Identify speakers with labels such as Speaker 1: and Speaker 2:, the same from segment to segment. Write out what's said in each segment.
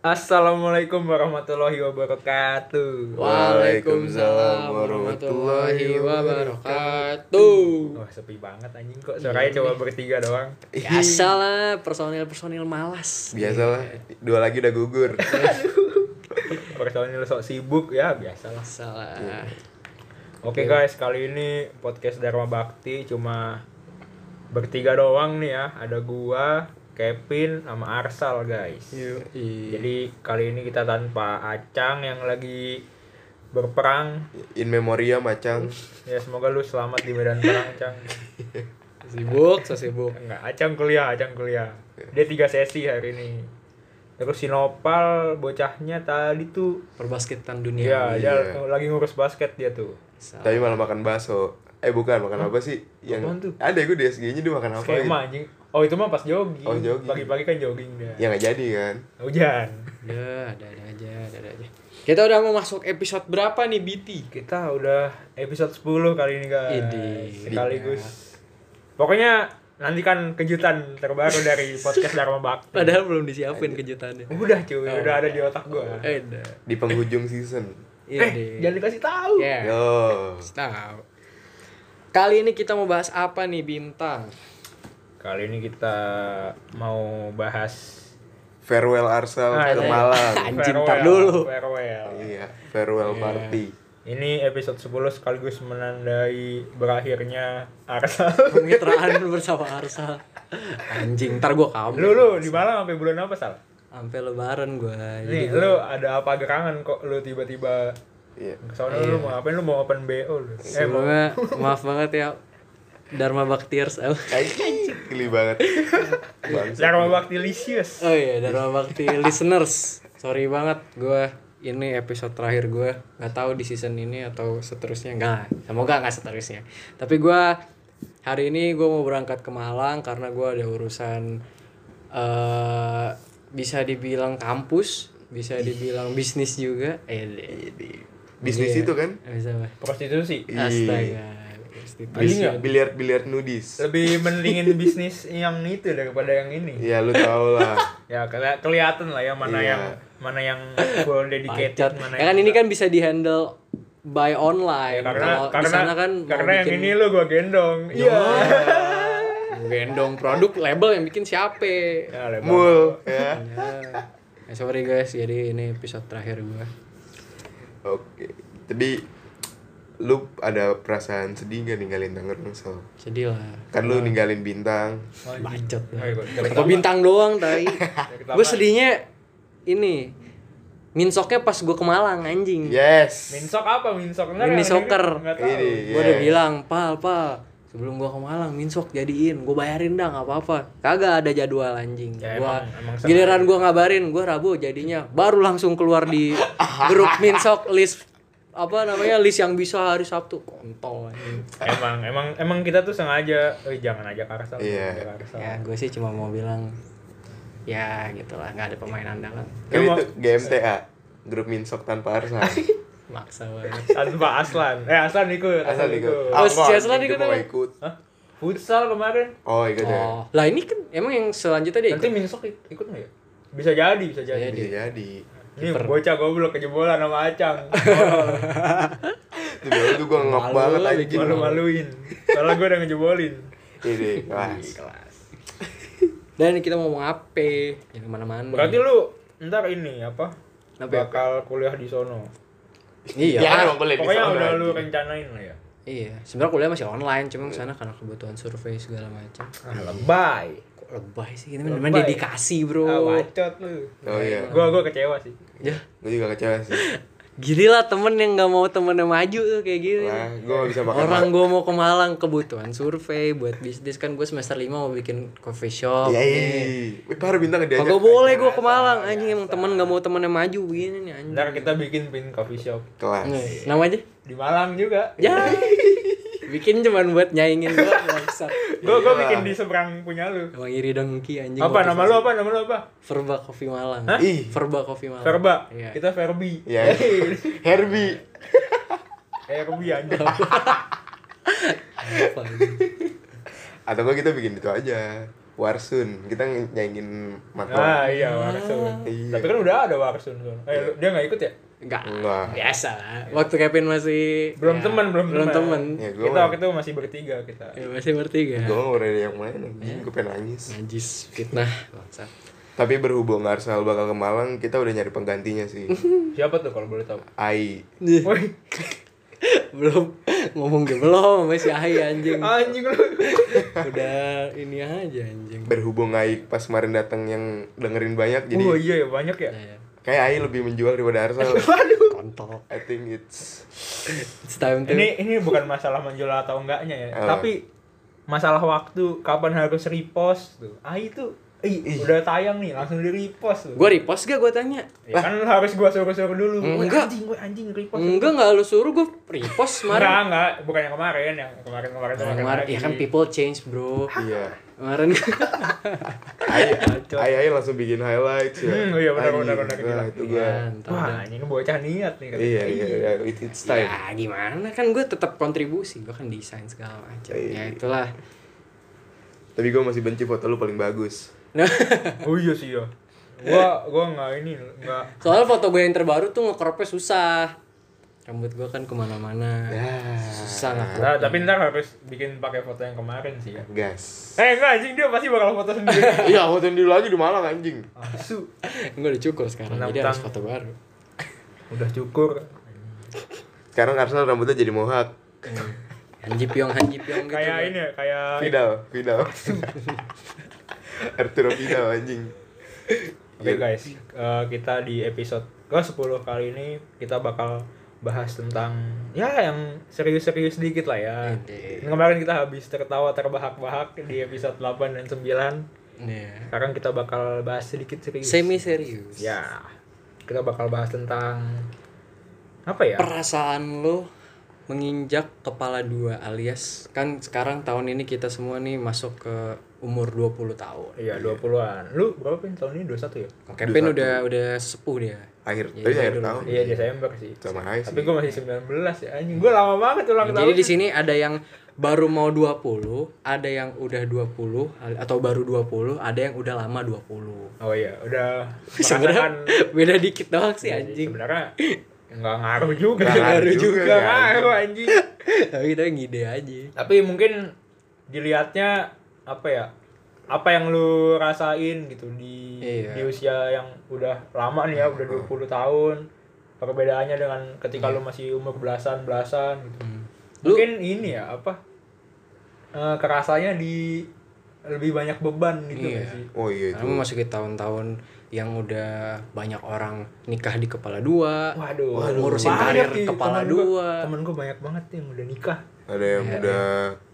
Speaker 1: Assalamualaikum warahmatullahi wabarakatuh.
Speaker 2: Waalaikumsalam warahmatullahi wabarakatuh.
Speaker 1: Wah sepi banget anjing kok suaranya cuma bertiga doang.
Speaker 2: Biasa
Speaker 3: Biasalah personil-personil malas.
Speaker 2: Iya. Biasalah, dua lagi udah gugur.
Speaker 1: Personil sok sibuk ya biasalah.
Speaker 3: Biasalah.
Speaker 1: Oke guys kali ini podcast Dharma Bakti cuma bertiga doang nih ya. Ada gua, Kevin, sama Arsal guys.
Speaker 3: Iya.
Speaker 1: Jadi kali ini kita tanpa Acang yang lagi berperang.
Speaker 2: In memoriam macang.
Speaker 1: Ya semoga lu selamat di medan perang Acang.
Speaker 3: Sibuk, so sibuk.
Speaker 1: Enggak, Acang kuliah, Acang kuliah. Dia tiga sesi hari ini. Terus Sinopal bocahnya tadi tuh
Speaker 3: Perbasketan
Speaker 1: ya,
Speaker 3: dunia.
Speaker 1: dia
Speaker 2: Iya.
Speaker 1: lagi ngurus basket dia tuh.
Speaker 2: Tapi malah makan bakso. Eh bukan, makan apa sih?
Speaker 1: Apaan
Speaker 2: Yang
Speaker 1: tuh?
Speaker 2: ada gue di SG-nya dia makan apa gitu.
Speaker 1: Skema anjing. Oh, itu mah pas jogging.
Speaker 2: Oh, jogging.
Speaker 1: Pagi-pagi kan jogging dia.
Speaker 2: Ya nggak jadi kan.
Speaker 1: Hujan.
Speaker 3: Udah, ada ada Ya, aja, ada ada aja. Kita udah mau masuk episode berapa nih BT?
Speaker 1: Kita udah episode 10 kali ini, guys.
Speaker 3: Idi.
Speaker 1: Sekaligus. Pokoknya nantikan kejutan terbaru dari podcast Dharma Bakti.
Speaker 3: Padahal belum disiapin kejutannya.
Speaker 1: Udah cuy, udah ada di otak gua. Eh,
Speaker 3: Oh, iya. Eh, dah.
Speaker 2: Di penghujung season.
Speaker 3: Iya
Speaker 2: Eh,
Speaker 3: deh.
Speaker 1: jangan dikasih tahu.
Speaker 3: Ya.
Speaker 2: Yo.
Speaker 3: Tahu. Kali ini kita mau bahas apa nih bintang?
Speaker 1: Kali ini kita mau bahas
Speaker 2: Farewell Arsal
Speaker 1: Ah,
Speaker 2: ke
Speaker 1: iya.
Speaker 2: Malang.
Speaker 3: Anjing,
Speaker 1: Farewell,
Speaker 3: tar dulu.
Speaker 1: farewell.
Speaker 2: Iya, farewell party.
Speaker 1: Ini episode 10 sekaligus menandai berakhirnya Arsa.
Speaker 3: Kemitraan bersama Arsal. Anjing, ntar gua kamu.
Speaker 1: lu lu di Malang sampai bulan apa sal?
Speaker 3: Sampai lebaran gua. Jadi
Speaker 1: Nih lu ada apa gerangan kok lu tiba-tiba
Speaker 2: Iya.
Speaker 1: soalnya lu mau ngapain lu mau open BO lu. Eh mau
Speaker 3: Sebelumnya maaf banget ya Dharma Baktiers Oh
Speaker 2: Anjing, geli banget. Bangsa.
Speaker 1: Dharma Bakti Lisius.
Speaker 3: iya Dharma Bakti listeners Sorry banget gue ini episode terakhir gue nggak tahu di season ini atau seterusnya nggak semoga nggak seterusnya tapi gue hari ini gue mau berangkat ke Malang karena gue ada urusan eh bisa dibilang kampus bisa dibilang bisnis juga eh iya.
Speaker 2: Bisnis itu kan?
Speaker 3: bisa apa?
Speaker 1: Prostitusi.
Speaker 2: Iya.
Speaker 3: astaga
Speaker 1: Anjing ya?
Speaker 2: Biliar-biliar nudis.
Speaker 1: Lebih mendingin bisnis yang itu daripada yang ini.
Speaker 2: Ya lu tau lah.
Speaker 1: Ya keli- kelihatan lah ya mana
Speaker 2: Iya.
Speaker 1: yang mana yang full dedicated,
Speaker 3: Pacat.
Speaker 1: mana
Speaker 3: Ya kan ini kan bisa dihandle by
Speaker 1: Ya,
Speaker 3: online.
Speaker 1: karena
Speaker 3: Kalau di
Speaker 1: karena
Speaker 3: sana kan mau
Speaker 1: karena yang
Speaker 3: bikin-
Speaker 1: ini lu gua gendong. Iya.
Speaker 3: Mau gendong produk label yang bikin siapa.
Speaker 1: Ya, lebar.
Speaker 2: Mul ya.
Speaker 3: Ya, sorry guys, jadi ini episode terakhir gua.
Speaker 2: Oke. Jadi lu ada perasaan sedih gak ninggalin Tangerang Sal?
Speaker 3: Sedih lah.
Speaker 2: Kan lu ninggalin bintang.
Speaker 3: Bacot.
Speaker 1: Oh, iya. Ayo, gua- gua-
Speaker 3: Kok bintang doang tai.
Speaker 1: pertama.
Speaker 3: gua sedihnya ini minsoknya pas gua ke Malang
Speaker 1: Iya,
Speaker 3: anjing.
Speaker 2: Yes.
Speaker 1: Minsok apa Minsok? Ntar
Speaker 3: Mini
Speaker 1: yang
Speaker 3: soccer.
Speaker 1: denger nggak tahu.
Speaker 2: Ini.
Speaker 3: Gue udah
Speaker 2: Yes.
Speaker 3: bilang, pal, pal, sebelum gua ke Malang, minsok jadiin, gue bayarin dah nggak apa-apa. Kagak ada jadwal anjing.
Speaker 1: Ya,
Speaker 3: gua,
Speaker 1: emang- emang sengaja.
Speaker 3: giliran gua ngabarin, gua Rabu jadinya, baru langsung keluar di grup minsok list apa namanya list yang bisa hari Sabtu kontol anjing.
Speaker 1: Emang emang emang kita tuh sengaja eh jangan ajak Arsal. jangan
Speaker 2: Iya.
Speaker 1: ajak Arsal.
Speaker 3: Ya gue sih cuma mau bilang, ya gitulah nggak ada pemain andalan.
Speaker 2: Kan
Speaker 1: Lu
Speaker 2: itu GMTA. Grup Minsok tanpa Arsa.
Speaker 3: Iya, Maksa banget.
Speaker 1: Tanpa Aslan. Eh Aslan ikut,
Speaker 2: Asal
Speaker 1: Aslan
Speaker 2: ikut.
Speaker 1: ikut.
Speaker 3: Ah. si
Speaker 2: Apa?
Speaker 3: Aslan
Speaker 2: Dia
Speaker 3: ikut
Speaker 2: mau
Speaker 3: apa?
Speaker 2: ikut.
Speaker 1: Hah? Futsal kemarin.
Speaker 2: Oh, ikut ya.
Speaker 3: Oh, lah ini kan emang yang selanjutnya deh.
Speaker 1: Nanti Minsok ik- ikut nggak ya? Bisa jadi, bisa
Speaker 3: iya,
Speaker 1: jadi.
Speaker 2: Bisa jadi.
Speaker 1: Ini bocah goblok kejebolan sama Acang.
Speaker 2: Itu dulu tuh gua ngap
Speaker 3: Malu
Speaker 2: banget
Speaker 3: lah,
Speaker 2: anjing.
Speaker 1: Malu-maluin. Soalnya gue udah ngejebolin.
Speaker 2: Ini kelas.
Speaker 3: Dan kita mau ngomong apa? Jangan kemana-mana.
Speaker 1: Berarti lu ntar ini apa?
Speaker 3: Apa ya?
Speaker 1: Bakal kuliah di sono.
Speaker 3: iya.
Speaker 2: Ya, emang boleh di
Speaker 1: Pokoknya
Speaker 2: sana,
Speaker 1: udah lu
Speaker 3: kan.
Speaker 2: anjing.
Speaker 1: rencanain lah ya.
Speaker 3: Iya, sebenarnya kuliah masih online,
Speaker 1: Iya.
Speaker 3: cuma kesana karena kebutuhan survei segala macam.
Speaker 1: Ah, lebay.
Speaker 3: Kok lebay sih, ini memang
Speaker 1: Lebay.
Speaker 3: dedikasi bro.
Speaker 1: Ah, bacot lu.
Speaker 2: Oh iya.
Speaker 1: Gua gua kecewa sih.
Speaker 3: ya,
Speaker 2: Gua juga kecewa sih.
Speaker 3: gini lah temen yang nggak mau temennya maju tuh kayak gini.
Speaker 2: Lah, gua gak bisa makan.
Speaker 3: Orang gue mau ke Malang kebutuhan survei buat bisnis kan gue semester 5 mau bikin coffee shop.
Speaker 1: Iya,
Speaker 2: Yeay. Iya, Wih, baru bintang diajak.
Speaker 3: Kagak boleh gue ke Malang anjing emang temen nggak mau temennya maju begini nih anjing.
Speaker 1: Ntar kita bikin pin coffee shop
Speaker 2: Kelas.
Speaker 3: Nih, Nama aja?
Speaker 1: di Malang juga.
Speaker 3: Ya. bikin cuman buat nyaingin gue bangsat.
Speaker 1: Gua gua
Speaker 2: Iya.
Speaker 1: bikin di seberang punya lu.
Speaker 3: Emang iri dengki anjing.
Speaker 1: Apa
Speaker 3: gua
Speaker 1: nama lu apa? Nama lu apa?
Speaker 3: Verba Coffee Malang.
Speaker 1: Hah?
Speaker 2: Ih.
Speaker 3: Verba Coffee Malang.
Speaker 1: Verba.
Speaker 3: Iya.
Speaker 1: Kita Verbi.
Speaker 2: Ya. Herbie.
Speaker 1: Verbi anjing.
Speaker 3: Apa ini?
Speaker 2: Atau enggak kita bikin itu aja. Warsun kita nyanyiin
Speaker 1: Ah
Speaker 2: Matla
Speaker 1: iya Warsun.
Speaker 2: Iya.
Speaker 1: Tapi kan udah ada Warsun. Sun. Eh, lu- dia nggak ikut ya?
Speaker 3: Enggak.
Speaker 2: Enggak.
Speaker 3: Biasa lah. Waktu Kevin masih ya,
Speaker 1: Belum teman, Iya. belum
Speaker 3: belum teman.
Speaker 1: teman.
Speaker 2: Ya, gua
Speaker 1: kita
Speaker 2: mah-
Speaker 1: waktu itu masih bertiga kita.
Speaker 3: Ya, masih bertiga.
Speaker 2: gue mau ada yang main anjing gue pengen
Speaker 1: Iya.
Speaker 2: nangis
Speaker 3: Najis fitnah bangsa.
Speaker 2: tapi berhubung Arsal bakal ke Malang kita udah nyari penggantinya sih
Speaker 1: Siapa tuh kalau boleh tahu?
Speaker 2: Ai
Speaker 1: Woi,
Speaker 3: belum ngomong dia belum masih ahi anjing.
Speaker 1: anjing lu.
Speaker 3: Udah ini aja anjing.
Speaker 2: berhubung Ai pas kemarin datang yang dengerin banyak jadi
Speaker 1: oh iya ya banyak ya.
Speaker 3: Nah, ya.
Speaker 2: kayak Ai lebih menjual daripada Arsal
Speaker 3: Kontol.
Speaker 2: I think it's
Speaker 3: It's time to
Speaker 1: Ini ini bukan masalah menjual atau enggaknya ya,
Speaker 3: Oh.
Speaker 2: Eh.
Speaker 1: tapi masalah waktu kapan harus repost tuh. Ah itu ih, udah tayang nih langsung di repost tuh.
Speaker 3: Gua repost gak gua tanya?
Speaker 1: Ya kan harus gua suruh-suruh dulu. Woi,
Speaker 3: Enggak.
Speaker 1: Anjing, woi anjing repost.
Speaker 3: Enggak enggak lu suruh gua repost
Speaker 1: Enggak,
Speaker 3: kemarin.
Speaker 1: enggak, bukan yang kemarin, yang kemarin kemarin
Speaker 3: Nah, Kemarin ya kan people change, Bro.
Speaker 2: iya
Speaker 3: Kemarin
Speaker 2: Ai Ai, Ai langsung bikin highlights ya
Speaker 1: Hmm, iya, benar,
Speaker 2: Anjing,
Speaker 1: benar, benar,
Speaker 2: wah,
Speaker 1: gila.
Speaker 2: itu gue
Speaker 3: Mantap.
Speaker 1: Wah, ini bocah niat nih katanya.
Speaker 2: iya iya iya it- it's time
Speaker 3: Ya gimana kan gue tetap kontribusi gue kan desain segala macam ya
Speaker 2: Iya.
Speaker 3: itulah
Speaker 2: tapi gue masih benci foto lu paling bagus
Speaker 1: Oh iya sih ya. Gua gua enggak ini enggak
Speaker 3: soalnya foto gue yang terbaru tuh ngecropnya susah rambut gue kan kemana-mana
Speaker 2: Ya.
Speaker 3: susah nggak
Speaker 1: Nah, tapi ntar harus bikin pakai foto yang kemarin sih ya.
Speaker 2: gas
Speaker 1: Eh enggak anjing dia pasti bakal foto sendiri.
Speaker 2: iya fotoin dulu aja di Malang anjing
Speaker 1: Asu.
Speaker 3: gue udah cukur sekarang jadi
Speaker 1: Menantang.
Speaker 3: harus foto baru
Speaker 1: Udah cukur.
Speaker 2: sekarang Arsal rambutnya jadi mohak
Speaker 3: hanji piong hanji piong gitu
Speaker 1: Kayak
Speaker 3: gua.
Speaker 1: ini ya, kayak
Speaker 2: Vidal Vidal Arturo Vidal anjing
Speaker 1: Oke
Speaker 3: Iya, kan?
Speaker 1: guys, eh, kita di episode ke-10 kali ini kita bakal bahas tentang ya yang serius-serius dikit lah ya.
Speaker 3: Ede.
Speaker 1: Kemarin kita habis tertawa terbahak-bahak di episode 8 dan 9.
Speaker 3: Iya.
Speaker 1: Sekarang kita bakal bahas sedikit serius.
Speaker 3: semi serius
Speaker 1: Ya. Kita bakal bahas tentang apa ya?
Speaker 3: perasaan lo menginjak kepala dua alias kan sekarang tahun ini kita semua nih masuk ke umur 20 tahun
Speaker 1: Iya, 20-an. Lu berapa pin tahun ini? 21 ya?
Speaker 3: Oke, Pin udah udah sepuh dia.
Speaker 2: akhir
Speaker 3: Iya,
Speaker 2: tapi
Speaker 3: iya,
Speaker 2: akhir
Speaker 3: dulu.
Speaker 2: tahun
Speaker 1: Iya, Desember sih.
Speaker 2: sama Ai
Speaker 1: Tapi
Speaker 2: sih
Speaker 1: gue masih 19 ya. Anjing, gue lama banget ulang
Speaker 3: Jadi
Speaker 1: tahun.
Speaker 3: di sini ada yang baru mau 20, ada yang udah 20 al- atau baru 20, ada yang udah lama 20.
Speaker 1: Oh iya, udah
Speaker 3: Sebenarnya
Speaker 1: merasakan
Speaker 3: beda dikit doang sih
Speaker 1: Jadi
Speaker 3: anjing.
Speaker 1: sebenarnya nggak ngaruh juga
Speaker 2: Nggak ngaruh juga,
Speaker 1: Nggak
Speaker 2: ya,
Speaker 1: ngaruh anjing iya.
Speaker 3: Tapi kita ngide aja.
Speaker 1: tapi mungkin dilihatnya apa ya apa yang lu rasain gitu di
Speaker 3: Iya.
Speaker 1: di usia yang udah lama nih ya udah 20 tahun perbedaannya dengan ketika lu masih umur belasan belasan gitu
Speaker 3: Lu-
Speaker 1: mungkin ini ya apa eh, kerasanya di lebih banyak beban gitu nggak
Speaker 3: Iya.
Speaker 1: sih
Speaker 2: oh iya itu
Speaker 3: Kamu masukin tahun-tahun yang udah banyak orang nikah di kepala dua,
Speaker 1: Waduh,
Speaker 3: ngurusin
Speaker 1: banyak
Speaker 3: karir
Speaker 1: nih
Speaker 3: kepala
Speaker 1: temen gua-
Speaker 3: dua.
Speaker 1: Temen gue banyak banget yang udah nikah.
Speaker 3: Iya,
Speaker 2: ada yang udah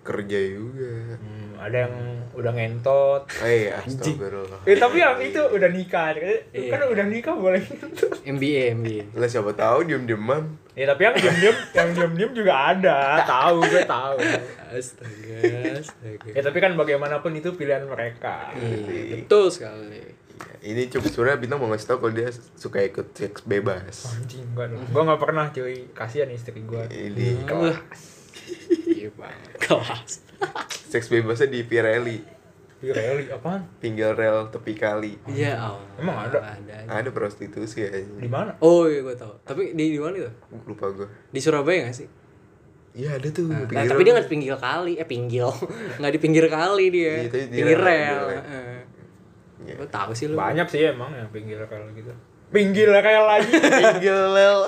Speaker 2: kerja juga
Speaker 1: Hmm, ada yang udah ngentot.
Speaker 2: oh iya astagfirullah
Speaker 1: Eh tapi yang itu udah nikah,
Speaker 3: Iya.
Speaker 1: kan udah nikah boleh ngentot.
Speaker 3: MBA, MBA.
Speaker 2: lah siapa tahu diem-dieman
Speaker 1: Ya tapi yang diem-diem, yang diem-diem juga ada, tahu gue tahu.
Speaker 3: Astaga, astaga.
Speaker 1: Ya tapi kan bagaimanapun itu pilihan mereka.
Speaker 3: Iya, betul sekali.
Speaker 2: ini cuma sebenarnya bintang mau ngasih tau kalau dia suka ikut seks bebas
Speaker 1: Anjing gue dong. Gue nggak pernah cuy, kasihan istri gue.
Speaker 2: ini
Speaker 3: Kelas. Iya banget. Kelas.
Speaker 2: seks bebasnya di Pirelli
Speaker 1: Pirelli apaan?
Speaker 2: pinggil rel tepi kali
Speaker 3: Iya, Allah.
Speaker 1: Emang ada?
Speaker 3: aja.
Speaker 2: ada
Speaker 1: Di
Speaker 2: prostitusi anjing
Speaker 1: mana?
Speaker 3: Oh iya gue tau. Tapi di, di mana itu?
Speaker 2: lupa gue
Speaker 3: Di Surabaya gak sih?
Speaker 2: iya ada tuh
Speaker 3: Nah,
Speaker 2: pinggir
Speaker 3: tapi
Speaker 2: rel.
Speaker 3: dia nggak di pinggir kali, eh pinggil, nggak di pinggir kali dia,
Speaker 2: Iya, tapi di
Speaker 3: pinggir
Speaker 2: rel,
Speaker 3: rel.
Speaker 2: di rel.
Speaker 3: heeh.
Speaker 2: Iya.
Speaker 3: Lo tahu sih lu?
Speaker 1: Banyak sih emang yang pinggir rel gitu. Pinggir rel lagi,
Speaker 2: pinggil rel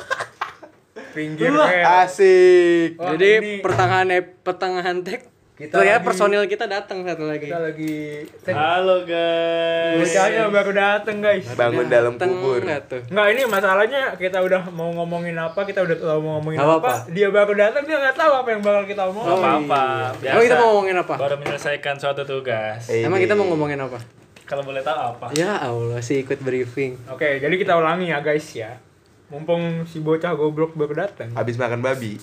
Speaker 1: pinggir rel.
Speaker 2: asik
Speaker 1: Wah,
Speaker 3: Jadi
Speaker 1: ini-
Speaker 3: pertengahan ep- pertengahan tek,
Speaker 1: Kita
Speaker 3: kita ya
Speaker 1: lagi-
Speaker 3: personil kita datang satu lagi.
Speaker 1: Kita lagi
Speaker 4: Halo guys.
Speaker 1: Bocahnya baru dateng guys.
Speaker 2: bangun dalam
Speaker 3: Dateng
Speaker 2: kubur
Speaker 3: Nah, nggak tuh?
Speaker 1: Enggak ini masalahnya kita udah mau ngomongin apa, kita udah tahu mau ngomongin
Speaker 3: Nggak
Speaker 1: apa,
Speaker 3: apa-apa.
Speaker 1: dia baru datang dia nggak tahu apa yang bakal kita omongin.
Speaker 4: Nggak apa-apa.
Speaker 3: iya.
Speaker 4: Biasa.
Speaker 3: Emang kita mau ngomongin apa?
Speaker 4: Baru menyelesaikan suatu tugas.
Speaker 2: Eh,
Speaker 3: Emang
Speaker 2: ini.
Speaker 3: kita mau ngomongin apa?
Speaker 4: Kalau boleh tahu apa?
Speaker 3: Ya Allah sih ikut briefing.
Speaker 1: Oke, jadi kita ulangi ya guys ya. Mumpung si bocah goblok baru datang.
Speaker 2: habis makan babi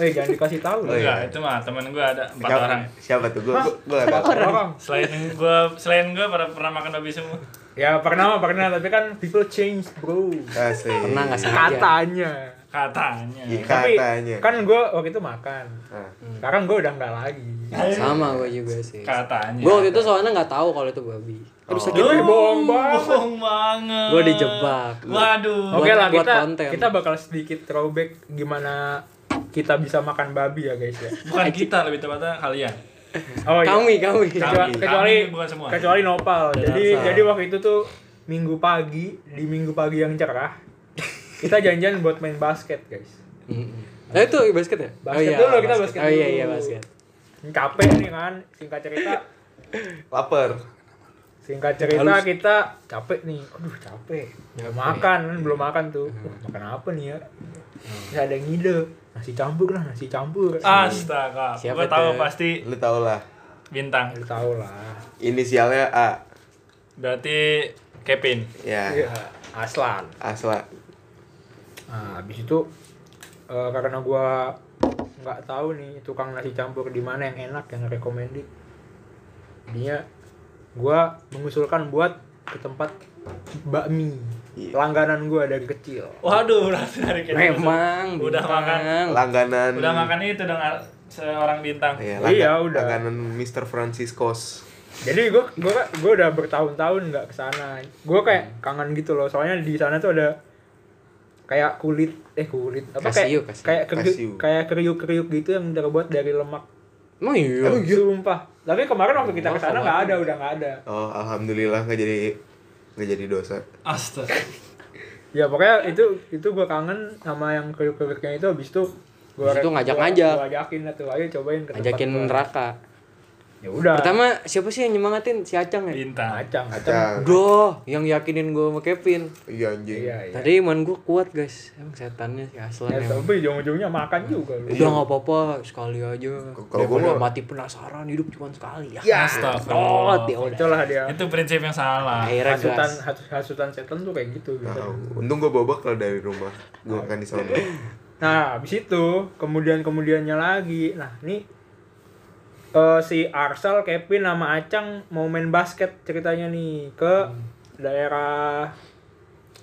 Speaker 1: Eh jangan dikasih tahu
Speaker 3: Oh,
Speaker 1: lah.
Speaker 3: iya.
Speaker 4: Enggak, itu mah teman gue ada empat
Speaker 2: Siapa-
Speaker 4: orang.
Speaker 2: siapa tuh gue gue gak tahu
Speaker 1: Orang.
Speaker 4: Selain gue, selain gue pernah pernah makan babi semua.
Speaker 1: Ya pernah mah pernah tapi kan people change bro.
Speaker 2: asik
Speaker 3: Pernah nggak sengaja?
Speaker 1: Katanya.
Speaker 4: Katanya.
Speaker 2: Iya,
Speaker 1: Tapi
Speaker 2: katanya.
Speaker 1: kan gue waktu itu makan.
Speaker 2: Nah,
Speaker 1: Sekarang gue udah nggak lagi.
Speaker 3: Sama gue juga sih.
Speaker 4: Katanya.
Speaker 3: Gue waktu itu soalnya nggak tahu kalau itu babi. Terus
Speaker 2: Oh.
Speaker 3: sakit
Speaker 1: Ih, bohong banget.
Speaker 4: Bohong banget.
Speaker 3: Gua dijebak.
Speaker 4: Waduh.
Speaker 1: Oke lah
Speaker 3: buat
Speaker 1: kita
Speaker 3: konten.
Speaker 1: kita bakal sedikit throwback gimana kita bisa makan babi ya guys ya.
Speaker 4: Bukan kita lebih tepatnya kalian.
Speaker 1: Oh iya.
Speaker 3: kami kami.
Speaker 1: Kecuali,
Speaker 4: Kami,
Speaker 1: kecuali,
Speaker 4: bukan semua.
Speaker 1: kecuali Iya, Nopal. Jadi
Speaker 3: Nopal.
Speaker 1: jadi waktu itu tuh minggu pagi di minggu pagi yang cerah kita janjian buat main basket guys.
Speaker 3: Mm-mm. Eh itu basket ya?
Speaker 1: Basket dulu, kita basket
Speaker 3: Oh iya
Speaker 1: dulu.
Speaker 3: iya basket.
Speaker 1: Ini Capek nih kan. Singkat cerita
Speaker 2: lapar.
Speaker 1: singkat cerita kita capek nih. Aduh capek. Iya. Belum makan kan? belum makan tuh. Wah, makan apa nih ya? Terus ada yang ngide nasi campur lah nasi campur.
Speaker 4: Ah. Astaga.
Speaker 3: Siapa
Speaker 4: Gue tahu
Speaker 3: tuh?
Speaker 4: pasti
Speaker 2: Lu tau lah.
Speaker 4: bintang.
Speaker 1: Lu tau lah.
Speaker 2: Inisialnya A.
Speaker 4: Berarti Kevin.
Speaker 2: Ya.
Speaker 1: Iya, Aslan.
Speaker 2: Asla.
Speaker 1: Nah, habis itu eh, karena gua nggak tahu nih tukang nasi campur di mana yang enak yang recommended. Dia gua mengusulkan buat ke tempat bakmi.
Speaker 2: Iya.
Speaker 1: Langganan gua dari kecil.
Speaker 4: Waduh, berarti dari kita.
Speaker 3: Memang
Speaker 4: Udah
Speaker 3: bintang.
Speaker 4: makan.
Speaker 2: Langganan.
Speaker 4: Udah makan itu dengan seorang bintang.
Speaker 2: Iya,
Speaker 1: Iya,
Speaker 2: langgan-
Speaker 1: udah.
Speaker 2: Langganan Mr. Franciscos.
Speaker 1: Jadi gua gua gua udah bertahun-tahun nggak ke sana. Gua kayak kangen gitu loh. Soalnya di sana tuh ada kayak kulit eh kulit apa
Speaker 3: Kasiu,
Speaker 1: kayak
Speaker 3: kasiu.
Speaker 1: kayak kriuk
Speaker 2: Kasiu.
Speaker 1: kayak kriuk-kriuk gitu yang terbuat dari lemak
Speaker 3: Emang iya.
Speaker 1: Sumpah. Tapi kemarin waktu kita
Speaker 3: Oh,
Speaker 1: ke sana nggak ada, udah nggak ada.
Speaker 2: Oh, alhamdulillah nggak jadi nggak jadi dosa.
Speaker 4: Astaga.
Speaker 1: Ya pokoknya itu itu gua kangen sama yang kriuk-kriuknya itu habis itu gua
Speaker 3: Habis itu
Speaker 1: gua-
Speaker 3: ngajak-ngajak.
Speaker 1: Gua ajakin lah tuh, ayo cobain ke tempat
Speaker 3: Ajakin
Speaker 1: gua.
Speaker 3: neraka.
Speaker 1: Ya udah.
Speaker 3: Pertama siapa sih yang nyemangatin si Acang ya?
Speaker 4: Bintang.
Speaker 1: acang, acang.
Speaker 2: Kacang.
Speaker 3: Bro, yang yakinin gue sama Kevin.
Speaker 2: Iya anjing.
Speaker 1: Iya, iya.
Speaker 3: Tadi iman gue kuat guys. Emang setannya si Aslan
Speaker 1: Ya,
Speaker 3: emang.
Speaker 1: tapi ujung-ujungnya makan juga. lu.
Speaker 3: Udah nggak apa-apa sekali aja.
Speaker 2: Kalau gua
Speaker 3: Daripada
Speaker 2: mah-
Speaker 3: mati penasaran hidup cuma sekali ya.
Speaker 4: Astagfirullah.
Speaker 3: Oh, dia udah.
Speaker 1: Itulah dia.
Speaker 4: Itu prinsip yang salah.
Speaker 3: Akhirnya
Speaker 1: Hasutan
Speaker 3: gas.
Speaker 1: has- hasutan setan tuh kayak gitu.
Speaker 2: Nah,
Speaker 1: gitu.
Speaker 2: untung gue bawa bekal dari rumah. Gue makan di sana.
Speaker 1: Nah, habis itu kemudian-kemudiannya lagi. Nah, ini eh, si Arsal, Kevin sama Acang mau main basket ceritanya nih ke daerah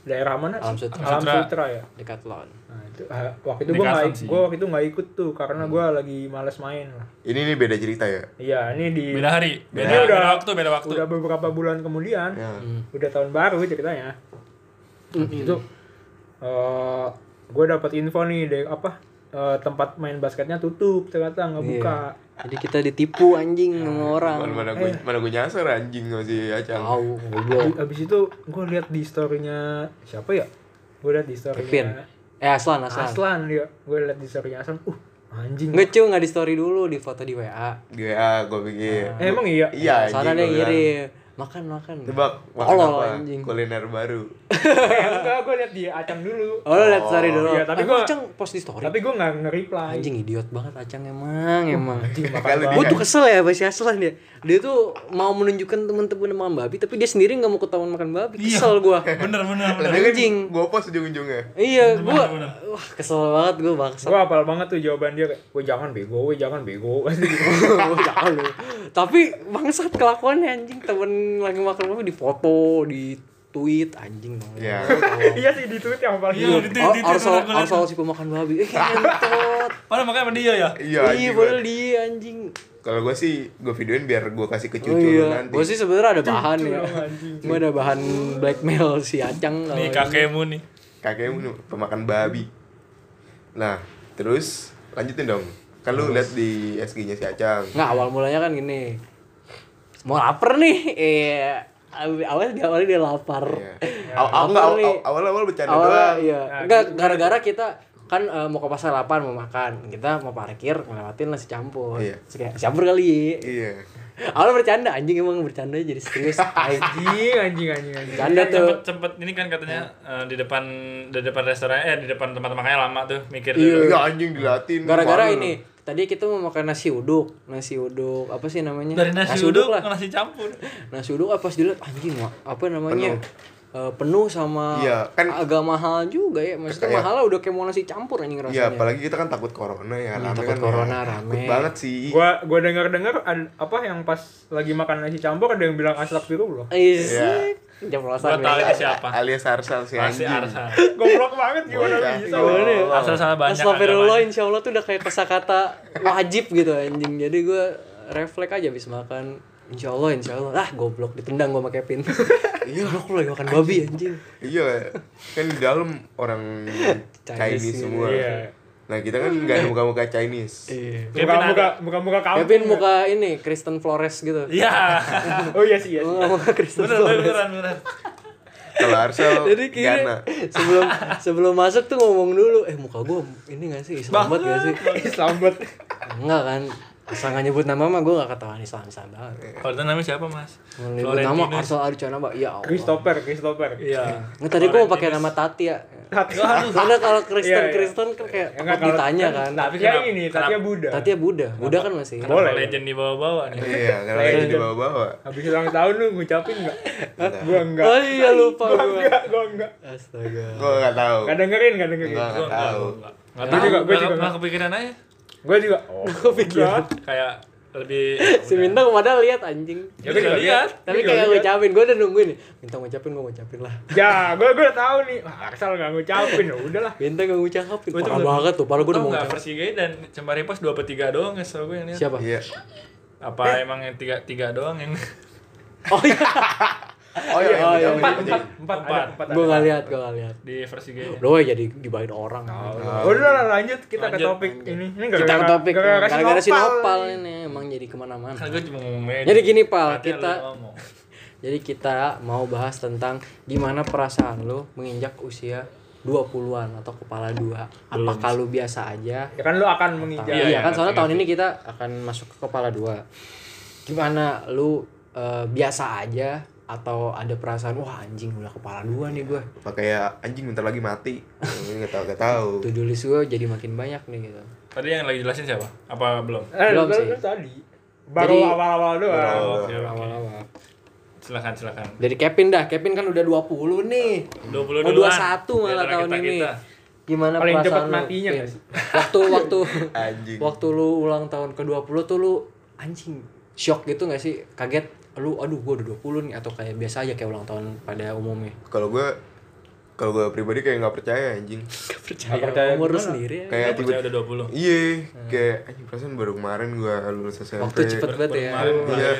Speaker 1: daerah mana
Speaker 3: Hmm. Alam
Speaker 1: sih?
Speaker 3: Sutra.
Speaker 1: Alam
Speaker 4: Sutra.
Speaker 1: Sutra ya.
Speaker 3: Dekat lawan.
Speaker 1: Nah, itu ah, waktu itu
Speaker 4: Di
Speaker 1: gua
Speaker 4: Kasan
Speaker 1: nggak
Speaker 4: sih. Hmm.
Speaker 1: gua waktu itu nggak ikut tuh karena gua lagi males main lah.
Speaker 2: Ini nih beda cerita ya.
Speaker 1: Iya, ini di
Speaker 4: Beda hari, beda,
Speaker 1: Ini udah-
Speaker 4: beda waktu, beda waktu.
Speaker 1: udah beberapa bulan kemudian.
Speaker 2: Ya.
Speaker 1: Udah tahun baru ceritanya. Habis itu eh gue dapat info nih dari apa eh, tempat main basketnya tutup ternyata nggak buka.
Speaker 3: Jadi kita ditipu anjing sama orang.
Speaker 2: Mana mana gue mana gue nyasar anjing sama si Acang.
Speaker 3: Tahu goblok.
Speaker 1: Abis- Abis itu gue lihat di storynya siapa ya? Gue lihat di
Speaker 3: Kevin.
Speaker 1: storynya
Speaker 3: Eh Aslan, Aslan.
Speaker 1: Aslan dia. Gue lihat di storynya Aslan. Uh anjing.
Speaker 3: Nggak cuy, nggak di story dulu, di foto di WA.
Speaker 2: Gue ah gue pikir.
Speaker 1: Eh, emang iya.
Speaker 2: Iya anjing.
Speaker 3: Soalnya dia
Speaker 2: gua bilang.
Speaker 3: ngirim makan makan.
Speaker 2: Tebak makan
Speaker 3: Tolol,
Speaker 2: apa?
Speaker 3: anjing.
Speaker 2: Kuliner baru.
Speaker 1: Eh, enggak, gue lihat di Acang dulu.
Speaker 3: Oh, lo liat story dulu.
Speaker 1: Iya, tapi
Speaker 3: Eh,
Speaker 1: gua-
Speaker 3: Acang post di story.
Speaker 1: Tapi gue nggak nge-reply.
Speaker 3: Anjing idiot banget Acang emang, emang.
Speaker 1: Anjing, makan
Speaker 2: Kalau
Speaker 1: banget.
Speaker 3: Gue tuh kesel ya sama si Aslan dia. Dia tuh mau menunjukkan temen-temen makan babi, tapi dia sendiri nggak mau ketahuan makan babi.
Speaker 1: Iya.
Speaker 3: Kesel gue.
Speaker 4: Bener, bener, bener.
Speaker 3: Anjing.
Speaker 2: Gue kan post ujung-ujungnya.
Speaker 3: Iya, gue wah kesel banget gue bangsa.
Speaker 1: Gue apal banget tuh jawaban dia kayak, gue jangan bego, gue jangan bego.
Speaker 3: Jangan lu. Tapi bangsat kelakuannya anjing temen lagi makan babi di foto, di tweet anjing banget.
Speaker 2: Iya.
Speaker 1: iya sih di tweet yang paling.
Speaker 4: Iya, di tweet, di tweet,
Speaker 3: Arsal
Speaker 4: orang-orang.
Speaker 3: arsal si pemakan babi. Eh, entot.
Speaker 4: Padahal makanya sama dia ya.
Speaker 3: Iya,
Speaker 2: Iya. anjing,
Speaker 3: padahal
Speaker 2: gua-
Speaker 3: dia anjing.
Speaker 2: Kalau gue sih gue videoin biar gue kasih ke cucu
Speaker 3: Oh
Speaker 2: lu
Speaker 3: iya,
Speaker 2: nanti.
Speaker 3: gue sih sebenarnya ada bahan ya.
Speaker 1: dong, anjing.
Speaker 3: Gue ada bahan blackmail si Acang kalau
Speaker 4: Nih
Speaker 3: ini.
Speaker 4: kakekmu nih.
Speaker 2: kakekmu pemakan babi nah terus lanjutin dong kan lu lihat di SG nya si Acang
Speaker 3: Nggak awal mulanya kan gini. Mau lapar nih. Iya. Awalnya dia awalnya dia lapar.
Speaker 2: Iya. Aw- aw-
Speaker 3: Lapar Ya,
Speaker 2: aw-
Speaker 3: nih.
Speaker 2: aw- awal-awal bercanda
Speaker 3: Awalnya
Speaker 2: doang
Speaker 3: iya.
Speaker 1: Nah,
Speaker 3: Nggak,
Speaker 1: gitu.
Speaker 3: gara-gara kita kan eh, mau ke pasar 8 mau makan. Kita mau parkir ngelewatin nasi campur.
Speaker 2: Iya.
Speaker 3: Terus kayak, "Nasi campur kali.
Speaker 2: iya
Speaker 3: Awalnya bercanda anjing emang bercanda jadi serius. Tai.
Speaker 1: Anjing, anjing, anjing, anjing.
Speaker 3: bercanda
Speaker 4: Sempet,
Speaker 3: tuh.
Speaker 4: sempet ini kan katanya eh, di depan di depan restoran eh di depan tempat makannya lama tuh mikir dulu.
Speaker 2: iya anjing dilatin
Speaker 3: Gara-gara
Speaker 2: malu.
Speaker 3: ini tadi kita mau makan nasi uduk, nasi uduk apa sih namanya?
Speaker 4: Dari nasi uduk
Speaker 3: lah.
Speaker 4: ke nasi campur.
Speaker 3: Nasi uduk apa pas dilihat anjing wah, apa namanya?
Speaker 2: Penuh.
Speaker 3: eh, penuh sama
Speaker 2: Iya, kan-
Speaker 3: agak mahal juga ya maksudnya
Speaker 2: Kayak-
Speaker 3: mahal lah udah kayak mau nasi campur anjing
Speaker 2: Iya,
Speaker 3: rasanya
Speaker 2: apalagi kita kan takut corona ya,
Speaker 3: Hmm,
Speaker 2: rame
Speaker 3: takut
Speaker 2: kan.
Speaker 3: corona,
Speaker 2: ya.
Speaker 3: rame.
Speaker 2: Takut banget sih.
Speaker 1: gua gua dengar dengar apa yang pas lagi makan nasi campur ada yang bilang astagfirullah
Speaker 3: Is,
Speaker 2: Iya.
Speaker 4: Gua
Speaker 3: jeblosan
Speaker 4: tahu
Speaker 3: ya.
Speaker 4: itu siapa.
Speaker 2: Alias arsal sih
Speaker 4: Pasti
Speaker 2: anjing.
Speaker 4: Arsa.
Speaker 1: goblok banget gimana
Speaker 2: Bocah.
Speaker 1: bisa
Speaker 3: Iya. Gimana?
Speaker 2: Wow.
Speaker 4: Asal salah banyak.
Speaker 3: Astagfirullah
Speaker 4: agamanya.
Speaker 3: insya Allah tuh udah kayak kosakata wajib gitu anjing Jadi gue refleks aja abis makan Insya Allah, insya Allah Ah goblok, ditendang gue sama Kevin Iya goblok lu lagi makan babi anjing
Speaker 2: Iya, kan di dalam orang Chinese,
Speaker 3: Chinese
Speaker 2: semua.
Speaker 1: iya
Speaker 2: Nah, kita kan nggak ada muka-muka Chinese.
Speaker 3: Iya
Speaker 1: muka muka muka muka kamu
Speaker 3: Kevin muka ini, Kristen Flores gitu
Speaker 4: Iya.
Speaker 1: oh iya sih iya sih.
Speaker 3: Muka muka Kristen
Speaker 4: Bener
Speaker 3: Flores
Speaker 4: beneran beneran.
Speaker 2: Kalau arsal
Speaker 3: Jadi
Speaker 2: Ghana.
Speaker 3: kira sebelum sebelum masuk tuh ngomong dulu Eh muka gue ini gak sih, Islam banget gak sih
Speaker 1: Islam banget
Speaker 3: Enggak kan Asal gak nyebut nama mah gue gak ketahuan Islam-Islam banget
Speaker 4: Kalau itu namanya siapa, Mas?
Speaker 3: Mau nyebut nama Arsal Arjuna mbak, ya Allah
Speaker 1: Christopher Christopher
Speaker 4: Iya.
Speaker 3: Nggak, tadi gue mau pakai nama Tati ya. Karena kalau Kristen
Speaker 1: Iya, iya.
Speaker 3: Kristen kan kayak
Speaker 1: Ya, enggak,
Speaker 3: takut
Speaker 1: kalau-
Speaker 3: ditanya kan.
Speaker 1: tapi
Speaker 4: kenapa-
Speaker 1: yang Iya, ini
Speaker 4: kenapa-
Speaker 1: tapi Buddha
Speaker 3: Tati ya Buddha, Buddha kan masih.
Speaker 1: Boleh.
Speaker 4: Boleh. Legend di bawah-bawah nih.
Speaker 2: Iya, kalau lagi di bawah-bawah.
Speaker 1: habis ulang tahun lu ngucapin nggak gua enggak
Speaker 3: Oh iya lupa
Speaker 1: gua
Speaker 3: gue.
Speaker 1: enggak gua enggak
Speaker 3: Astaga.
Speaker 2: Gua nggak tahu.
Speaker 1: nggak dengerin nggak dengerin
Speaker 2: Nggak nggak tahu.
Speaker 4: Enggak
Speaker 1: Gua
Speaker 4: tahu.
Speaker 1: juga- gua
Speaker 4: nggak-
Speaker 1: juga.
Speaker 4: nggak kepikiran aja.
Speaker 1: gua juga oh
Speaker 3: Kepikiran.
Speaker 4: Kayak lebih
Speaker 3: Si Minta padahal lihat anjing.
Speaker 1: ya gua juga
Speaker 4: Iya.
Speaker 1: lihat Gua
Speaker 3: Tapi
Speaker 1: juga
Speaker 3: kayak
Speaker 1: lihat.
Speaker 3: ngucapin, gue udah nungguin nih. Minta ngucapin, gue ngucapin lah.
Speaker 1: ya gua gua tahu nih Wah, asal nggak ngucapin ya udahlah
Speaker 3: Minta gak ngucapin,
Speaker 4: Gua tuh
Speaker 3: parah
Speaker 4: belum-
Speaker 3: banget tuh. Padahal gue udah
Speaker 4: Tau
Speaker 3: mau
Speaker 4: Oh, nggak
Speaker 3: ngucapin.
Speaker 4: Persija dan Cemari Pos 2 per 3 doang ya setahu gue yang lihat.
Speaker 3: Siapa?
Speaker 2: Iya.
Speaker 4: Apa
Speaker 3: Eh.
Speaker 4: emang yang 3 3 doang yang
Speaker 3: Oh iya.
Speaker 2: Oh iya,
Speaker 3: Oh, iya,
Speaker 2: yang
Speaker 3: empat,
Speaker 2: empat,
Speaker 1: empat empat ada
Speaker 4: Empat.
Speaker 1: empat ada.
Speaker 3: Gue gak lihat, gue gak lihat.
Speaker 4: di Persija?
Speaker 3: Lo ya jadi dibayarin orang.
Speaker 1: Oh, udah lah lanjut kita ke
Speaker 4: Lanjut,
Speaker 1: topik ini ini
Speaker 3: Kita ke topik ya.
Speaker 1: gara-gara
Speaker 3: gara-gara
Speaker 1: sinopal
Speaker 3: sinopal ini emang jadi kemana-mana.
Speaker 4: Kan gue cuma ngomong aja.
Speaker 3: Jadi gini, Pal,
Speaker 4: Latihan
Speaker 3: kita-
Speaker 4: lu ngomong.
Speaker 3: Jadi kita mau bahas tentang gimana perasaan lo menginjak usia 20-an atau kepala dua. Apakah lo biasa aja?
Speaker 1: ya kan lu akan
Speaker 3: Atau-
Speaker 1: menginjak
Speaker 4: Iya,
Speaker 3: iya,
Speaker 4: iya,
Speaker 3: kan soalnya
Speaker 4: ngerti,
Speaker 3: tahun ini kita akan masuk ke kepala dua. Gimana lo eh, biasa aja atau ada perasaan wah anjing udah kepala dua nih gue.
Speaker 2: Apa kayak ya, anjing bentar lagi mati. Enggak tahu, enggak tahu.
Speaker 3: Tuh tulis gue jadi makin banyak nih gitu.
Speaker 4: Tadi yang lagi jelasin siapa? Apa belum?
Speaker 1: eh
Speaker 3: Belum
Speaker 1: lu
Speaker 3: sih.
Speaker 1: lu tadi baru
Speaker 3: Jadi-
Speaker 1: awal-awal doang
Speaker 2: Baru-
Speaker 4: Oke, oke.
Speaker 3: Awal-awal.
Speaker 4: Silakan, silakan.
Speaker 3: Dari Kevin dah, Kevin kan udah 20 nih. Oh,
Speaker 4: 20
Speaker 3: Mau
Speaker 4: duluan.
Speaker 3: 21
Speaker 4: Di
Speaker 3: malah
Speaker 4: antara
Speaker 3: tahun ini.
Speaker 4: kita-kita.
Speaker 3: Gimana
Speaker 1: Paling
Speaker 3: perasaan
Speaker 1: cepet
Speaker 3: lu,
Speaker 1: matinya
Speaker 3: Vin?
Speaker 1: gak sih?
Speaker 3: Waktu waktu
Speaker 2: Anjing.
Speaker 3: waktu lu ulang tahun ke-20 tuh lu anjing shock gitu gak sih? Kaget lu aduh gua udah 20 nih atau kayak biasa aja kayak ulang tahun pada umumnya.
Speaker 2: Kalau gua kalau gua pribadi kayak nggak percaya anjing.
Speaker 3: Gak percaya,
Speaker 1: Gak percaya
Speaker 3: umur lu
Speaker 1: gimana?
Speaker 3: sendiri ya.
Speaker 4: Saya
Speaker 2: Kayak
Speaker 4: percaya
Speaker 2: tiba
Speaker 4: udah 20.
Speaker 2: Iya, kayak anjing perasaan baru kemarin gua lulus SMP.
Speaker 3: Hmm. Waktu cepet banget ya.
Speaker 4: Kemarin,
Speaker 2: Iya,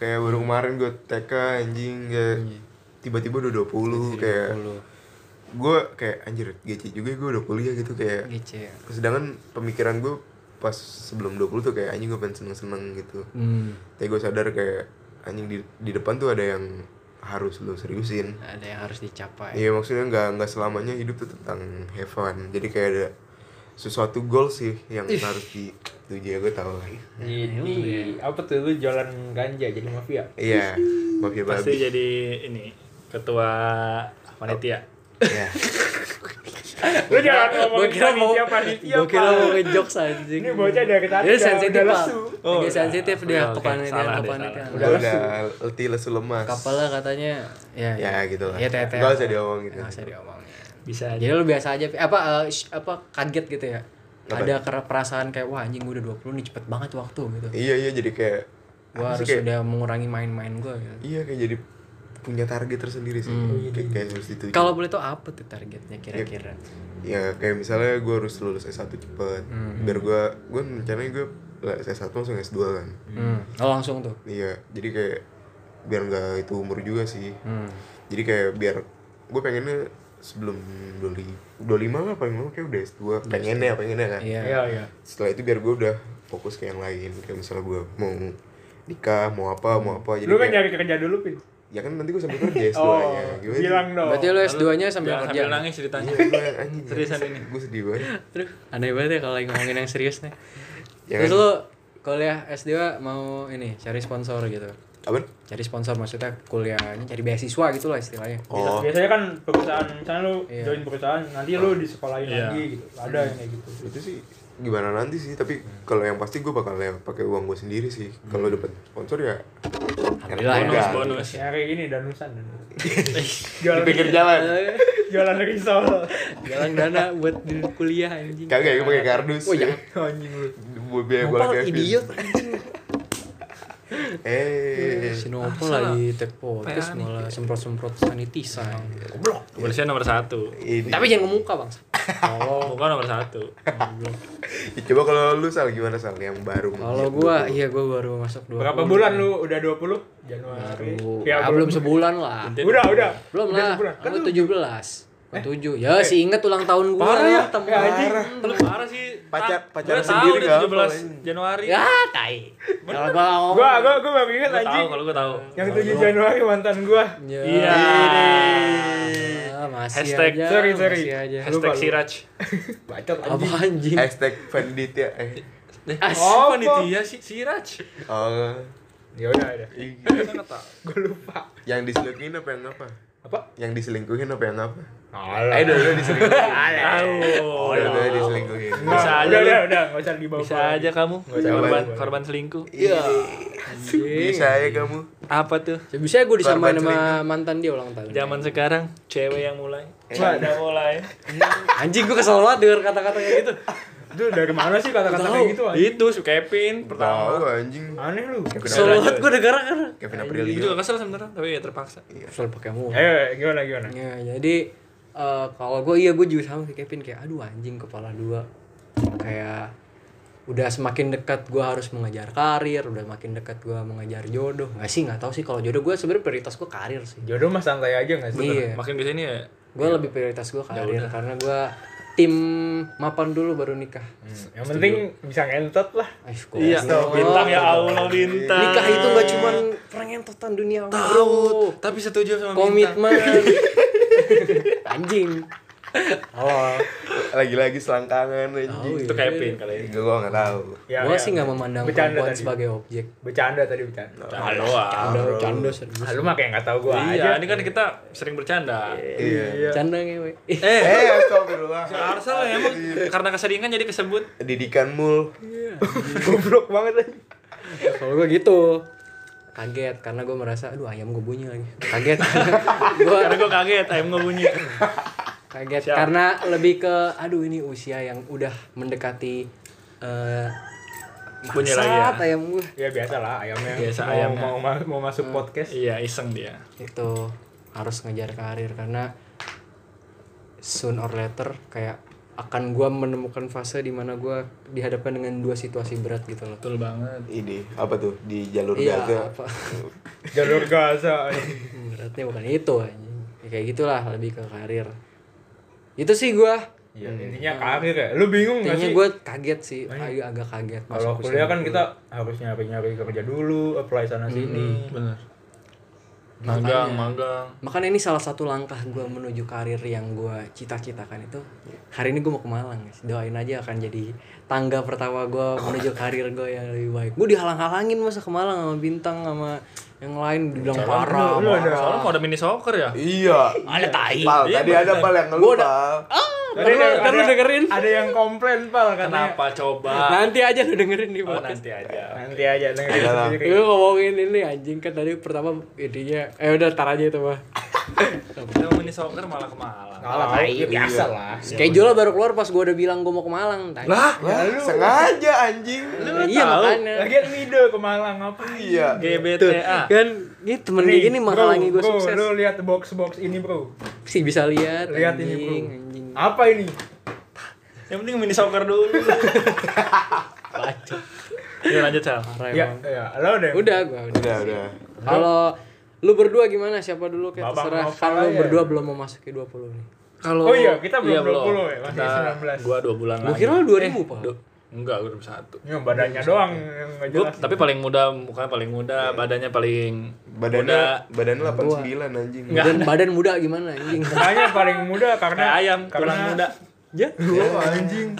Speaker 2: kayak baru kemarin gue TK anjing kayak
Speaker 3: Hmm.
Speaker 2: tiba-tiba udah 20 kayak
Speaker 3: 20.
Speaker 2: gue kayak anjir gece juga gue udah kuliah gitu kayak
Speaker 3: Gece.
Speaker 2: sedangkan pemikiran gue pas sebelum 20 tuh kayak anjing gue pengen seneng-seneng gitu
Speaker 3: Hmm.
Speaker 2: tapi gue sadar kayak anjing di, di depan tuh ada yang harus lo seriusin
Speaker 3: Ada yang harus dicapai.
Speaker 2: iya maksudnya nggak nggak selamanya hidup tuh tentang have fun jadi kayak ada sesuatu goal sih yang harus dituju ya gue tahu kan
Speaker 3: Iya,
Speaker 1: Jadi apa tuh lu jualan ganja jadi mafia?
Speaker 2: iya mafia
Speaker 4: Pasti
Speaker 2: babi
Speaker 4: jadi ini ketua panitia.
Speaker 2: iya
Speaker 1: Lu jangan ngomongin
Speaker 3: Gua kira mau
Speaker 1: panitia panitia.
Speaker 3: gua kira
Speaker 1: Pak.
Speaker 3: mau ngejokes anjing.
Speaker 1: Ini bocah dari tadi
Speaker 3: Dia
Speaker 1: udah-
Speaker 3: sensitif,
Speaker 1: udah
Speaker 3: Pak.
Speaker 1: lesu.
Speaker 4: Oh,
Speaker 3: Dia
Speaker 4: udah.
Speaker 3: sensitif dia
Speaker 4: Oke, oke.
Speaker 3: kepanitiaan
Speaker 4: Salah dia,
Speaker 3: kepanitiaan.
Speaker 2: udah udah letih lesu lemas
Speaker 3: Kapal lah katanya ya
Speaker 2: ya gitu lah
Speaker 3: ya teteh
Speaker 2: Nggak usah diomongin
Speaker 3: nggak usah diomongin
Speaker 4: Bisa aja.
Speaker 3: jadi lu biasa aja Pi. apa eh, sh- apa kaget gitu ya
Speaker 2: Apa?
Speaker 3: ada kera- perasaan kayak wah anjing gue udah 20 nih cepet banget waktu gitu
Speaker 2: iya iya jadi kayak
Speaker 3: gue
Speaker 2: apa
Speaker 3: harus
Speaker 2: sih, kayak,
Speaker 3: udah mengurangi main-main gue gitu.
Speaker 2: iya kayak jadi punya target tersendiri sih kayak, kayak harus dituju
Speaker 3: Hmm. kalau boleh tuh apa tuh targetnya kira-kira
Speaker 2: ya kayak misalnya gue harus lulus S1 cepet
Speaker 3: Hmm.
Speaker 2: biar gue gue rencananya gue S1 langsung S2 kan
Speaker 3: hmm. oh, langsung tuh
Speaker 2: iya jadi kayak biar nggak itu umur juga sih
Speaker 3: hmm.
Speaker 2: jadi kayak biar gue pengennya sebelum 25 25 lah paling lama kayak udah S2 pengennya pengennya kan
Speaker 3: iya
Speaker 1: Iya iya.
Speaker 2: setelah itu biar gue udah fokus ke yang lain kayak misalnya gue mau nikah mau apa mau apa jadi
Speaker 1: Lu kan
Speaker 2: kayak,
Speaker 1: nyari kerja dulu pin.
Speaker 2: ya kan nanti gue sambil kerja S2
Speaker 1: Oh,
Speaker 2: nya gimana Iya,
Speaker 1: bilang dong.
Speaker 3: berarti lu S2 nya
Speaker 1: Iya,
Speaker 3: sambil
Speaker 4: Jangan sambil
Speaker 3: kerja
Speaker 4: nangis ceritanya. Seriusan ini.
Speaker 2: gue sedih banget
Speaker 3: aduh aneh banget ya kalau lagi ngomongin yang serius nih
Speaker 2: Ya
Speaker 3: terus
Speaker 2: kan?
Speaker 3: lu kuliah S2 mau ini cari sponsor gitu
Speaker 2: apa
Speaker 3: cari sponsor maksudnya kuliahnya cari beasiswa gitu lah istilahnya
Speaker 2: oh
Speaker 1: Biasanya kan perusahaan, misalnya lu
Speaker 3: Iya.
Speaker 1: join perusahaan, nanti lu disekolahin
Speaker 4: Iya.
Speaker 1: Hmm. lagi gitu. Ada yang kayak gitu.
Speaker 2: itu sih gimana nanti sih tapi kalau yang pasti gue bakal lewat pakai uang gue sendiri sih kalau dapat sponsor ya
Speaker 3: Alhamdulillah
Speaker 2: enak
Speaker 4: bonus
Speaker 2: banget.
Speaker 4: bonus
Speaker 1: Ya kayak gini danusan.
Speaker 2: di pinggir jalan
Speaker 1: Jualan risol.
Speaker 3: Galang dana buat di kuliah anjing.
Speaker 2: kagak ya gue pakai kardus
Speaker 3: Oh, jangan.
Speaker 1: Anjing lu.
Speaker 2: gue biaya gue
Speaker 3: Nopal idiot anjing.
Speaker 2: eh
Speaker 3: Si Nopal lagi take podcast malah semprot-semprot sanitisan.
Speaker 4: Kebersihan nomor satu
Speaker 2: ini
Speaker 3: Tapi jangan ke muka, Bang. Oh.
Speaker 4: Muka nomor satu
Speaker 2: Ya, coba kalau lu sal gimana sal yang baru
Speaker 3: Kalau gua iya gua baru masuk 20.
Speaker 1: Berapa bulan lu? Udah 20 Januari.
Speaker 3: Baru.
Speaker 1: Ya,
Speaker 3: Ah, belum sebulan lah.
Speaker 1: Udah, udah.
Speaker 3: Belum
Speaker 1: Udah
Speaker 3: lah.
Speaker 1: sebulan. Kan Eh.
Speaker 3: Lu 17. Kan 7. Ya, si inget ulang tahun gua.
Speaker 1: Parah
Speaker 3: lu
Speaker 1: ya?
Speaker 3: ketemu.
Speaker 1: Ya, anjing.
Speaker 4: Lu parah sih
Speaker 2: Pacar-
Speaker 4: Tat.
Speaker 2: pacaran
Speaker 4: Gua tahu
Speaker 2: sendiri
Speaker 4: dia
Speaker 2: nggak
Speaker 4: 17 Januari
Speaker 3: Ya, tai. Kalau gua nggak ngomong.
Speaker 1: Gua gua gua baru inget
Speaker 4: Gua tahu
Speaker 1: anjing.
Speaker 4: kalau gua tahu
Speaker 1: Yang 7 Januari mantan gua.
Speaker 3: Ya.
Speaker 4: Iya
Speaker 3: Ah, masih
Speaker 4: Hashtag.
Speaker 3: aja.
Speaker 1: Sorry, sorry.
Speaker 3: Masih aja.
Speaker 4: Hashtag Siraj
Speaker 1: Bacot
Speaker 3: Apa
Speaker 1: anjing.
Speaker 3: anjing?
Speaker 2: hashtag Vanditya eh
Speaker 4: Eh,
Speaker 3: As-
Speaker 4: Oh, panitia si Siraj
Speaker 2: oh
Speaker 1: Ya udah, udah.
Speaker 2: iya.
Speaker 1: Gua lupa.
Speaker 2: yang diselingkuhin apa yang apa
Speaker 1: Apa?
Speaker 2: yang diselingkuhin apa yang apa
Speaker 1: Alah.
Speaker 2: eh udah udah diselingkuhin
Speaker 4: Tahu
Speaker 2: udah udah diselingkuhin
Speaker 4: Bisa aja
Speaker 1: Udah,
Speaker 4: lu.
Speaker 1: udah, udah. Enggak usah dibawa.
Speaker 4: Oh, iya. Bisa aja kamu
Speaker 1: Nggak usah
Speaker 4: korban,
Speaker 1: dibawa.
Speaker 4: korban selingkuh
Speaker 2: iya bisa ya kamu
Speaker 4: Apa tuh?
Speaker 3: Ya, bisa gue disamain
Speaker 2: Korban
Speaker 3: sama mantan dia ulang tahun.
Speaker 4: Zaman sekarang cewek yang mulai
Speaker 1: Wah,
Speaker 4: Udah mulai
Speaker 3: Anjing gue kesel banget denger kata-kata kayak gitu.
Speaker 1: Itu dari mana sih kata-kata kayak gitu anjing?
Speaker 4: Itu si Kevin pertama
Speaker 2: tahu anjing
Speaker 1: Aneh lu.
Speaker 3: Kesel banget gue denger kan.
Speaker 2: Kevin
Speaker 4: Gue
Speaker 2: Aprilio
Speaker 4: juga kesel sebenernya, tapi ya terpaksa
Speaker 3: Kesel pakai mulu.
Speaker 1: Ayo, gimana gimana?
Speaker 3: Ya, jadi eh, kalau gue iya gue juga sama kayak Kevin kayak aduh anjing kepala dua kayak udah semakin dekat gue harus mengejar karir udah makin dekat gue mengejar jodoh nggak sih nggak tahu sih kalau jodoh gue sebenarnya prioritas gue karir sih
Speaker 1: Jodoh mah santai aja enggak sih?
Speaker 3: iya
Speaker 4: Makin kesini ya
Speaker 3: gue lebih prioritas gue karir karena gue tim mapan dulu baru nikah
Speaker 1: Hmm, Yang penting bisa ngentot lah.
Speaker 3: Aih, kok
Speaker 4: Iya,
Speaker 3: Allah.
Speaker 4: bintang ya Allah bintang
Speaker 3: nikah itu nggak cuman perengentotan dunia bro
Speaker 4: tapi setuju sama bintang
Speaker 3: komitmen anjing halo
Speaker 2: lagi-lagi selangkangan anjing
Speaker 4: Itu Kevin kali ini
Speaker 2: gue gak tahu
Speaker 1: Ya, ya.
Speaker 3: gue sih nggak memandang
Speaker 1: Bercanda
Speaker 3: perempuan
Speaker 1: tadi.
Speaker 3: sebagai objek
Speaker 1: Bercanda tadi bercanda.
Speaker 4: Canda doang
Speaker 3: canda canda serius
Speaker 1: Ah, lu mah kayak enggak tahu gua aja.
Speaker 4: Iya, ini kan kita sering bercanda
Speaker 2: iya
Speaker 3: canda ngewe
Speaker 4: Eh,
Speaker 2: eh astagfirullah
Speaker 4: Arsal ya emang karena keseringan jadi kesebut
Speaker 2: didikan mul
Speaker 1: Goblok banget eh. anjing.
Speaker 3: kalau gue gitu kaget karena gue merasa aduh ayam gue bunyi lagi kaget gue
Speaker 4: Karena gue kaget, ayam gue bunyi
Speaker 3: kaget
Speaker 4: Siap.
Speaker 3: karena lebih ke aduh ini usia yang udah mendekati eh
Speaker 4: Bunyi lagi ya.
Speaker 3: bangsat ayam gue
Speaker 1: Ya biasa lah ayamnya.
Speaker 4: Biasa
Speaker 1: mau,
Speaker 4: ayamnya.
Speaker 1: Mau, ma- mau
Speaker 3: Hmm.
Speaker 1: masuk podcast.
Speaker 4: Iya, iseng dia
Speaker 3: itu harus ngejar karir karena soon or later kayak akan gua menemukan fase di mana gua dihadapkan dengan dua situasi berat gitu loh
Speaker 4: Betul banget
Speaker 2: ini apa tuh di jalur
Speaker 3: iya
Speaker 2: Gaza
Speaker 3: apa
Speaker 1: Jalur Gaza. anjing.
Speaker 3: beratnya bukan itu anjing. ya, kayak gitulah lebih ke karir itu sih gua
Speaker 1: Ya, intinya karir ya. Lu bingung enggak
Speaker 3: Hmm. intinya
Speaker 1: sih?
Speaker 3: gua kaget sih ayo agak kaget
Speaker 1: Kalau
Speaker 3: masuk
Speaker 1: kuliah
Speaker 3: ke
Speaker 1: kan kita harus nyari-nyari kerja dulu, apply sana
Speaker 3: Hmm.
Speaker 1: sini.
Speaker 4: Bener Magang, magang
Speaker 3: sini. makanya ini salah satu langkah gua menuju karir yang gua cita-citakan itu hari ini gua mau ke Malang guys. doain aja akan jadi tangga pertama gua menuju karir gua yang lebih baik gua dihalang-halangin masa ke Malang sama bintang sama yang lain dibilang parah
Speaker 1: lu- lu ada-
Speaker 3: parah.
Speaker 4: Soalnya mau ada mini soccer ya
Speaker 2: iya
Speaker 3: ada
Speaker 4: Ah,
Speaker 3: tai
Speaker 2: pal tadi ada pal yang ngeluh pal
Speaker 1: Tadi
Speaker 3: Ntar lu-
Speaker 1: ada-
Speaker 3: ntar lu
Speaker 1: ada-
Speaker 3: dengerin.
Speaker 1: Ada yang komplain pal katanya.
Speaker 4: Kenapa
Speaker 1: Nah,
Speaker 4: coba?
Speaker 3: nanti aja lu dengerin di
Speaker 4: Oh,
Speaker 3: podcast
Speaker 4: nanti aja
Speaker 1: Nanti aja
Speaker 3: Iya
Speaker 1: dengerin
Speaker 2: Ada lah.
Speaker 1: sendiri.
Speaker 3: Lu ngomongin ini anjing kan tadi pertama idenya eh udah tar aja itu mah.
Speaker 4: Kita mau mini soccer malah ke Malang
Speaker 1: Kalau
Speaker 3: Iya.
Speaker 1: ya biasa lah.
Speaker 3: Schedule baru keluar pas gua udah bilang gua mau ke Malang. tanya.
Speaker 2: lah sengaja anjing
Speaker 3: iya makanya.
Speaker 1: Lagian Mido ke Malang ngapain?
Speaker 2: iya
Speaker 4: GBTA
Speaker 3: Kan ini temen dia gini menghalangi
Speaker 1: bro,
Speaker 3: gua sukses.
Speaker 1: Bro, lu lihat box box ini, Bro.
Speaker 3: Sih bisa lihat
Speaker 1: Lihat ini,
Speaker 3: anjing,
Speaker 1: Bro.
Speaker 3: anjing.
Speaker 1: Apa ini?
Speaker 4: Yang penting mini soccer dulu
Speaker 3: Bacot.
Speaker 4: Ya lanjut Sal
Speaker 3: Parah
Speaker 1: Ya,
Speaker 3: emang.
Speaker 1: ya, lo deh.
Speaker 3: Udah gua udah.
Speaker 2: udah udah
Speaker 3: Kalau lu berdua gimana? Siapa dulu kayak
Speaker 1: Babak
Speaker 3: terserah.
Speaker 1: novel
Speaker 3: Karena lu
Speaker 1: aja.
Speaker 3: berdua belum memasuki 20 nih.
Speaker 4: Kalau
Speaker 1: Oh iya, kita belum 20 ya, masih
Speaker 4: Kita-
Speaker 1: 19.
Speaker 4: Gua 2 bulan
Speaker 3: Gua kira lu 2000, Pak.
Speaker 4: Du- Enggak, gua 21
Speaker 1: Ya, badannya doang yang nggak
Speaker 4: Iya, Gua,
Speaker 1: jelas. Iya.
Speaker 4: tapi paling muda, mukanya paling muda, badannya paling
Speaker 2: badannya
Speaker 4: muda.
Speaker 2: badannya 89 anjing
Speaker 3: Badan, badan muda gimana anjing?
Speaker 1: Makanya paling muda karena
Speaker 4: Kayak ayam,
Speaker 1: karena
Speaker 4: tulang muda
Speaker 3: ya,
Speaker 2: Iya.
Speaker 1: Wah, anjing.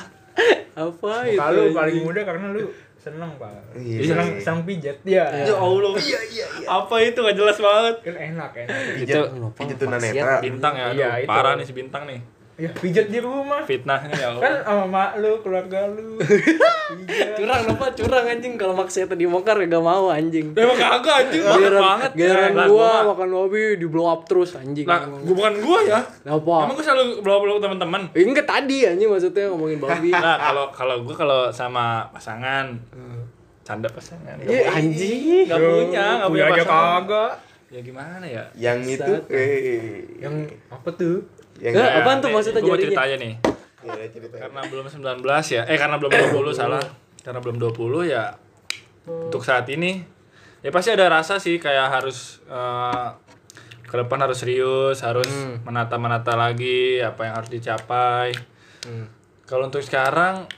Speaker 3: apa itu?
Speaker 1: Kalau
Speaker 3: anjing?
Speaker 1: paling muda karena lu seneng, Pak.
Speaker 2: Iya.
Speaker 1: Seneng seneng pijat. Iya.
Speaker 4: Ya Allah. Iya, iya, Apa itu gak jelas banget.
Speaker 1: Kan enak enak.
Speaker 2: pijat
Speaker 3: Nopal,
Speaker 2: pijat
Speaker 3: maksiat.
Speaker 2: tunanetra
Speaker 4: Bintang ya, aduh,
Speaker 1: Iya, itu.
Speaker 4: parah nih si bintang nih.
Speaker 1: ya pijat di rumah
Speaker 4: Fitnahnya ya
Speaker 1: kan
Speaker 4: Allah.
Speaker 1: sama mak lu keluarga lu pijat
Speaker 3: curang lupa curang anjing kalau maksa tadi dibongkar gak mau anjing
Speaker 4: Kan Emang kagak anjing, banget
Speaker 3: Giliran,
Speaker 4: banget. ya.
Speaker 3: giliran
Speaker 4: Lah,
Speaker 3: gua
Speaker 4: mah-
Speaker 3: makan babi di blow up terus anjing.
Speaker 4: Lah,
Speaker 3: Ngomong.
Speaker 4: gua bukan gua ya.
Speaker 3: Kenapa?
Speaker 4: Emang gua selalu blow-blow teman-teman.
Speaker 3: Eh, Enggak tadi anjing maksudnya ngomongin babi.
Speaker 4: Nah, kalau kalau gua kalau sama pasangan canda pasangan.
Speaker 3: Iya
Speaker 4: Gak
Speaker 3: anjing.
Speaker 4: punya, gak punya, gak punya
Speaker 1: punya aja
Speaker 4: pasangan.
Speaker 1: kagak
Speaker 4: Ya gimana ya?
Speaker 2: yang itu eh
Speaker 1: yang apa tuh
Speaker 2: yang
Speaker 3: Eh, apaan
Speaker 4: Nah,
Speaker 3: tuh
Speaker 4: nih,
Speaker 3: maksudnya
Speaker 4: gua mau
Speaker 3: jarinya?
Speaker 4: cerita aja nih.
Speaker 2: ya, cerita.
Speaker 4: Karena belum 19 ya. Eh karena belum 20 salah. Karena belum 20 ya untuk saat ini ya pasti ada rasa sih kayak harus eh, ke depan harus serius, harus menata-menata lagi apa yang harus dicapai. Kalau untuk sekarang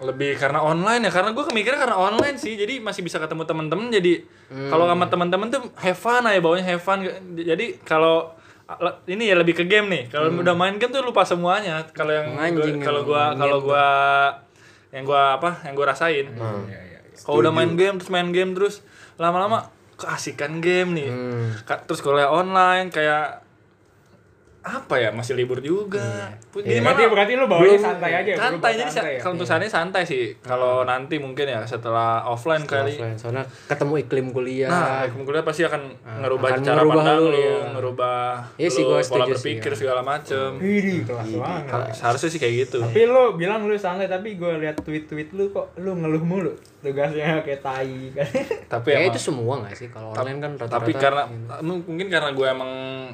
Speaker 4: lebih karena online ya karena gue kemikirnya karena online sih jadi masih bisa ketemu temen-temen jadi
Speaker 3: Hmm.
Speaker 4: kalau sama temen-temen tuh have fun aja bawanya have fun jadi kalau ini ya lebih ke game nih kalau udah main game tuh lupa semuanya kalau yang
Speaker 3: Hmm. Anjing
Speaker 4: gua- kalau
Speaker 3: emang
Speaker 4: gua
Speaker 3: main
Speaker 4: kalau
Speaker 3: game Hmm.
Speaker 4: gua yang gua apa yang gua rasain
Speaker 1: Iya,
Speaker 4: kalau udah main game terus main game terus lama-lama keasikan game nih
Speaker 3: Hmm.
Speaker 4: Ka- terus kuliah online kayak apa ya masih libur
Speaker 3: Hmm.
Speaker 4: juga
Speaker 3: Iya.
Speaker 4: Jadi
Speaker 1: berarti berarti lu bawanya santai aja lu
Speaker 4: santai
Speaker 1: bawa
Speaker 4: jadi sa-
Speaker 1: ya?
Speaker 4: kalau untuk saat ini santai sih kalau nanti mungkin ya setelah offline kali
Speaker 3: Hmm. Offline, Soalnya ketemu iklim kuliah. Ya,
Speaker 4: nah hukum kuliah pasti akan ngerubah
Speaker 3: Ah, akan
Speaker 4: cara
Speaker 3: ngerubah
Speaker 4: pandang
Speaker 3: lu,
Speaker 4: lu
Speaker 3: iya.
Speaker 4: ngerubah
Speaker 3: Iya sih,
Speaker 4: lu
Speaker 3: gua
Speaker 4: pola
Speaker 3: setuju sih,
Speaker 4: berpikir
Speaker 3: iya.
Speaker 4: segala macem
Speaker 1: Widih, kelas banget
Speaker 4: harusnya sih kayak gitu
Speaker 1: tapi lu bilang lu santai tapi gue liat tweet-tweet lu kok lu ngeluh mulu tugasnya kayak tai kan
Speaker 3: Kayaknya
Speaker 4: tapi emang-
Speaker 3: ya itu semua gak sih kalau online kan rata-rata. gitu.
Speaker 4: tapi karena mungkin karena gue emang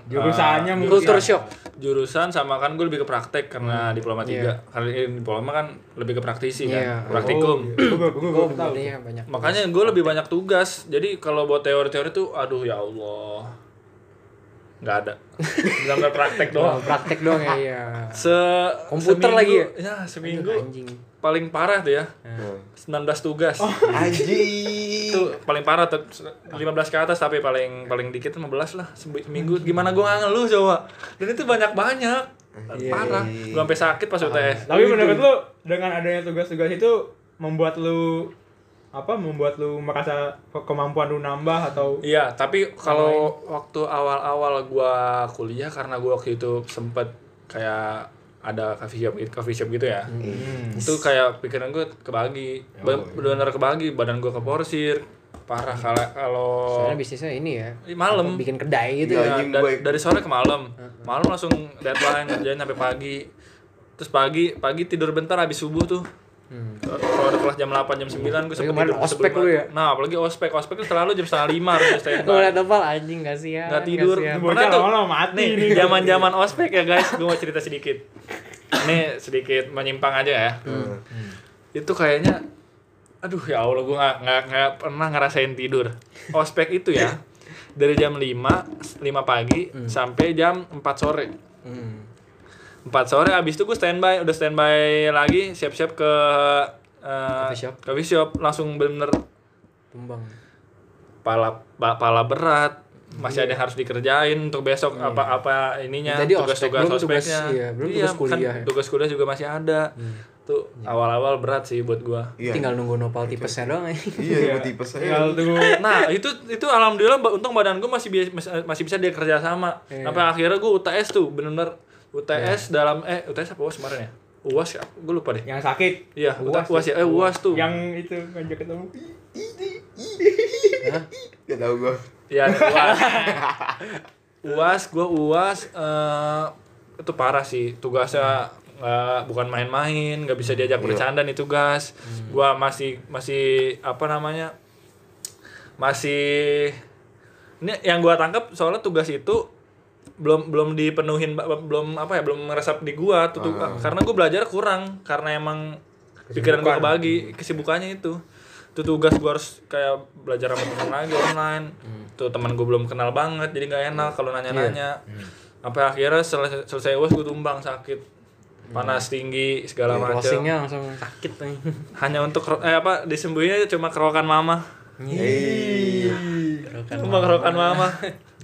Speaker 1: jurusannya
Speaker 4: eh,
Speaker 1: mungkin
Speaker 3: culture shock.
Speaker 4: jurusan sama kan gue lebih ke praktek karena diploma tiga karena eh, diploma kan lebih ke praktisi
Speaker 3: Hmm,
Speaker 4: kan
Speaker 3: Iya.
Speaker 4: praktikum
Speaker 1: gue
Speaker 3: Gua
Speaker 1: gue tahu
Speaker 3: jadinya Oh, ya, banyak.
Speaker 4: Makanya gue lebih banyak tugas. Jadi kalau buat teori-teori tuh, aduh ya Allah, nggak ada. Benar-benar praktek
Speaker 3: Oh,
Speaker 4: doang.
Speaker 3: praktek doang ya. Iya.
Speaker 4: Se
Speaker 3: Komputer
Speaker 4: seminggu-
Speaker 3: lagi ya?
Speaker 4: seminggu
Speaker 3: Anjing.
Speaker 4: paling parah tuh ya.
Speaker 2: Hmm.
Speaker 4: 19 tugas.
Speaker 3: Oh.
Speaker 2: Anjing.
Speaker 4: Itu paling parah tuh 15 ke atas tapi paling paling dikit 15 lah sembi- seminggu. Gimana gue nggak ngeluh coba. Dan itu banyak-banyak.
Speaker 3: Iya,
Speaker 4: Parah. Gue sampai sakit pas UTS.
Speaker 1: tapi menurut lu dengan adanya tugas-tugas itu membuat lu apa membuat lu merasa ke- kemampuan lu nambah atau
Speaker 4: Iya, tapi kalau waktu awal-awal gua kuliah karena gua waktu itu sempet kayak ada coffee shop gitu, coffee shop gitu ya.
Speaker 3: Hmm.
Speaker 4: Itu kayak pikiran gua kebagi.
Speaker 3: Ya,
Speaker 4: Ba- Benar-benar kebagi, badan gua keporsir. Parah kala- kalau
Speaker 3: Soalnya bisnisnya ini ya.
Speaker 4: Ih, malam.
Speaker 3: Bikin kedai gitu.
Speaker 4: Iya,
Speaker 2: anjing
Speaker 4: da-
Speaker 2: gua-
Speaker 4: dari sore ke malam. Malam langsung deadline kerjain sampai pagi. Terus pagi pagi tidur bentar habis subuh tuh. Kalau ada kelas jam 8 jam 9 gue sempet
Speaker 3: kemarin
Speaker 4: tidur
Speaker 3: ospek
Speaker 4: sebelum-
Speaker 3: lu ya?
Speaker 4: Nah, apalagi ospek. Ospek tuh selalu jam setengah lima harus standby.
Speaker 3: Gue liat apa anjing gak sih ya?
Speaker 4: Iya. nggak tidur pernah
Speaker 1: Bocah
Speaker 4: tuh
Speaker 1: lama-lama mati
Speaker 4: nih
Speaker 1: nih.
Speaker 4: zaman zaman ospek ya guys gue mau cerita sedikit ini sedikit menyimpang aja ya itu kayaknya aduh ya allah gue nggak nggak nggak pernah ngerasain tidur ospek itu ya dari jam 5 5 pagi
Speaker 3: Hmm.
Speaker 4: sampai jam 4 sore 4 sore abis itu gue standby udah standby lagi siap-siap ke eh,
Speaker 3: Coffee shop.
Speaker 4: coffee shop langsung bener
Speaker 3: Tumbang.
Speaker 4: pala pa- pala berat masih ada yang harus dikerjain untuk besok apa-apa ininya
Speaker 3: Tadi Iya. ospek,
Speaker 4: tugas-tugas
Speaker 3: belum tugas-
Speaker 4: ospeknya
Speaker 3: iya, belum tugas
Speaker 4: kan
Speaker 3: kuliah ya. Hmm. Iya.
Speaker 4: tugas kuliah juga masih ada tuh awal-awal berat sih buat gua
Speaker 2: Iya.
Speaker 3: Tinggal nunggu nopal tipesnya doang anjing.
Speaker 2: Iya, gua tipes
Speaker 1: tinggal
Speaker 2: aja.
Speaker 1: tunggu
Speaker 4: nah itu itu alhamdulillah ba- untung badan gua masih bi- mas- masih bisa dia kerja sama
Speaker 3: Iya.
Speaker 4: sampai akhirnya gua UTS tuh bener-bener UTS dalam eh UTS apa UAS kemarin ya UAS ya gua lupa deh
Speaker 1: yang sakit
Speaker 4: iya UAS, UAS ya eh UAS tuh
Speaker 1: yang itu ngajak ketemu
Speaker 2: Gak tau gua.
Speaker 4: Iya, ada uas. uas, gua uas eh, itu parah sih tugasnya nggak- bukan main-main, nggak bisa diajak bercanda nih tugas. Gua masih masih apa namanya masih ini yang gua tangkap soalnya tugas itu belum belum dipenuhin ba- ba- belum apa ya belum meresap di gua tuh, tuh- karena gua belajar kurang karena emang pikiran gua kebagi kesibukannya itu itu tugas gua harus kayak belajar sama temen lagi online tuh teman gua belum kenal banget jadi nggak enak kalau nanya-nanya sampai akhirnya selesai selesai uas gua tumbang sakit panas tinggi segala macam
Speaker 3: Iya, Closingnya langsung sakit anjing.
Speaker 4: hanya untuk ro- eh apa disembuhinnya cuma kerokan mama
Speaker 2: Hei.
Speaker 4: cuma kerokan mama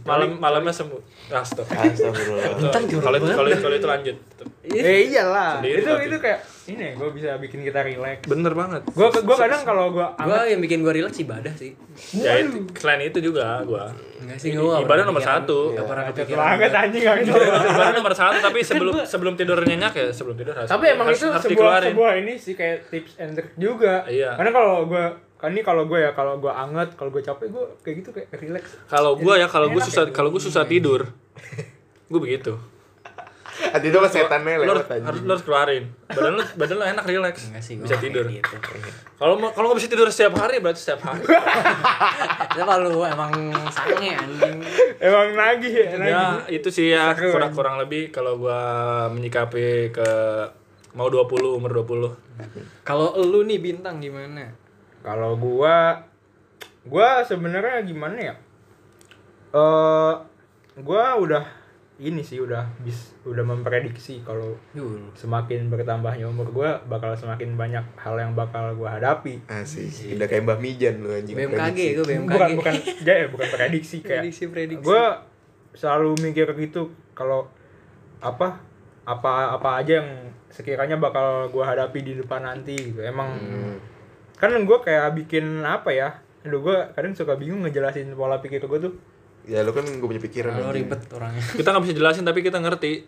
Speaker 4: malam malamnya sembuh Ah, astagfirullah
Speaker 2: Astagfirullah.
Speaker 4: kalau itu kalau itu kalau itu lanjut
Speaker 1: Eh iyalah.
Speaker 4: Sendiri
Speaker 1: itu
Speaker 4: tapi.
Speaker 1: itu kayak ini gue bisa bikin kita relax.
Speaker 4: Bener banget.
Speaker 1: Gue gue kadang kalau gue
Speaker 3: Gue yang bikin gue relax ibadah sih.
Speaker 4: Ya itu, selain itu juga gua.
Speaker 3: Enggak sih
Speaker 4: I-
Speaker 3: gue.
Speaker 4: ibadah nomor satu.
Speaker 1: Iya.
Speaker 3: Gak pernah kepikiran.
Speaker 1: banget anjing gak gitu.
Speaker 4: Ibadah nomor satu tapi sebelum sebelum tidur nyenyak ya sebelum tidur harus.
Speaker 1: Kan Tapi emang
Speaker 4: harus-
Speaker 1: itu
Speaker 4: harus
Speaker 1: sebuah
Speaker 4: dikeluarin.
Speaker 1: sebuah ini sih kayak tips and trick juga.
Speaker 4: Iya.
Speaker 1: Karena kalau gue kan ini kalau gue ya kalau gue anget kalau gue capek gue kayak gitu kayak relax.
Speaker 4: Kalau gua ya kalau gua
Speaker 1: Enak
Speaker 4: susah
Speaker 1: ya.
Speaker 4: kalau gua susah tidur. Gua begitu.
Speaker 2: Hati itu mah setannya
Speaker 4: Lu harus,
Speaker 2: lewat
Speaker 4: harus,
Speaker 2: anjing.
Speaker 4: lu harus keluarin. Badan lu badan lu enak relax.
Speaker 3: Enggak sih gua
Speaker 4: Bisa
Speaker 3: nggak
Speaker 4: tidur.
Speaker 3: kayak Gitu.
Speaker 4: Kalau mau- kalau nggak bisa tidur setiap hari berarti setiap hari.
Speaker 3: Kenapa lu emang sange anjing?
Speaker 1: Emang nagih ya nagih.
Speaker 4: ya itu sih ya
Speaker 1: Seru,
Speaker 4: kurang kurang lebih kalau gua menyikapi ke mau 20 umur 20
Speaker 3: Kalau lu nih bintang gimana?
Speaker 1: Kalau gua gua sebenarnya gimana ya? Eh gua udah ini sih udah bis udah memprediksi kalau
Speaker 3: Dulu.
Speaker 1: semakin bertambahnya umur gua bakal semakin banyak hal yang bakal gua hadapi.
Speaker 2: Asik, Ah, udah kayak Mbah Mijan lu anjing.
Speaker 3: BMKG
Speaker 2: prediksi.
Speaker 3: gue BMKG.
Speaker 1: Bukan bukan ya, ya, bukan prediksi kayak.
Speaker 3: prediksi prediksi.
Speaker 1: Gua selalu mikir gitu kalau apa apa apa aja yang sekiranya bakal gua hadapi di depan nanti gitu. Emang
Speaker 3: Hmm.
Speaker 1: kan gue kayak bikin apa ya aduh gue kadang suka bingung ngejelasin pola pikir gue tuh
Speaker 2: Ya lu kan gue punya pikiran.
Speaker 3: Kalau
Speaker 2: anjing.
Speaker 3: ribet orangnya.
Speaker 4: kita nggak bisa jelasin tapi kita ngerti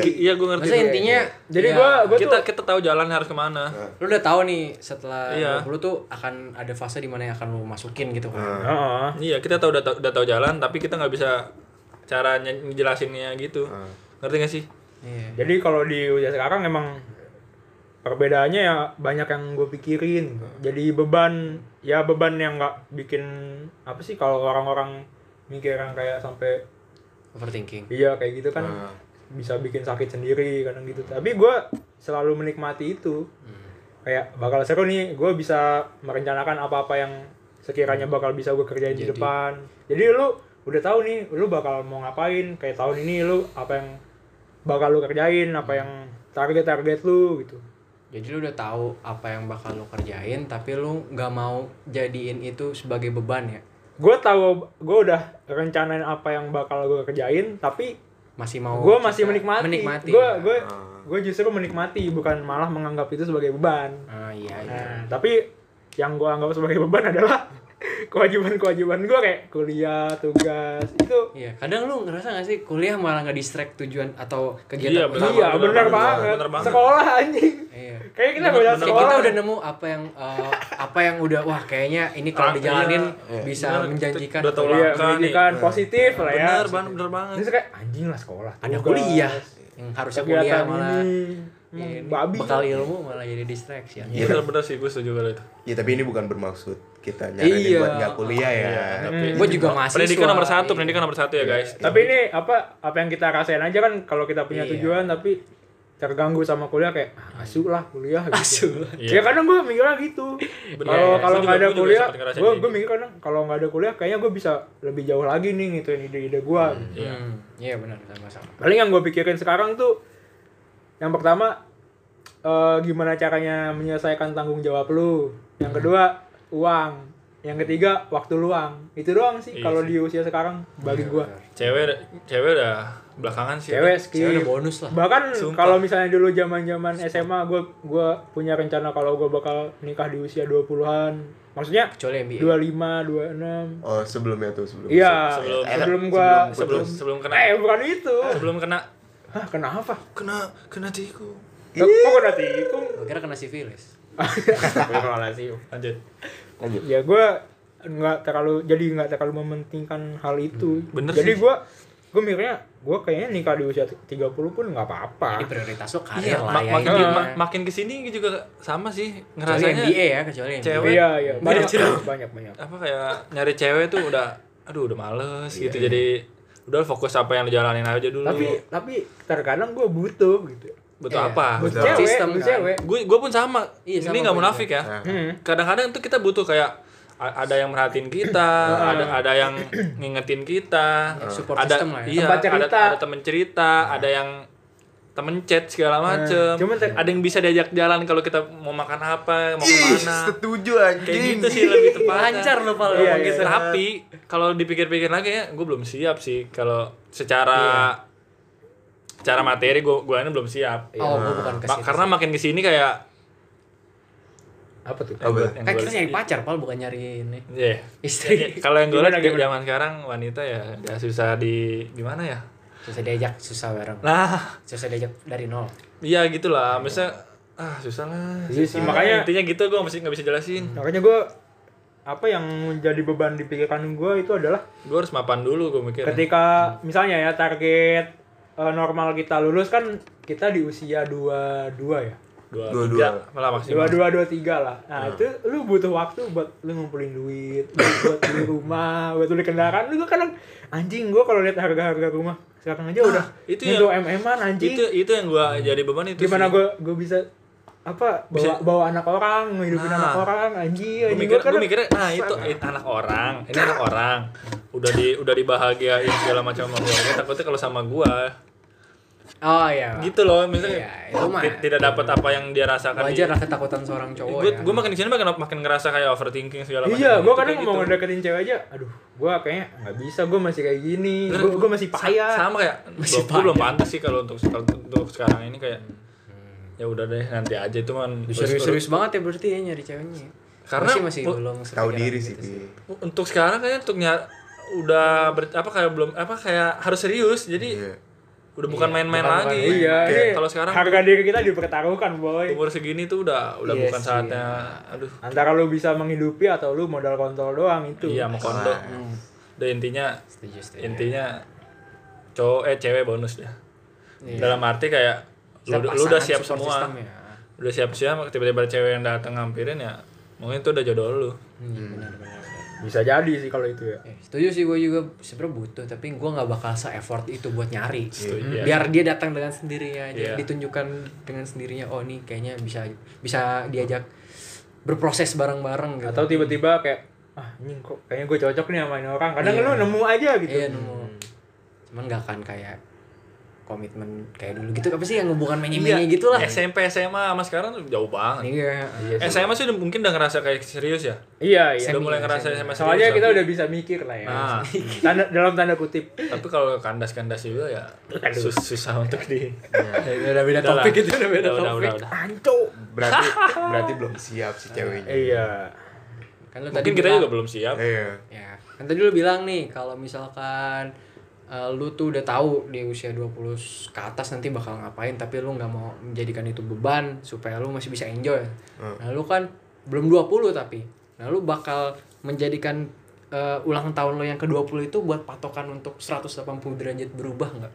Speaker 2: Iya.
Speaker 4: i- iya gue ngerti
Speaker 3: Maksudnya intinya
Speaker 1: jadi
Speaker 3: ya,
Speaker 1: gue gue
Speaker 4: kita
Speaker 1: tuh
Speaker 4: kita tahu jalan harus kemana
Speaker 3: lu udah tahu nih setelah
Speaker 4: Iya.
Speaker 3: 20 tuh akan ada fase di mana yang akan lu masukin gitu kan.
Speaker 1: Heeh.
Speaker 4: iya kita tahu udah tahu udah tahu jalan tapi kita nggak bisa cara nye- ngejelasinnya gitu ngerti gak sih
Speaker 3: Iya.
Speaker 1: jadi kalau di usia sekarang emang perbedaannya ya banyak yang gue pikirin jadi beban ya beban yang nggak bikin apa sih kalau orang-orang mikir yang kayak sampai
Speaker 3: Overthinking.
Speaker 1: iya kayak gitu kan
Speaker 3: Ah.
Speaker 1: bisa bikin sakit sendiri kadang gitu tapi gue selalu menikmati itu
Speaker 3: Hmm.
Speaker 1: kayak bakal seru nih gue bisa merencanakan apa-apa yang sekiranya
Speaker 3: Hmm.
Speaker 1: bakal bisa gue kerjain di depan jadi lu udah tahu nih lu bakal mau ngapain kayak tahun ini lu apa yang bakal lu kerjain apa
Speaker 3: Hmm.
Speaker 1: yang target-target lu gitu
Speaker 3: Jadi lu udah tahu apa yang bakal lu kerjain tapi lu nggak mau jadiin itu sebagai beban ya.
Speaker 1: gue tahu gue udah rencanain apa yang bakal gue kerjain tapi
Speaker 3: Masih mau
Speaker 1: gue masih
Speaker 3: kita
Speaker 1: menikmati
Speaker 3: Menikmati.
Speaker 1: gue gue
Speaker 2: Ah.
Speaker 1: gue justru menikmati bukan malah menganggap itu sebagai beban
Speaker 3: Ah iya iya.
Speaker 1: Nah, tapi yang gue anggap sebagai beban adalah kewajiban-kewajiban gue kayak kuliah, tugas itu.
Speaker 3: Iya, kadang lu ngerasa gak sih kuliah malah nggak distract tujuan atau kegiatan
Speaker 4: Iya, benar.
Speaker 3: utama?
Speaker 1: iya,
Speaker 4: bener
Speaker 1: bener,
Speaker 4: banget,
Speaker 1: banget.
Speaker 4: bener banget.
Speaker 1: Sekolah anjing.
Speaker 3: Iya.
Speaker 1: Kayak kita
Speaker 3: Kayak
Speaker 1: beda
Speaker 3: Kayak
Speaker 1: sekolah.
Speaker 3: kita udah nemu apa yang eh, apa yang udah wah kayaknya ini
Speaker 4: Ah,
Speaker 3: kalau dijalanin
Speaker 4: iya.
Speaker 3: bisa
Speaker 4: Bener,
Speaker 3: menjanjikan.
Speaker 4: udah tahu
Speaker 1: iya,
Speaker 4: langkah nih Nah,
Speaker 1: pendidikan positif lah ya.
Speaker 4: bener banget bener banget
Speaker 1: Terus kayak anjing lah sekolah.
Speaker 3: Ada
Speaker 1: tugas,
Speaker 3: kuliah
Speaker 4: Iya.
Speaker 3: yang harusnya kuliah
Speaker 1: kegiatan
Speaker 3: malah
Speaker 1: ini. Hmm,
Speaker 3: Iya, ini
Speaker 1: babi.
Speaker 3: bekal ilmu malah jadi ya. distraction.
Speaker 4: Iya, bener-bener sih gue setuju kalau itu
Speaker 2: Ya tapi ini bukan bermaksud kita nyaranin
Speaker 3: Iya.
Speaker 2: buat nggak kuliah ya.
Speaker 4: tapi
Speaker 3: Gue juga mahasiswa.
Speaker 4: pendidikan nomor satu
Speaker 3: Iya.
Speaker 4: pendidikan nomor satu ya guys
Speaker 1: Tapi ini apa apa yang kita rasain aja kan kalau kita punya
Speaker 3: Iya.
Speaker 1: tujuan tapi terganggu sama kuliah kayak ah, asu lah kuliah gitu.
Speaker 3: Asu lah.
Speaker 1: Ya kadang gue mikirnya gitu.
Speaker 4: Iya. Bener.
Speaker 1: Kalau kalau
Speaker 4: Iya, gua juga-
Speaker 1: nggak ada
Speaker 4: gua juga
Speaker 1: kuliah,
Speaker 4: sempat ngerasain
Speaker 1: gue
Speaker 4: kayak gitu.
Speaker 1: gue mikir kadang kalau nggak ada kuliah kayaknya gue bisa lebih jauh lagi nih gitu, ngituin ide-ide gue.
Speaker 4: Iya.
Speaker 3: Hmm, Iya benar sama-sama.
Speaker 1: Paling yang gue pikirin sekarang tuh yang pertama eh, gimana caranya menyelesaikan tanggung jawab lu.
Speaker 4: Hmm.
Speaker 1: Yang kedua uang. Yang ketiga waktu luang. Itu doang sih
Speaker 4: Iya
Speaker 1: kalau
Speaker 4: sih.
Speaker 1: di usia sekarang bagi
Speaker 3: Iya,
Speaker 1: gue.
Speaker 4: cewek cewek udah belakangan sih
Speaker 1: Cewek
Speaker 3: Saya
Speaker 1: skip.
Speaker 3: udah bonus lah.
Speaker 1: Bahkan
Speaker 4: Sumpah.
Speaker 1: kalau misalnya dulu zaman-zaman SMA gue gua punya rencana kalau gue bakal nikah di usia 20-an. Maksudnya
Speaker 3: Kecuali MBA.
Speaker 1: 25, 26.
Speaker 2: Oh sebelumnya tuh sebelumnya.
Speaker 1: Iya, sebelum,
Speaker 4: Iya. Sebelum-
Speaker 1: gua
Speaker 4: sebelum sebelum kena
Speaker 1: eh bukan itu.
Speaker 4: sebelum kena
Speaker 1: Hah, kenapa?
Speaker 4: kena kena tikung
Speaker 1: Kok kok kena tikung?
Speaker 3: Gua kira kena sifilis.
Speaker 4: lanjut
Speaker 2: Lanjut.
Speaker 1: ya gua nggak terlalu jadi nggak terlalu mementingkan hal itu.
Speaker 4: Hmm, Bener
Speaker 1: jadi
Speaker 4: sih.
Speaker 1: gua gue mikirnya gue kayaknya nikah di usia 30 pun nggak apa-apa.
Speaker 3: Jadi prioritas lo karir
Speaker 4: Iya,
Speaker 3: lah
Speaker 4: ma-
Speaker 3: ya.
Speaker 4: makin,
Speaker 3: ini.
Speaker 4: ma- makin kesini juga sama sih
Speaker 3: Kecuali
Speaker 4: ngerasanya
Speaker 3: MBA ya, kecuali MBA.
Speaker 4: cewek.
Speaker 1: Iya, iya. Banyak,
Speaker 4: Iya.
Speaker 1: banyak, banyak.
Speaker 4: apa kayak nyari cewek tuh udah aduh udah males
Speaker 3: Iya,
Speaker 4: gitu jadi udah fokus apa yang dijalanin aja dulu
Speaker 1: Tapi tapi terkadang gua butuh gitu.
Speaker 4: betul
Speaker 3: Iya.
Speaker 4: apa
Speaker 1: Butuh
Speaker 2: Betul.
Speaker 1: cewek,
Speaker 3: Sistem,
Speaker 1: butuh
Speaker 3: kan?
Speaker 1: cewek.
Speaker 4: gue gue pun sama
Speaker 3: Iya, sama Iya.
Speaker 4: ini nggak
Speaker 3: gue
Speaker 4: munafik ya
Speaker 2: Nah,
Speaker 1: Hmm.
Speaker 4: kadang-kadang tuh kita butuh kayak a- ada yang merhatiin kita
Speaker 1: Iya.
Speaker 4: ada ada yang ngingetin kita
Speaker 3: Ya, support
Speaker 4: ada
Speaker 3: system lah ya. Iya.
Speaker 4: iya
Speaker 1: Tempat
Speaker 4: ada
Speaker 1: cerita.
Speaker 4: ada temen cerita ada yang temen chat segala macem
Speaker 1: Iya. cuman ter-
Speaker 4: ada yang bisa diajak jalan kalau kita mau makan
Speaker 3: Iya,
Speaker 4: apa mau
Speaker 2: Ih,
Speaker 4: kemana
Speaker 2: setuju
Speaker 4: kayak
Speaker 2: anjing.
Speaker 4: gitu sih lebih tepatnya
Speaker 3: Lancar lu, Pal,
Speaker 1: Iya,
Speaker 4: Ngomong
Speaker 1: iya.
Speaker 4: gitu. tapi kalau dipikir-pikir lagi ya gue belum siap sih kalau secara secara materi gue gue ini belum siap.
Speaker 3: Oh, gue bukan
Speaker 4: Ma-
Speaker 3: kesini.
Speaker 4: karena makin kesini kayak
Speaker 1: apa tuh
Speaker 2: Apa?
Speaker 4: buat yang
Speaker 3: kan
Speaker 4: gua-
Speaker 3: kita nyari pacar, pal bukan nyari ini
Speaker 4: Iya.
Speaker 3: istri.
Speaker 4: Kalau yang gue lihat di zaman sekarang wanita ya udah susah di gimana ya?
Speaker 3: susah diajak, susah bareng.
Speaker 4: Nah,
Speaker 3: Susah diajak dari nol.
Speaker 4: iya gitulah. Misalnya ah susah lah.
Speaker 1: Iya sih,
Speaker 4: susah.
Speaker 1: makanya-
Speaker 4: intinya gitu gue masih nggak bisa jelasin.
Speaker 1: makanya gue apa yang menjadi beban di pikiran gue itu adalah
Speaker 4: Gue harus mapan dulu gue mikir.
Speaker 1: ketika misalnya ya target eh, normal kita lulus kan kita di usia 22 ya
Speaker 4: Dua,
Speaker 2: Dua-dua.
Speaker 4: tiga, malah maksimal.
Speaker 1: dua dua dua tiga lah nah itu
Speaker 4: Iya.
Speaker 1: lu butuh waktu buat lu ngumpulin duit buat beli rumah buat beli kendaraan lu gua kadang anjing gua kalau lihat harga harga rumah sekarang aja udah
Speaker 4: Ah, itu
Speaker 1: nyentuh
Speaker 4: yang-
Speaker 1: mm-an anjing
Speaker 4: Itu itu yang gue jadi beban itu.
Speaker 1: gimana
Speaker 4: sih.
Speaker 1: gue gue bisa apa bawa
Speaker 4: ya? Bisa-
Speaker 1: bawa anak orang ngehidupin
Speaker 4: Nah.
Speaker 1: anak orang anjing
Speaker 3: Iya,
Speaker 4: gue
Speaker 1: anjing
Speaker 4: mikir
Speaker 1: gua kadang-
Speaker 4: gue mikirnya nah itu it- anak orang ini anak orang udah di udah dibahagiain segala macam sama keluarga takutnya kalau sama gua
Speaker 3: Oh iya.
Speaker 4: gitu loh misalnya
Speaker 3: Iya, itu mah.
Speaker 4: ti- tidak dapat apa yang dia rasakan
Speaker 3: Wajar lah ketakutan seorang cowok
Speaker 4: gue
Speaker 3: ya.
Speaker 4: gue makin kesini makin makin ngerasa kayak overthinking segala macam
Speaker 1: Iya,
Speaker 4: Gitu,
Speaker 1: gue kadang
Speaker 4: kayak
Speaker 1: mau
Speaker 4: gitu.
Speaker 1: ngedeketin cewek aja, aduh, gue kayaknya nggak bisa, gue masih kayak gini,
Speaker 4: Bener,
Speaker 1: gue gue masih
Speaker 4: sa-
Speaker 1: payah.
Speaker 4: sama kayak
Speaker 3: Masih
Speaker 4: gue belum
Speaker 3: payah.
Speaker 4: pantas sih kalau untuk untuk sekarang ini kayak ya udah deh nanti aja itu kan
Speaker 3: Serius-serius banget ya berarti ya nyari ceweknya.
Speaker 4: Karena
Speaker 3: masih masih
Speaker 4: bu-
Speaker 3: belum
Speaker 2: tahu
Speaker 3: sepikiran
Speaker 2: diri
Speaker 3: gitu
Speaker 2: sih Pi.
Speaker 4: untuk sekarang kayaknya untuk nyar udah ber, apa kayak belum apa kayak harus serius jadi
Speaker 2: Iya.
Speaker 4: udah bukan main-main
Speaker 3: bukan-
Speaker 4: lagi
Speaker 3: bukan main.
Speaker 1: Iya,
Speaker 4: Kayak
Speaker 1: ini
Speaker 4: kalau sekarang
Speaker 1: harga diri kita dipertaruhkan, boy.
Speaker 4: umur segini tuh udah udah
Speaker 3: Iya
Speaker 4: bukan
Speaker 3: sih,
Speaker 4: saatnya aduh
Speaker 1: Antara lu bisa menghidupi atau lu modal kontol doang itu.
Speaker 4: iya mau kondo
Speaker 3: Hmm.
Speaker 4: udah intinya
Speaker 3: Setuju, setuju.
Speaker 4: intinya cowok eh cewek bonus dah
Speaker 3: Iya.
Speaker 4: dalam arti kayak
Speaker 3: Kita
Speaker 4: lu, lu udah
Speaker 3: pasangan
Speaker 4: siap
Speaker 3: support
Speaker 4: semua
Speaker 3: system ya.
Speaker 4: udah siap siap tiba-tiba ada cewek yang datang ngampirin ya mungkin itu udah jodoh lu
Speaker 3: Iya, benar benar. benar.
Speaker 1: Bisa jadi sih kalau itu ya.
Speaker 3: Eh, setuju sih gue juga sebenarnya butuh tapi gue nggak bakal se effort itu buat nyari Hmm.
Speaker 4: Setuju, iya.
Speaker 3: biar dia datang dengan sendirinya aja
Speaker 4: Iya.
Speaker 3: ditunjukkan dengan sendirinya oh nih kayaknya bisa bisa diajak berproses bareng-bareng gitu
Speaker 1: Atau tiba-tiba kayak ah anjing kok kayaknya gue cocok nih sama ini orang. Kadang
Speaker 3: Iya.
Speaker 1: lu nemu aja gitu.
Speaker 3: Iya nemu.
Speaker 4: Hmm.
Speaker 3: Cuman gak akan kayak komitmen kayak dulu gitu. Apa sih yang hubungan
Speaker 4: Iya.
Speaker 1: Iya,
Speaker 3: menye-menye gitu lah.
Speaker 4: SMP SMA sama sekarang tuh jauh banget
Speaker 3: Iya.
Speaker 4: SMA sih udah- mungkin udah ngerasa kayak serius ya
Speaker 1: Iya, iya.
Speaker 4: udah mulai
Speaker 3: Semi,
Speaker 4: ngerasa
Speaker 3: semi.
Speaker 4: SMA serius
Speaker 1: Soalnya
Speaker 4: ya.
Speaker 1: kita udah bisa mikir lah ya.
Speaker 4: Nah.
Speaker 1: Tanda, dalam tanda kutip.
Speaker 4: tapi kalau kandas-kandas juga ya sus- susah untuk di
Speaker 3: Ya, udah beda
Speaker 4: Udah lah.
Speaker 3: topik itu udah beda
Speaker 4: udah,
Speaker 3: topik.
Speaker 4: udah, udah.
Speaker 1: Anco.
Speaker 2: Berarti berarti belum siap si ceweknya.
Speaker 1: Iya.
Speaker 3: Kan lu tadi
Speaker 4: mungkin kita
Speaker 3: bilang-
Speaker 4: juga belum siap
Speaker 2: Iya.
Speaker 3: Ya. Kan tadi lu bilang nih kalau misalkan eh, lu tuh udah tahu di usia 20 ke atas nanti bakal ngapain tapi lu nggak mau menjadikan itu beban supaya lu masih bisa enjoy. Nah, lu kan belum 20 tapi. Nah, lu bakal menjadikan eh, ulang tahun lu yang ke-20 itu buat patokan untuk 180 derajat berubah nggak?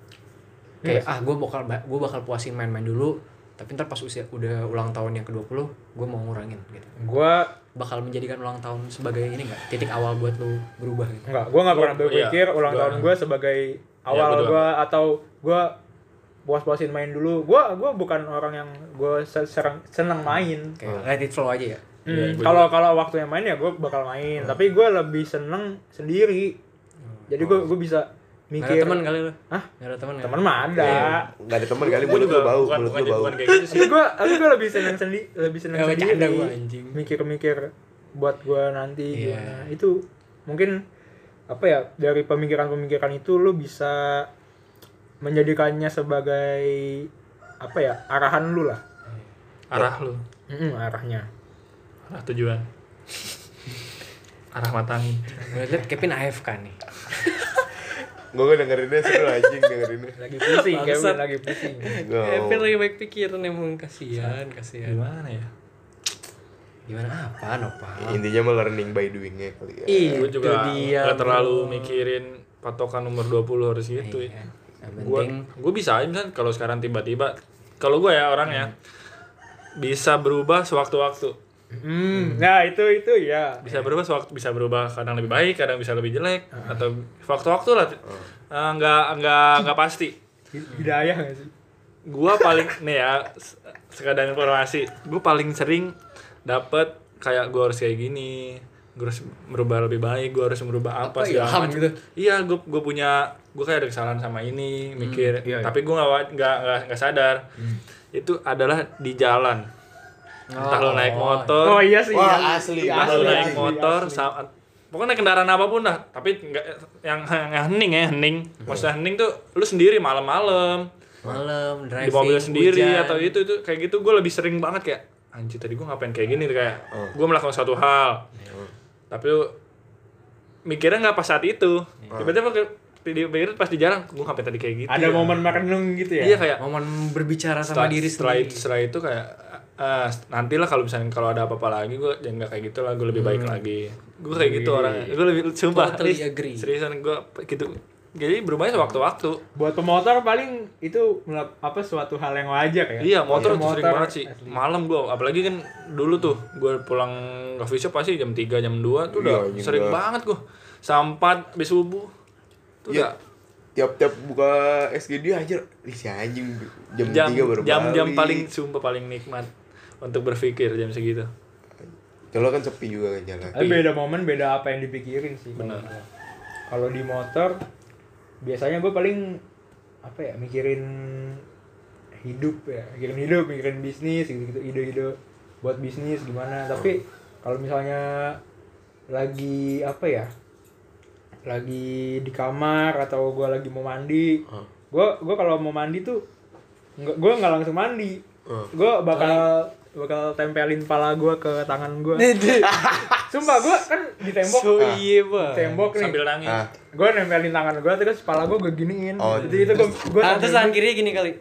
Speaker 3: kayak ah gue bakal gue bakal puasin main-main dulu tapi ntar pas usia udah ulang tahun yang ke-20 gue mau ngurangin gitu
Speaker 1: Gue
Speaker 3: bakal menjadikan ulang tahun sebagai ini nggak titik awal buat lu berubah gitu
Speaker 1: Enggak, gue nggak pernah
Speaker 4: Gua-
Speaker 1: berpikir
Speaker 4: iya,
Speaker 1: ulang
Speaker 4: gua- Iya,
Speaker 1: tahun gue sebagai
Speaker 4: gua
Speaker 1: awal
Speaker 4: juga.
Speaker 1: gue atau gue puas-puasin main dulu. Gue gua bukan orang yang gue seneng main.
Speaker 3: kayak let it flow aja ya
Speaker 1: Hmm,
Speaker 4: Iya, gua Hmm.
Speaker 1: Kalau kalau waktunya main ya gue bakal main. Tapi gue lebih seneng sendiri. Jadi
Speaker 4: Oh.
Speaker 1: gue gue bisa
Speaker 3: nggak ada
Speaker 1: mikir.
Speaker 3: teman kali lu
Speaker 1: Hah?
Speaker 3: nggak ada ya? teman
Speaker 1: Teman mah ada.
Speaker 4: Iya.
Speaker 2: Enggak Iya. ada teman kali mulut lu bau,
Speaker 4: bukan,
Speaker 2: mulut
Speaker 4: bukan,
Speaker 2: lu bau.
Speaker 4: bukan kayak gitu sih
Speaker 1: Tapi gue tapi gue lebih seneng sendiri, lebih seneng
Speaker 3: Nggak bercanda
Speaker 1: sendiri.
Speaker 3: gua, anjing.
Speaker 1: Mikir-mikir buat gue nanti.
Speaker 3: Iya.
Speaker 1: gimana. Itu mungkin apa ya dari pemikiran-pemikiran itu lu bisa menjadikannya sebagai apa ya arahan lu lah.
Speaker 4: arah lu
Speaker 1: Mm-mm, arahnya.
Speaker 4: arah tujuan arah mata angin
Speaker 3: lihat Kevin AFK nih
Speaker 2: Gue dengerinnya seru anjing dengerinnya.
Speaker 1: Lagi pusing,
Speaker 3: Bangsat.
Speaker 1: Kevin lagi pusing.
Speaker 2: Gua mau-
Speaker 3: lagi baik pikiran emang kasihan kasihan
Speaker 4: gimana ya
Speaker 3: gimana apa nopal
Speaker 2: Intinya mah learning by doingnya kali ya.
Speaker 3: Iya,
Speaker 4: gue juga
Speaker 3: dia, Iya.
Speaker 4: nggak terlalu
Speaker 3: bro.
Speaker 4: mikirin patokan umur 20 harus gitu ya
Speaker 3: Iya. Yang
Speaker 4: gue
Speaker 3: penting
Speaker 4: gue bisa aja misalnya kalau sekarang tiba-tiba kalau gue ya orangnya bisa berubah sewaktu-waktu
Speaker 3: Mm.
Speaker 1: Hmm, nah itu itu ya.
Speaker 3: Iya.
Speaker 4: bisa berubah sewaktu bisa berubah kadang lebih baik kadang bisa lebih jelek atau waktu-waktu lah Eh, nggak nggak nggak pasti
Speaker 1: Hidayah gak sih?
Speaker 4: gua paling nih ya se- sekadar informasi gua paling sering dapet kayak gua harus kayak gini gua harus merubah lebih baik gua harus merubah
Speaker 1: ya?
Speaker 4: apa,
Speaker 3: Apa,
Speaker 4: segala
Speaker 3: ilham
Speaker 4: macam.
Speaker 3: gitu?
Speaker 4: iya gua gua punya gua kayak ada kesalahan sama ini
Speaker 1: iya,
Speaker 4: mikir
Speaker 1: Hmm. iya.
Speaker 4: tapi gua nggak wa- nggak nggak- nggak sadar itu adalah di jalan entah lo naik
Speaker 1: Oh
Speaker 4: motor
Speaker 1: iya sih. iya.
Speaker 2: Wah, asli.
Speaker 1: Iya,
Speaker 4: entah lo
Speaker 2: asli,
Speaker 4: naik
Speaker 2: asli,
Speaker 4: motor sama pokoknya naik kendaraan apapun dah
Speaker 1: Hmm.
Speaker 4: tapi nggak yang yang hening ya hening maksudnya hening tuh lu sendiri malam-malam
Speaker 3: malam driving
Speaker 4: di mobil sendiri
Speaker 3: hujan.
Speaker 4: atau itu itu kayak gitu gue lebih sering banget kayak anjir tadi gue ngapain kayak gini kayak gue melakukan suatu hal tapi lu mikirnya nggak pas saat itu tiba-tiba kayak di pikir pas di jalan gue ngapain tadi kayak gitu
Speaker 1: Ada
Speaker 4: ya?"
Speaker 1: momen merenung gitu ya.
Speaker 4: iya kayak
Speaker 3: momen berbicara Oh, sama
Speaker 4: setelah,
Speaker 3: diri
Speaker 4: setelah
Speaker 3: sendiri
Speaker 4: itu setelah itu kayak "Ah, nantilah kalau misalnya kalau ada apa-apa lagi gue jangan nggak kayak gitu lah gue lebih baik lagi gue kayak gitu orangnya gue lebih sumpah
Speaker 3: Hmm. Totally
Speaker 4: ini
Speaker 3: agree.
Speaker 4: seriusan gue gitu jadi berubahnya sewaktu-waktu
Speaker 1: Buat pemotor paling itu melap- apa suatu hal yang wajar ya.
Speaker 4: Iya motor
Speaker 1: Iya,
Speaker 4: tuh sering
Speaker 1: motor.
Speaker 4: banget sih Malam gue apalagi kan dulu tuh Gue pulang coffee shop pasti jam 3 jam 2 tuh
Speaker 2: Iya,
Speaker 4: udah
Speaker 2: iya,
Speaker 4: sering
Speaker 2: udah.
Speaker 4: banget gue Sampai habis subuh Tuh
Speaker 2: Iya.
Speaker 4: udah
Speaker 2: tiap-tiap buka SGD anjir ih si anjing jam,
Speaker 4: jam
Speaker 2: 3 baru
Speaker 4: jam, jam
Speaker 2: balik.
Speaker 4: paling sumpah paling nikmat Untuk berpikir jam segitu
Speaker 2: Kalau kan sepi juga kan jalan.
Speaker 1: Tapi beda momen beda apa yang dipikirin sih. Benar. Kalau di motor biasanya gue paling apa ya mikirin hidup ya, mikirin hidup, mikirin bisnis gitu-gitu, ide-ide buat bisnis gimana. Tapi kalau misalnya lagi apa ya? Lagi di kamar atau gue lagi mau mandi, gue gue kalau mau mandi tuh nggak gue nggak langsung mandi, gue bakal bakal tempelin pala gue ke tangan gue. Sumpah gue kan di tembok
Speaker 3: so
Speaker 2: Ah.
Speaker 3: iya bang
Speaker 1: tembok nih.
Speaker 4: Sambil nangis
Speaker 2: Ah,
Speaker 1: Gue nempelin tangan gue terus kepala gue gue giniin.
Speaker 2: Oh,
Speaker 1: Jadi itu gue gue
Speaker 3: Ah, terus tangan kiri gini kali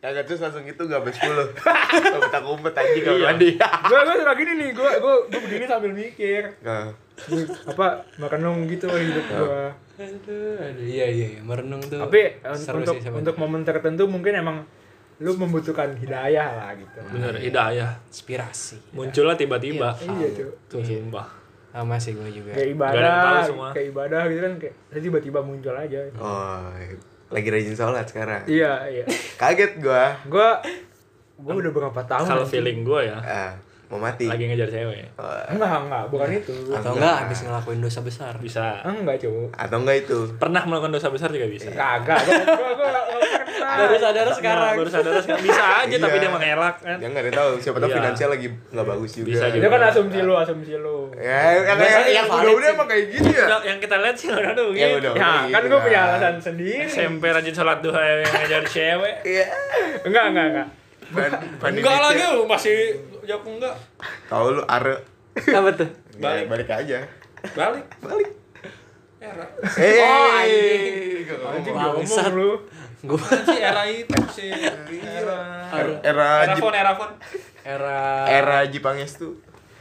Speaker 2: kagak Nah, terus langsung itu gak sampai 10. Kalau kita kumpet anjing kalau mandi.
Speaker 1: gue gue suka gini nih gue gue gue begini sambil mikir
Speaker 2: Nah,
Speaker 1: Ini apa merenung gitu hidup gue.
Speaker 3: aduh aduh iya iya iya. merenung tuh
Speaker 1: Tapi
Speaker 4: eh,
Speaker 1: un-
Speaker 3: seru
Speaker 1: untuk
Speaker 3: sih sebenarnya.
Speaker 1: untuk momen tertentu mungkin emang lu membutuhkan hidayah lah gitu.
Speaker 4: Bener hidayah
Speaker 3: inspirasi
Speaker 4: Muncullah tiba-tiba
Speaker 1: Iya tuh.
Speaker 4: Tuh sumpah
Speaker 3: sama sih gue juga
Speaker 1: Kayak
Speaker 4: Gak Ah, ada yang tahu
Speaker 1: ibadah,
Speaker 4: semua.
Speaker 1: kayak ibadah gitu kan kayak terus tiba-tiba muncul aja.
Speaker 2: oh, lagi rajin sholat sekarang.
Speaker 1: Iya, iya.
Speaker 2: Kaget gua.
Speaker 1: Gue gue udah berapa tahun?
Speaker 4: Kalau feeling gue ya
Speaker 2: Ah, mau mati.
Speaker 4: Lagi ngejar cewek
Speaker 2: Oh,
Speaker 1: Enggak, enggak, bukan itu.
Speaker 3: atau enggak habis ngelakuin dosa besar
Speaker 4: Bisa
Speaker 1: Enggak, cuy.
Speaker 2: atau enggak itu?
Speaker 4: Pernah melakukan dosa besar juga bisa
Speaker 1: Kagak, gua gua gua gua pernah.
Speaker 3: baru sadar sekarang
Speaker 4: Baru sadar sekarang. Bisa aja tapi
Speaker 2: Iya.
Speaker 4: dia mengelak kan
Speaker 2: Jangan ada tahu siapa tahu
Speaker 4: Iya.
Speaker 2: finansial lagi nggak bagus juga.
Speaker 4: Bisa
Speaker 1: Itu kan asumsi lu, asumsi lu.
Speaker 2: Ya, yang yang,
Speaker 3: Biasanya
Speaker 2: yang
Speaker 3: valid
Speaker 2: udah-udah
Speaker 3: sih.
Speaker 2: emang kayak gitu ya.
Speaker 4: Yang- Yang kita lihat sih udah begitu
Speaker 2: Ya udah.
Speaker 1: Ya, kan gua punya alasan sendiri.
Speaker 4: SMP rajin sholat duha yang ngajar cewek
Speaker 2: Iya.
Speaker 1: Enggak, enggak, enggak.
Speaker 4: enggak lagi
Speaker 2: ya.
Speaker 4: lu masih jawab enggak
Speaker 2: Tahu lu are.
Speaker 3: apa tuh
Speaker 2: Balik balik aja.
Speaker 4: balik
Speaker 2: Balik.
Speaker 4: era
Speaker 2: Eh.
Speaker 1: Anjing ngomong
Speaker 3: Bangsat.
Speaker 1: lu.
Speaker 3: gue
Speaker 4: Kan si era itu sih era
Speaker 2: Era
Speaker 4: era
Speaker 2: Jip-
Speaker 4: phone era phone
Speaker 3: era
Speaker 2: era Jipangestu.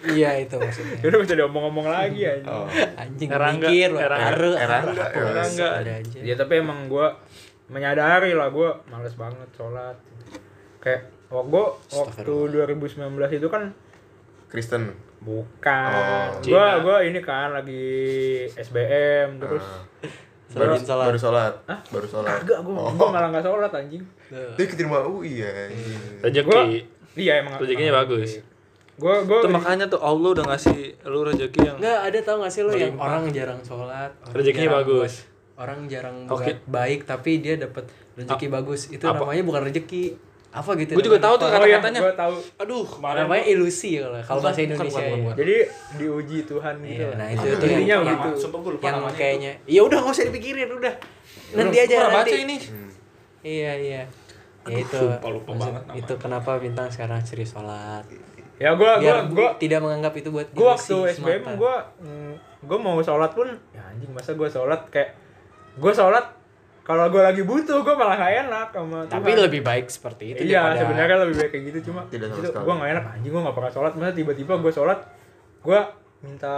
Speaker 3: iya itu maksudnya
Speaker 1: Ya udah bisa diomong-omong lagi aja.
Speaker 2: Oh.
Speaker 3: anjing
Speaker 4: Era enggak,
Speaker 3: mikir lu.
Speaker 4: era enggak.
Speaker 3: Are,
Speaker 2: Era
Speaker 3: are,
Speaker 2: enggak,
Speaker 3: apa,
Speaker 2: era
Speaker 3: Mas?
Speaker 4: enggak. Iya,
Speaker 3: Ada aja.
Speaker 1: Ya tapi emang gua menyadari lah gua males banget sholat. Kayak oh gua waktu 2019 itu kan
Speaker 2: Kristen.
Speaker 1: bukan.
Speaker 2: Oh.
Speaker 1: gua gua ini kan lagi SBM terus
Speaker 2: Baru
Speaker 3: Selain salah
Speaker 2: Ah. baru sholat. Baru sholat.
Speaker 1: kagak gua, gua malah nggak sholat anjing.
Speaker 2: Dia keterima UI ya. anjing.
Speaker 1: Gua
Speaker 4: rezeki
Speaker 1: iya emang
Speaker 4: rezekinya bagus
Speaker 1: Gua gua
Speaker 4: itu makanya tuh Allah udah ngasih lu rezeki yang
Speaker 3: Enggak ada tau gak sih lo yang orang jarang sholat orang
Speaker 4: Rezekinya
Speaker 3: jarang
Speaker 4: bagus.
Speaker 3: buat- Orang jarang
Speaker 4: Oke.
Speaker 3: buat baik tapi dia dapat rezeki bagus Itu
Speaker 4: apa?
Speaker 3: namanya bukan rezeki Apa gitu
Speaker 4: Gua juga
Speaker 3: namanya?
Speaker 4: tahu tuh
Speaker 1: oh iya,
Speaker 4: kata-katanya.
Speaker 1: gua tahu.
Speaker 4: aduh kemarin
Speaker 3: Namanya ilusi ya kalau- kalau bahasa
Speaker 4: bukan,
Speaker 3: Indonesia
Speaker 4: bukan,
Speaker 3: ya.
Speaker 4: bukan.
Speaker 1: Jadi diuji Tuhan gitu.
Speaker 3: Iya,
Speaker 1: lah.
Speaker 3: nah itu itu
Speaker 1: Intinya
Speaker 3: yang, yang,
Speaker 1: begitu.
Speaker 4: Sumpah gua lupa
Speaker 3: yang
Speaker 4: namanya
Speaker 3: kayaknya ya udah nggak usah dipikirin udah nanti aja
Speaker 4: Gua pernah
Speaker 3: nanti
Speaker 4: baca ini
Speaker 3: iya iya ya itu
Speaker 4: sumpah, lupa
Speaker 3: maksud-
Speaker 4: banget nama.
Speaker 3: itu kenapa bintang sekarang serius sholat
Speaker 1: Ya gua gua
Speaker 3: biar
Speaker 1: gua
Speaker 3: tidak menganggap itu buat
Speaker 1: gua waktu
Speaker 3: ilusi
Speaker 1: SBM
Speaker 3: semata.
Speaker 1: gua mm, gua mau sholat pun ya anjing masa gua sholat kayak gua sholat kalau gua lagi butuh gua malah gak enak sama
Speaker 3: tapi
Speaker 1: Tuhan.
Speaker 3: lebih baik seperti itu
Speaker 1: iya
Speaker 3: daripada
Speaker 1: sebenarnya lebih baik kayak gitu cuma
Speaker 2: Tidak sama
Speaker 1: itu
Speaker 2: sekali.
Speaker 1: gua gak enak anjing gua gak pernah sholat masa tiba-tiba gua sholat gua minta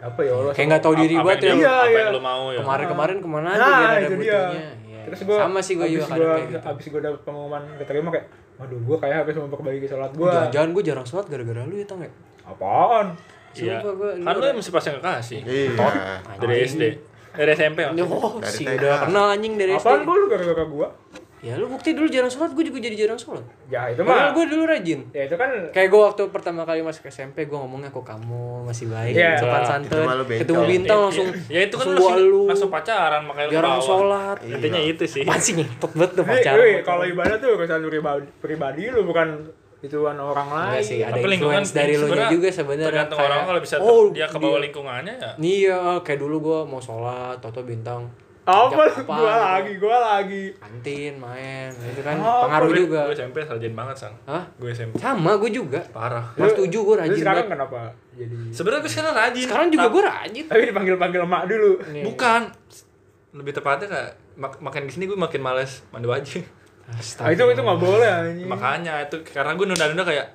Speaker 1: apa ya Allah
Speaker 3: kayak nggak tahu diri
Speaker 4: Apa
Speaker 3: buat ya
Speaker 4: yang dia-
Speaker 1: Iya,
Speaker 4: apa
Speaker 1: iya.
Speaker 4: yang lu mau ya
Speaker 3: kemarin-kemarin kemana aja
Speaker 1: nah
Speaker 3: ada
Speaker 1: itu dia
Speaker 3: butuhnya Iya.
Speaker 1: terus gua
Speaker 3: sama sih gua
Speaker 1: abis
Speaker 3: juga kadang
Speaker 1: gua,
Speaker 3: kayak gitu
Speaker 1: abis gua dapet pengumuman keterima kayak waduh gua kayak harus memperbaiki sholat gua
Speaker 3: jangan-jangan gua jarang sholat gara-gara lu ya tau nggak
Speaker 1: apaan
Speaker 4: iya
Speaker 3: Sumpah, gua-
Speaker 4: kan lu yang mesti pas yang kasih
Speaker 2: Iya.
Speaker 4: dari SD dari SMP maksudnya. Iya,
Speaker 3: Oh,
Speaker 2: Dari
Speaker 3: sih
Speaker 2: TK.
Speaker 3: udah kenal anjing dari
Speaker 1: apaan
Speaker 3: SD.
Speaker 1: gua lu gara-gara gua
Speaker 3: Ya lu bukti dulu jarang sholat, gue juga jadi jarang sholat.
Speaker 1: ya itu
Speaker 3: Padahal
Speaker 1: mah
Speaker 3: gue dulu rajin.
Speaker 1: ya itu kan
Speaker 3: Kayak gue waktu pertama kali masuk SMP, gue ngomongnya kok kamu masih baik,
Speaker 1: Iya.
Speaker 3: sopan
Speaker 2: Itu
Speaker 3: santun,
Speaker 2: malu bengkel.
Speaker 3: ketemu bintang langsung,
Speaker 4: ya itu kan
Speaker 3: langsung
Speaker 4: lu Iya.
Speaker 3: gua lu,
Speaker 4: langsung pacaran makanya lu
Speaker 3: jarang
Speaker 4: bawa.
Speaker 3: sholat.
Speaker 4: intinya itu sih
Speaker 3: Apaan sih ngintot banget tuh
Speaker 1: Jadi,
Speaker 3: pacaran.
Speaker 1: wih, Iya. kalau ibadah tuh urusan pribadi, pribadi lu bukan ituan orang
Speaker 3: Enggak
Speaker 1: lain.
Speaker 3: sih, ada
Speaker 4: Tapi lingkungan
Speaker 3: influence dari lu
Speaker 4: sebenarnya
Speaker 3: juga sebenarnya.
Speaker 4: tergantung
Speaker 3: Kayak,
Speaker 4: orang kalau bisa
Speaker 3: oh,
Speaker 4: dia ke bawah lingkungannya ya
Speaker 3: Iya, kayak dulu gue mau sholat, toto bintang
Speaker 1: Apa?
Speaker 3: Ngajak apaan
Speaker 1: Gua
Speaker 3: gitu.
Speaker 1: lagi, gua lagi.
Speaker 3: kantin main gitu kan
Speaker 1: Oh,
Speaker 3: pengaruh
Speaker 4: Gue-
Speaker 3: juga
Speaker 4: Gue SMP sarjan banget sang.
Speaker 3: Hah?
Speaker 4: Gue SMP
Speaker 3: sama gue juga
Speaker 4: parah.
Speaker 3: kelas
Speaker 1: Lu-
Speaker 3: tujuh gue
Speaker 1: Terus
Speaker 3: rajin
Speaker 1: sekarang
Speaker 3: banget
Speaker 1: kenapa? Jadi
Speaker 4: Sebenarnya gue sekarang rajin.
Speaker 3: sekarang juga
Speaker 4: Ta-
Speaker 3: gue rajin
Speaker 1: tapi dipanggil-panggil emak dulu.
Speaker 3: Nih.
Speaker 4: Bukan. Lebih tepatnya kayak mak makin kesini gue makin males mandi wajib.
Speaker 3: Iya.
Speaker 1: Ah, itu itu nggak boleh anjing.
Speaker 4: Makanya itu karena gue nunda-nunda kayak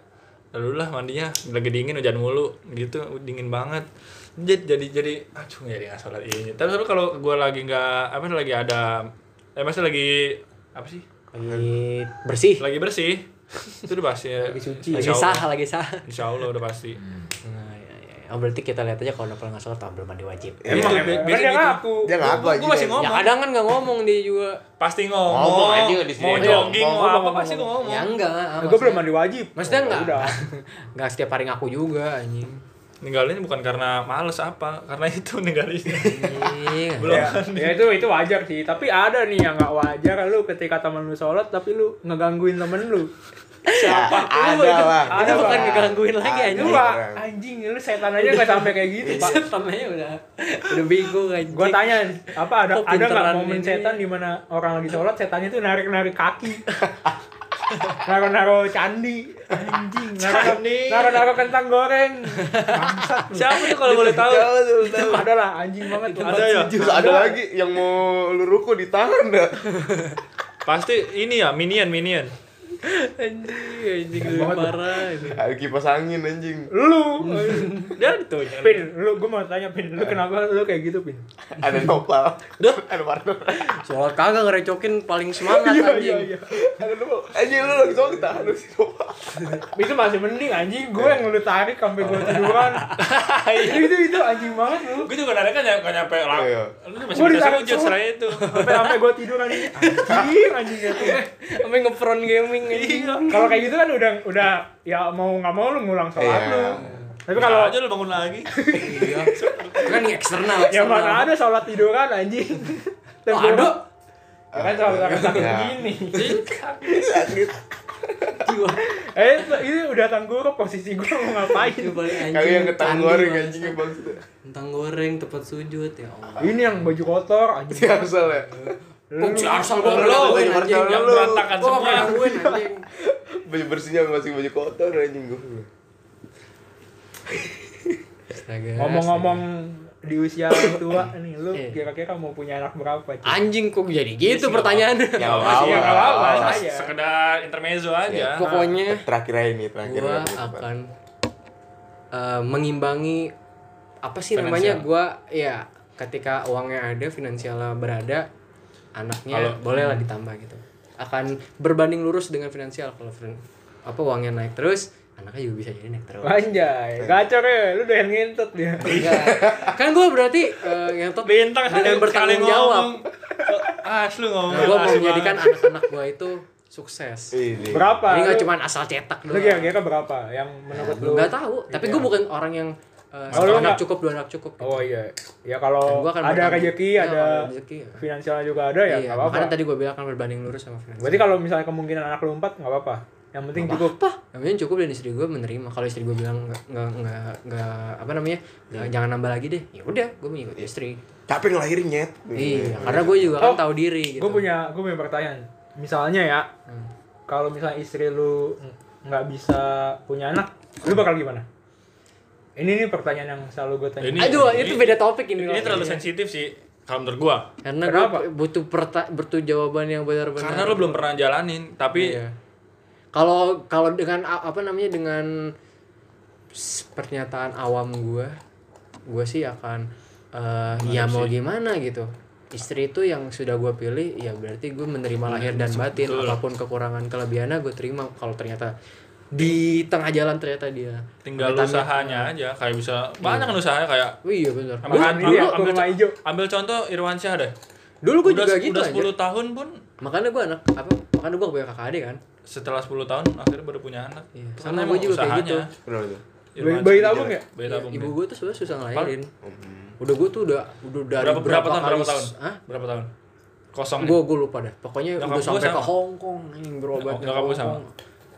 Speaker 4: lalu lah mandinya lagi dingin hujan mulu gitu dingin banget jadi jadi jadi aduh jadi nggak sholat ini tapi selalu kalau gue lagi nggak apa lagi ada eh masih lagi apa sih
Speaker 3: lagi Iya, bersih
Speaker 4: lagi bersih itu udah pasti lagi
Speaker 1: suci.
Speaker 3: lagi ya. sah lagi sah
Speaker 4: insya Allah udah pasti
Speaker 3: Iya. Nah, ya, ya. Oh, berarti kita lihat aja kalau udah pernah nggak sholat belum mandi wajib.
Speaker 2: Emang,
Speaker 4: Itu,
Speaker 1: Kan
Speaker 2: emang.
Speaker 4: bi-
Speaker 1: dia
Speaker 4: biasanya gitu.
Speaker 1: ngaku.
Speaker 2: Dia nggak aku
Speaker 4: Gua-
Speaker 2: aja.
Speaker 4: gua masih
Speaker 3: Ya
Speaker 4: ngomong.
Speaker 3: kadang kan nggak ngomong dia juga.
Speaker 4: pasti ngomong,
Speaker 2: Ngomong aja di sini.
Speaker 4: mau
Speaker 2: Ngomong,
Speaker 4: jogging mau
Speaker 1: ngomong,
Speaker 4: apa
Speaker 1: ngomong,
Speaker 4: pasti gue ngomong
Speaker 3: Ya enggak. ah,
Speaker 1: Nah, gua belum
Speaker 3: maksudnya-
Speaker 1: mandi wajib.
Speaker 3: Maksudnya
Speaker 1: Oh,
Speaker 3: enggak?
Speaker 1: Udah.
Speaker 3: Enggak setiap hari ngaku juga anjing.
Speaker 4: ninggalin bukan karena males apa karena itu ninggalin
Speaker 3: Anjing.
Speaker 4: Belum.
Speaker 1: Ya, ya itu itu wajar sih, tapi ada nih yang nggak wajar lu ketika temen lu sholat tapi lu ngegangguin temen lu.
Speaker 2: Siapa?
Speaker 3: Itu
Speaker 2: Ya, Ada
Speaker 3: bukan-
Speaker 2: lah.
Speaker 1: Ada,
Speaker 3: Itu bukan
Speaker 1: Bang.
Speaker 3: ngegangguin lagi
Speaker 2: Ada.
Speaker 1: Lu
Speaker 3: anjing.
Speaker 1: Pak, anjing lu setan aja nggak sampai kayak gitu pak.
Speaker 3: Setannya udah udah bingung anjing.
Speaker 1: Gue tanya apa ada ada
Speaker 3: Kok
Speaker 1: nggak
Speaker 3: pinteran
Speaker 1: momen
Speaker 3: ini?
Speaker 1: setan di mana orang lagi sholat setannya tuh narik narik kaki, naro naro candi, anjing, naro naro naro kentang goreng, bangsat lu.
Speaker 4: siapa tuh kalau boleh tahu
Speaker 2: Tahu tuh,
Speaker 1: Itu
Speaker 2: tahu.
Speaker 1: ada lah anjing banget tuh.
Speaker 4: ada ya
Speaker 2: Terus ada lagi yang mau lu ruku ya. ditahan dah.
Speaker 4: pasti ini ya minion minion
Speaker 3: anjing anjing lebih parah ini.
Speaker 2: Ada Ah, kipas angin anjing.
Speaker 1: Lu,
Speaker 4: dia tuh
Speaker 1: pin, lu gue mau tanya pin, lu kenapa lu kayak gitu pin?
Speaker 2: Ada nopal.
Speaker 3: Duh.
Speaker 2: Ada warna.
Speaker 3: Sholat kagak ngerecokin paling semangat anjing.
Speaker 1: iya.
Speaker 2: Ada nopal. Anjing lu lagi soal ditahan lu si nopal.
Speaker 1: Itu masih mending anjing gue yang lu tarik sampai gue tiduran.
Speaker 3: Iya.
Speaker 1: itu itu anjing banget lu.
Speaker 4: gue juga nanya kan nggak nyampe lah
Speaker 2: Iya.
Speaker 4: lu masih
Speaker 1: Gua
Speaker 4: bisa
Speaker 1: ditarik
Speaker 4: sujud
Speaker 1: turun.
Speaker 4: selain itu
Speaker 1: Sampai sampai gue tiduran ini. Anjing anjing itu.
Speaker 3: Sampai ngefront gaming anjing.
Speaker 1: Kalau kayak gitu kan udah udah ya mau nggak mau lu ngulang sholat
Speaker 2: Iya.
Speaker 1: lu. Tapi
Speaker 4: kalau
Speaker 1: kalau
Speaker 4: aja lu bangun lagi
Speaker 3: Iya. Kan eksternal.
Speaker 1: ya
Speaker 3: eksternal.
Speaker 1: mana ada sholat tiduran anjing.
Speaker 3: Oh, ada.
Speaker 1: Ya kan sholat orang sakit
Speaker 2: Iya.
Speaker 1: gini.
Speaker 2: Sakit.
Speaker 3: Jiwa.
Speaker 1: Eh itu, itu udah tanggurup posisi gue mau
Speaker 3: Itu
Speaker 1: ngapain.
Speaker 3: paling anjing.
Speaker 2: Kali yang ketang
Speaker 3: candi,
Speaker 2: goreng
Speaker 3: Bang.
Speaker 2: anjingnya bang.
Speaker 3: Kentang goreng tempat sujud ya Allah.
Speaker 1: Ini yang baju kotor anjing.
Speaker 2: Siapa salah?
Speaker 1: Lu-
Speaker 3: Kok si Arsal gua
Speaker 2: Gua pernah
Speaker 3: ngelakuin
Speaker 2: tanya
Speaker 3: anjing?
Speaker 2: Arsal
Speaker 4: yang
Speaker 2: lu.
Speaker 4: berantakan
Speaker 3: Gua
Speaker 4: semua
Speaker 3: pernah ngelakuin anjing.
Speaker 2: Baju bersihnya masih baju kotor anjing gua.
Speaker 3: Astaga,
Speaker 1: Ngomong-ngomong di usia orang tua nih, lu
Speaker 3: Iya.
Speaker 1: kira-kira mau punya anak berapa?
Speaker 3: astaga.
Speaker 1: Cik?
Speaker 3: Anjing kok jadi gitu pertanyaannya.
Speaker 2: Ya
Speaker 1: Masih ya, nggak apa-apa,
Speaker 2: awal.
Speaker 1: saya.
Speaker 4: Oh, sekedar intermezzo aja
Speaker 3: Pokoknya
Speaker 4: Iya.
Speaker 2: Terakhir aja nih, terakhir.
Speaker 3: gua
Speaker 2: aja.
Speaker 3: akan eh, mengimbangi apa sih
Speaker 4: Finansial.
Speaker 3: namanya gua ya ketika uangnya ada, finansialnya berada, anaknya
Speaker 4: Kalau-
Speaker 3: bolehlah ditambah gitu. Akan berbanding lurus dengan finansial kalau fin- apa uangnya naik terus, anaknya juga bisa jadi naik terus.
Speaker 2: Iya.
Speaker 1: Anjay, gacor ya, lu doyan ngintut dia.
Speaker 3: Enggak. kan gue berarti eh, yang top
Speaker 4: bintang
Speaker 3: dengan bertanggung jawab
Speaker 4: ah lu ngomong
Speaker 3: gue mau
Speaker 4: asli
Speaker 3: menjadikan
Speaker 4: banget.
Speaker 3: anak-anak gue itu sukses
Speaker 2: Ini.
Speaker 1: Berapa?
Speaker 3: jadi
Speaker 1: Iya.
Speaker 3: nggak
Speaker 1: Lu-
Speaker 3: cuma Ya, asal cetak
Speaker 1: Lu
Speaker 3: doang
Speaker 1: kira-kira berapa yang menurut lu?
Speaker 3: nggak tahu tapi gue bukan orang yang eh,
Speaker 1: Oh, lu
Speaker 3: satu anak
Speaker 1: nggak-
Speaker 3: cukup dua anak cukup gitu.
Speaker 1: Oh iya. Ya
Speaker 3: Dan
Speaker 1: kalau
Speaker 3: gua
Speaker 1: ada
Speaker 3: akan bertanggung-
Speaker 1: rezeki,
Speaker 3: Iya,
Speaker 1: ada
Speaker 3: kalau rezeki ya.
Speaker 1: finansialnya juga ada ya,
Speaker 3: iya,
Speaker 1: enggak
Speaker 3: makanya
Speaker 1: apa-apa.
Speaker 3: tadi gue bilang kan berbanding lurus sama finansial
Speaker 1: Berarti kalau misalnya kemungkinan anak lu empat enggak apa-apa. Yang penting cukup.
Speaker 3: apa yang penting cukup dan istri gue menerima kalau istri gue bilang nggak nggak nggak- nggak apa namanya nggak- jangan nambah lagi deh ya udah gue mengikut istri
Speaker 2: Capek ngelahirin nyet.
Speaker 3: iya karena gue juga kan
Speaker 1: Oh,
Speaker 3: tahu diri gitu Hmm.
Speaker 1: Gue punya gue punya pertanyaan. Misalnya ya, kalau misalnya istri lu nggak bisa punya anak, lu bakal gimana? Ini nih pertanyaan yang selalu gue tanya.
Speaker 4: Ini-
Speaker 3: aduh itu beda topik ini loh.
Speaker 4: ini terlalu sensitif sih kalau menurut gua
Speaker 3: Karena
Speaker 1: Kenapa?
Speaker 3: gue butuh perta butuh jawaban yang benar-benar.
Speaker 4: karena lu belum pernah jalanin tapi
Speaker 3: Iya. Kalau kalau dengan a- apa namanya dengan s- pernyataan awam gue, gue sih akan eh, ya mau gimana gitu. Istri itu yang sudah gue pilih, ya berarti gue menerima
Speaker 4: Iya,
Speaker 3: lahir dan batin. Apapun kekurangan kelebihannya gue terima. Kalau ternyata di tengah jalan ternyata dia.
Speaker 4: tinggal usahanya
Speaker 3: Iya.
Speaker 4: aja kayak bisa banyak kan usahanya kayak
Speaker 3: Wih, iya benar.
Speaker 4: Ambil,
Speaker 1: Makan ini
Speaker 4: ambil,
Speaker 1: ya,
Speaker 4: ambil,
Speaker 1: kurma hijau.
Speaker 4: ambil contoh Irwan Syah deh.
Speaker 3: Dulu gue
Speaker 4: udah,
Speaker 3: juga gitu
Speaker 4: udah
Speaker 3: aja.
Speaker 4: 10 tahun pun
Speaker 3: Makanya gue anak apa? Makanya gue punya kakak adik kan.
Speaker 4: setelah 10 tahun akhirnya baru punya anak.
Speaker 3: Iya,
Speaker 4: Itu
Speaker 3: sama
Speaker 4: karena
Speaker 3: gua
Speaker 4: emang
Speaker 3: juga kayak gitu.
Speaker 2: Kenapa tuh?
Speaker 4: Irwan
Speaker 1: Bayi- bayi
Speaker 4: Syah
Speaker 1: tabung
Speaker 4: jelek.
Speaker 1: ya?
Speaker 4: Bayi
Speaker 3: Iya,
Speaker 4: tabung.
Speaker 3: ibu
Speaker 4: deh.
Speaker 3: gue tuh sebenarnya susah ngelahirin.
Speaker 4: Hmm.
Speaker 3: Udah gue tuh udah udah dari
Speaker 4: Berapa berapa tahun?
Speaker 3: kali,
Speaker 4: Berapa tahun?
Speaker 3: Hah?
Speaker 4: Berapa tahun? Kosong.
Speaker 3: Gue gue lupa deh. Pokoknya
Speaker 4: ya? Nyokap
Speaker 3: udah
Speaker 4: gua
Speaker 3: sampai
Speaker 4: sama.
Speaker 3: ke Hong Kong anjing berobat.
Speaker 4: Nyokap
Speaker 3: ke
Speaker 4: gua
Speaker 3: Hong Kong.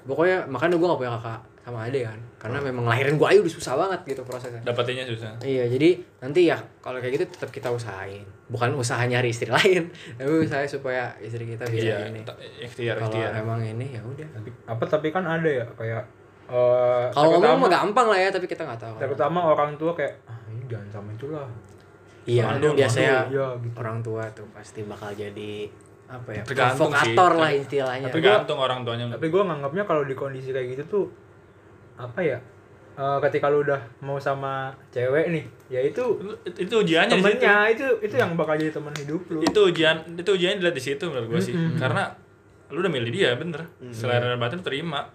Speaker 3: Pokoknya makanya gue gak punya kakak. sama Ade kan karena
Speaker 4: Oh.
Speaker 3: memang lahirin gua ayu udah susah banget gitu prosesnya
Speaker 4: Dapetinnya ya, susah.
Speaker 3: Iya, jadi nanti ya kalau kayak gitu tetap kita usahain. Bukan usaha nyari istri lain, tapi usaha supaya istri kita bisa
Speaker 4: Iya,
Speaker 3: ini.
Speaker 4: ta- ikhtiar
Speaker 3: Kalau
Speaker 4: ikhtiar.
Speaker 3: emang ini ya udah.
Speaker 1: Tapi, apa tapi kan ada ya kayak eh
Speaker 3: Kalau ngomong
Speaker 1: terutama,
Speaker 3: mah gampang lah ya, tapi kita nggak tahu.
Speaker 1: terutama orang tua kayak ah, ini jangan sama itulah.
Speaker 3: Iya,
Speaker 4: mandul,
Speaker 3: biasanya
Speaker 1: mandul, iya, gitu.
Speaker 3: orang tua tuh pasti bakal jadi apa ya?
Speaker 4: Tergantung sih,
Speaker 3: provokator lah
Speaker 4: tapi-
Speaker 3: istilahnya.
Speaker 4: Tapi gantung orang tuanya.
Speaker 1: Tapi gua nganggapnya kalau di kondisi kayak gitu tuh apa ya? Eh ketika lu udah mau sama cewek nih, ya itu
Speaker 4: Lu- itu ujiannya di situ. Iya.
Speaker 1: temennya itu itu yang bakal jadi teman hidup lu.
Speaker 4: Itu ujian itu ujiannya dilihat di situ menurut gua sih. Karena lu udah milih dia bener. Selera dan batin terima.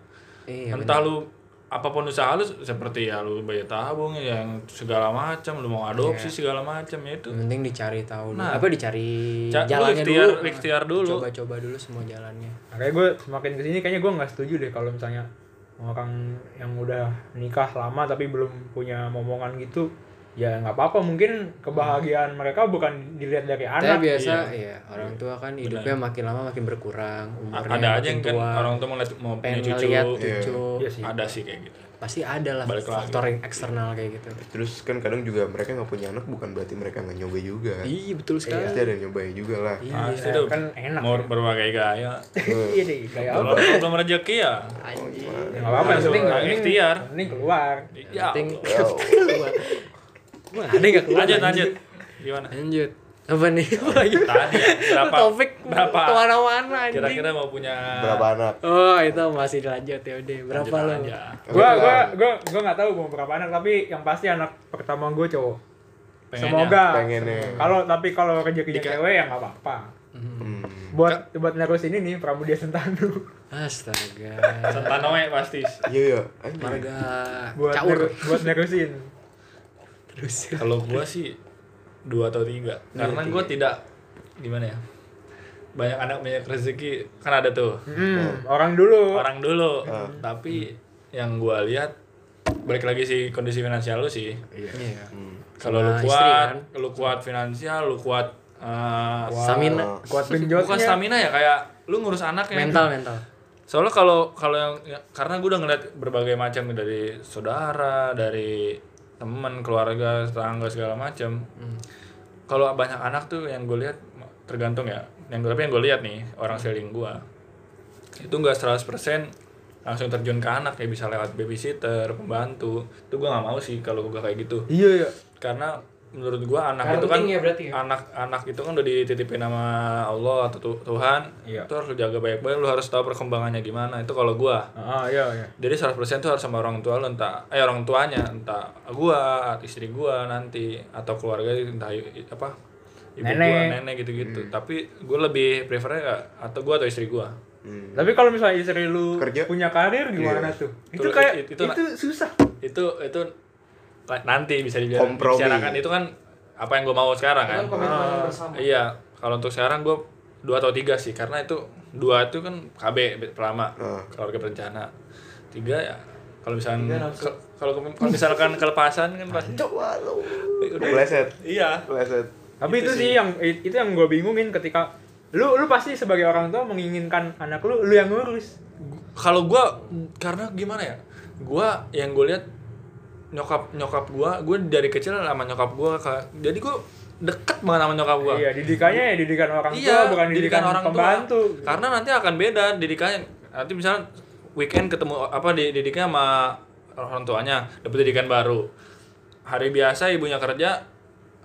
Speaker 3: Iya,
Speaker 4: Entah lu apapun usaha lu seperti ya lu bayi tabung ya yang segala macam lu mau adopsi segala macam ya itu
Speaker 3: Yang penting dicari tahu dulu.
Speaker 4: Nah.
Speaker 3: apa dicari
Speaker 4: Ca- lu
Speaker 3: jalannya
Speaker 4: ikhtiar-
Speaker 3: dulu.
Speaker 4: ikhtiar dulu.
Speaker 3: Coba-coba dulu semua jalannya.
Speaker 1: Makanya gue semakin kesini kayaknya gue nggak setuju deh kalau misalnya orang yang udah nikah lama tapi belum punya momongan gitu ya nggak apa-apa mungkin
Speaker 4: Hmm.
Speaker 1: kebahagiaan mereka bukan dilihat dari
Speaker 3: Saya
Speaker 1: anak
Speaker 3: biasa iya, orang tua kan hidupnya makin lama makin berkurang,
Speaker 4: A-
Speaker 3: umurnya
Speaker 4: ada aja
Speaker 3: makin
Speaker 4: yang kan
Speaker 3: tua.
Speaker 4: orang tuh mau lihat mau punya
Speaker 3: pengen
Speaker 4: cucu
Speaker 3: ngeliat gitu cucu
Speaker 1: Iya sih.
Speaker 4: ada sih kayak gitu
Speaker 3: pasti ada lah
Speaker 4: Balik lagi.
Speaker 3: faktor yang eksternal kayak gitu
Speaker 2: Terus kan kadang juga mereka nggak punya anak bukan berarti mereka nggak nyoba juga.
Speaker 3: iya betul sekali
Speaker 2: Pasti ada yang nyobain juga lah.
Speaker 4: pasti tuh
Speaker 1: kan enak.
Speaker 4: Nah, Ah, mau berbagai gaya
Speaker 1: iya deh kayak
Speaker 4: kalau
Speaker 1: apa
Speaker 4: lu belum rezeki ya
Speaker 1: Ya, nggak apa-apa yang penting yang penting-
Speaker 4: Iya, Ikhtiar.
Speaker 1: yang penting keluar
Speaker 4: ya
Speaker 3: penting Wah, ada nggak keluar
Speaker 4: lanjut
Speaker 3: anjing?
Speaker 4: lanjut gimana
Speaker 3: lanjut apa nih lagi
Speaker 4: tadi berapa
Speaker 3: topik
Speaker 4: berapa
Speaker 3: kemana-mana anjing
Speaker 4: kira-kira mau punya
Speaker 2: Berapa anak?
Speaker 3: oh itu masih dilanjut ya udah berapa lo
Speaker 4: aja
Speaker 1: gue gue gue gue nggak tahu mau berapa anak tapi yang pasti anak pertama gue cowok semoga
Speaker 2: Pengennya.
Speaker 1: kalau tapi kalau rezekinya cewek ya nggak apa-apa
Speaker 4: Hmm.
Speaker 2: Hmm.
Speaker 1: buat buat nerus ini nih Pramudia Sentanu
Speaker 3: astaga
Speaker 4: Sentanoe pasti
Speaker 2: Iya iya. Anjing.
Speaker 3: marga
Speaker 1: buat
Speaker 3: caur
Speaker 1: neru- buat nerusin
Speaker 3: terus
Speaker 4: kalau gua sih dua atau tiga Iya. karena gua tidak gimana ya banyak anak banyak rezeki kan ada tuh
Speaker 1: hmm, orang dulu
Speaker 4: orang dulu
Speaker 1: Hmm.
Speaker 4: tapi yang gua lihat balik lagi sih kondisi finansial lu sih
Speaker 3: iya
Speaker 4: kalau lu
Speaker 3: Sama istri, kan.
Speaker 4: kuat lu kuat finansial lu kuat eh,
Speaker 3: stamina
Speaker 1: kuat
Speaker 4: bukan
Speaker 1: genjotnya
Speaker 4: stamina ya kayak lu ngurus anaknya
Speaker 3: mental mental
Speaker 4: soalnya kalau kalau yang ya, karena gue udah ngeliat berbagai macam dari saudara dari teman keluarga tetangga segala macam kalau banyak anak tuh yang gue lihat tergantung ya yang gue tapi yang gue lihat nih orang seling gue itu nggak 100% langsung terjun ke anak ya bisa lewat babysitter pembantu itu gue nggak mau sih kalau gue kayak gitu
Speaker 1: iya iya
Speaker 4: karena menurut gua anak
Speaker 3: Karena
Speaker 4: itu kan
Speaker 3: penting ya berarti ya?
Speaker 4: anak anak itu kan udah dititipin sama Allah atau Tu- Tuhan
Speaker 1: Iya.
Speaker 4: itu harus lu jaga baik-baik lu harus tahu perkembangannya gimana itu kalau gua
Speaker 1: ah iya iya
Speaker 4: jadi 100% itu harus sama orang tua lu entah eh orang tuanya entah gua istri gua nanti atau keluarga entah i- apa ibu
Speaker 1: Nenek.
Speaker 4: gua nenek gitu-gitu
Speaker 3: Hmm.
Speaker 4: tapi gua lebih prefernya nggak- atau gua atau istri gua
Speaker 2: Hmm.
Speaker 1: tapi kalau misalnya istri lu
Speaker 2: Kerja. Iya.
Speaker 1: punya karir gimana tuh itu
Speaker 4: Itu-
Speaker 1: kayak
Speaker 4: itu-
Speaker 1: itu,
Speaker 4: itu-
Speaker 1: susah
Speaker 4: itu itu la- nanti bisa dibilang
Speaker 2: Kompromi.
Speaker 4: dibicarakan. itu kan apa yang gue mau sekarang kan Ah, iya kalau untuk sekarang gue dua atau tiga sih karena itu dua itu kan KB be- pelama
Speaker 2: Ah.
Speaker 4: keluarga berencana tiga ya kalau misalkan ke- kalau ke- kalau misalkan kelepasan kan pasti
Speaker 2: Coba lu.
Speaker 4: Udah.
Speaker 2: Pleset.
Speaker 4: iya
Speaker 2: Pleset.
Speaker 1: tapi itu, sih yang itu yang gue bingungin ketika lu lu pasti sebagai orang tua menginginkan anak lu lu yang ngurus
Speaker 4: kalau gue karena gimana ya gue yang gue lihat nyokap nyokap gue gue dari kecil sama nyokap gue jadi gue deket banget sama nyokap gue
Speaker 1: iya didikannya ya didikan orang tua
Speaker 4: iya,
Speaker 1: bukan didikan, pembantu
Speaker 4: Tua. Karena nanti akan beda didikannya. Nanti misalnya weekend ketemu apa di- didiknya sama orang tuanya, dapat didikan baru. Hari biasa ibunya kerja,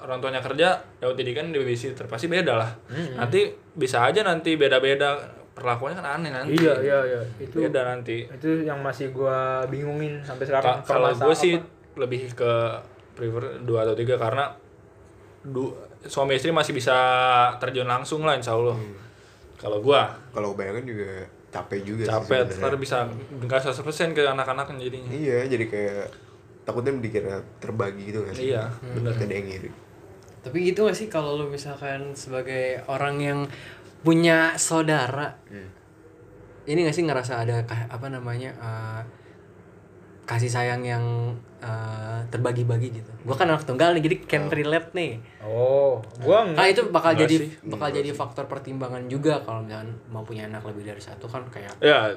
Speaker 4: orang tuanya kerja, dapat didikan di babysitter pasti beda lah. Nanti bisa aja nanti beda-beda perlakuannya kan aneh nanti.
Speaker 1: iya iya iya itu
Speaker 4: Beda nanti.
Speaker 1: itu yang masih gue bingungin sampai sekarang
Speaker 4: Ka- Kalau
Speaker 1: Permasa-
Speaker 4: gue sih
Speaker 1: apa?
Speaker 4: lebih ke prefer dua atau tiga karena du- suami istri masih bisa terjun langsung lah insya Allah.
Speaker 1: Hmm.
Speaker 4: Kalau gue
Speaker 2: Kalau kebanyakan juga capek juga
Speaker 3: Iya,
Speaker 2: sih
Speaker 4: capek
Speaker 2: sebenarnya.
Speaker 4: ntar bisa nggak 100% ke anak-anaknya jadinya
Speaker 2: Iya, jadi kayak takutnya dikira terbagi gitu kan.
Speaker 4: Iya, bener.
Speaker 2: Ada yang ngiri.
Speaker 3: Tapi gitu gak sih kalau lu misalkan sebagai orang yang punya saudara, ini gak sih ngerasa ada ka- apa namanya eh, kasih sayang yang eh, terbagi-bagi gitu? Gua kan anak tunggal nih, jadi can relate nih.
Speaker 1: oh gue
Speaker 3: Nah itu bakal jadi bakal jadi faktor pertimbangan juga kalau misalkan mau punya anak lebih dari satu kan kayak
Speaker 4: ya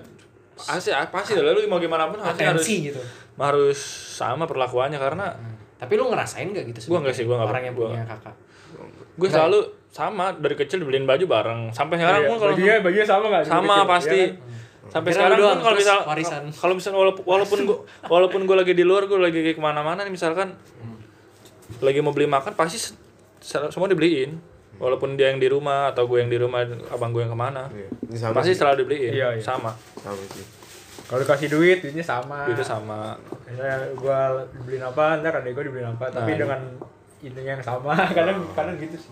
Speaker 4: pasti pasti lah lu mau gimana pun harusnya harus
Speaker 3: atensi Hmm. gitu
Speaker 4: harus sama perlakuannya karena
Speaker 3: tapi lu ngerasain gak gitu
Speaker 4: Gua nggak sih, gua nggak-
Speaker 3: orang yang
Speaker 4: gua
Speaker 3: punya kakak Nah.
Speaker 4: gue selalu sama dari kecil dibeliin baju bareng sampai sekarang
Speaker 3: Iya,
Speaker 4: pun kalau
Speaker 1: bajunya bajunya Iya, sama nggak Iya kan?
Speaker 4: sama pasti Hmm.
Speaker 3: kan?
Speaker 4: sampai
Speaker 3: Kira lu
Speaker 4: sekarang
Speaker 3: doang,
Speaker 4: pun kalau
Speaker 3: terus
Speaker 4: misal
Speaker 3: warisan.
Speaker 4: kalau misal walaupun walaupun gua walaupun gua lagi di luar gua lagi kemana-mana nih misalkan
Speaker 3: Hmm.
Speaker 4: lagi mau beli makan pasti se- se- semua dibeliin
Speaker 3: Hmm.
Speaker 4: walaupun dia yang di rumah atau gue yang di rumah abang gue yang kemana
Speaker 2: Iya, ini sama
Speaker 4: pasti
Speaker 2: sih.
Speaker 4: selalu dibeliin
Speaker 1: Iya, iya.
Speaker 4: sama
Speaker 2: Sama sih.
Speaker 1: kalau dikasih duit duitnya sama
Speaker 4: itu sama
Speaker 1: Misalnya gua beliin apa ntar adek gua dibeliin apa tapi
Speaker 4: Nah.
Speaker 1: dengan intinya yang sama kadang kadang gitu sih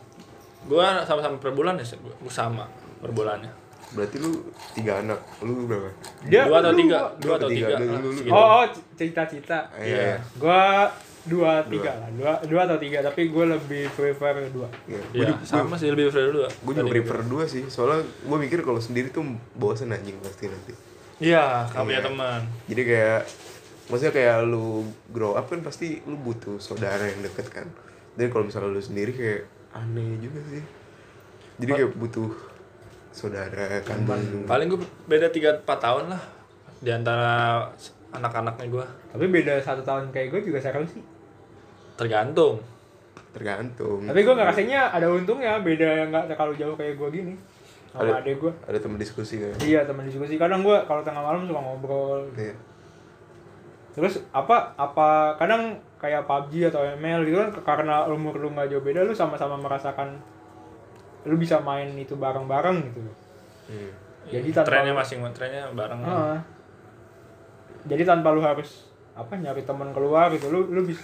Speaker 4: gua sama-sama per bulan ya se- gua sama per bulannya
Speaker 2: Berarti lu tiga anak, lu berapa?
Speaker 1: Dia-
Speaker 4: dua atau
Speaker 1: lu-
Speaker 4: tiga Gitu.
Speaker 2: lu
Speaker 4: dua atau
Speaker 2: ketiga,
Speaker 4: tiga Iya.
Speaker 2: lu-
Speaker 4: lah,
Speaker 2: lu- lu-
Speaker 4: segitu.
Speaker 1: oh, oh cita-cita
Speaker 2: Ah, Iya. iya.
Speaker 1: gua dua tiga lah dua dua atau tiga tapi gua lebih prefer dua
Speaker 2: Iya. Gua
Speaker 4: Iya,
Speaker 2: ju-
Speaker 4: sama sih lebih prefer dua
Speaker 2: Gue juga prefer dua sih, soalnya gue mikir kalau sendiri tuh bosen anjing pasti nanti.
Speaker 4: iya kamu ya teman
Speaker 2: Jadi kayak, maksudnya kayak lu grow up kan pasti lu butuh saudara yang deket kan. Dan kalau misalnya lu sendiri kayak aneh juga sih. Jadi kayak butuh saudara kandung.
Speaker 4: paling gue beda 3 4 tahun lah di antara s- anak-anaknya gue
Speaker 1: tapi beda satu tahun kayak gua juga serem sih
Speaker 4: tergantung
Speaker 2: Tergantung.
Speaker 1: tapi gua ngerasainnya ada untungnya beda nggak terlalu jauh kayak gua gini sama
Speaker 2: Ada-
Speaker 1: adek gua
Speaker 2: Ada teman diskusi kan.
Speaker 1: iya teman diskusi kadang gua kalau tengah malam suka ngobrol
Speaker 2: Iya.
Speaker 1: terus apa apa kadang kayak PUBG atau ML gitu kan karena umur lu nggak jauh beda lu sama-sama merasakan lu bisa main itu bareng-bareng gitu
Speaker 2: Hmm.
Speaker 1: Jadi tanpa- Ah.
Speaker 4: Iya, trennya masing trennya bareng
Speaker 1: Heeh. jadi tanpa lu harus apa nyari teman keluar gitu lu lu bisa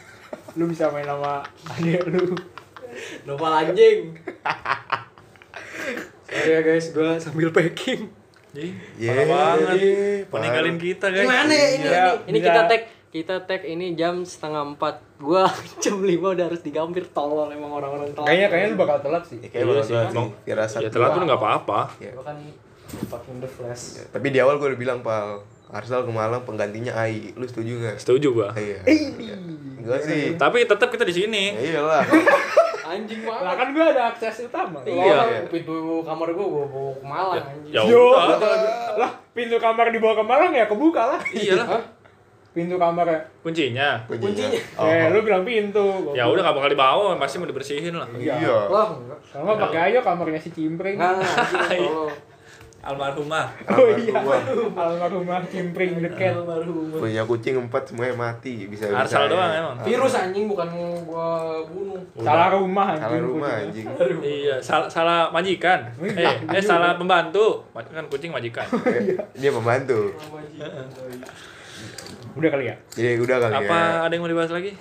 Speaker 1: lu bisa main sama adik lu
Speaker 3: lupa anjing sorry ya guys gua sambil packing
Speaker 4: jadi
Speaker 2: Yeah,
Speaker 4: parah banget
Speaker 2: yeah,
Speaker 4: meninggalin
Speaker 2: Iya, parah.
Speaker 4: kita guys
Speaker 3: gimana ya ini
Speaker 1: Iya,
Speaker 3: ini, ini
Speaker 1: bisa.
Speaker 3: kita tag kita tag ini jam setengah empat gua jam lima udah harus digampir tolol emang orang-orang tolol
Speaker 1: kayaknya kayaknya lu bakal telat sih
Speaker 2: Ya, kayak
Speaker 4: Iya
Speaker 2: bakal
Speaker 4: sih,
Speaker 2: telat
Speaker 4: emang.
Speaker 2: nih, firasat
Speaker 4: ya
Speaker 2: gua.
Speaker 4: telat pun nggak apa-apa
Speaker 2: Iya.
Speaker 3: gua kan fucking the flash
Speaker 2: Tapi di awal gue udah bilang, Pal, Arsenal ke Malang penggantinya AI. Lu setuju gak?
Speaker 4: setuju gua
Speaker 2: Iya. iya. Enggak sih.
Speaker 4: tapi tetap kita di sini
Speaker 2: Ya iyalah.
Speaker 3: anjing
Speaker 1: lah
Speaker 3: banget
Speaker 1: kan gua ada akses utama
Speaker 3: iya pintu kamar gua gua bawa ke Malang anjing
Speaker 4: ya
Speaker 1: Yo.
Speaker 4: udah
Speaker 1: lah pintu kamar dibawa ke Malang ya kebuka lah
Speaker 4: iyalah
Speaker 1: pintu kamar ya.
Speaker 4: kuncinya
Speaker 2: Kuncinya. Oh.
Speaker 1: eh lu bilang pintu
Speaker 4: ya udah nggak bakal dibawa pasti mau dibersihin lah
Speaker 2: Iya.
Speaker 3: Wah, enggak
Speaker 1: sama pakai aja kamarnya si Cimpring
Speaker 3: Enggak, Nah, anjing tolol
Speaker 4: almarhumah
Speaker 1: Oh iya,
Speaker 2: Almarhumah.
Speaker 1: almarhumah Cimpring deket.
Speaker 2: Punya kucing empat semuanya mati bisa.
Speaker 4: Arsal doang emang.
Speaker 3: virus anjing bukan gua bunuh
Speaker 1: Salah rumah anjing.
Speaker 2: Salah rumah
Speaker 1: kucingnya.
Speaker 2: anjing.
Speaker 4: iya salah salah majikan eh eh salah pembantu Ma- kan kucing majikan
Speaker 2: Dia membantu.
Speaker 1: Udah kali ya?
Speaker 2: Jadi udah kali ya.
Speaker 4: apa ada yang mau dibahas lagi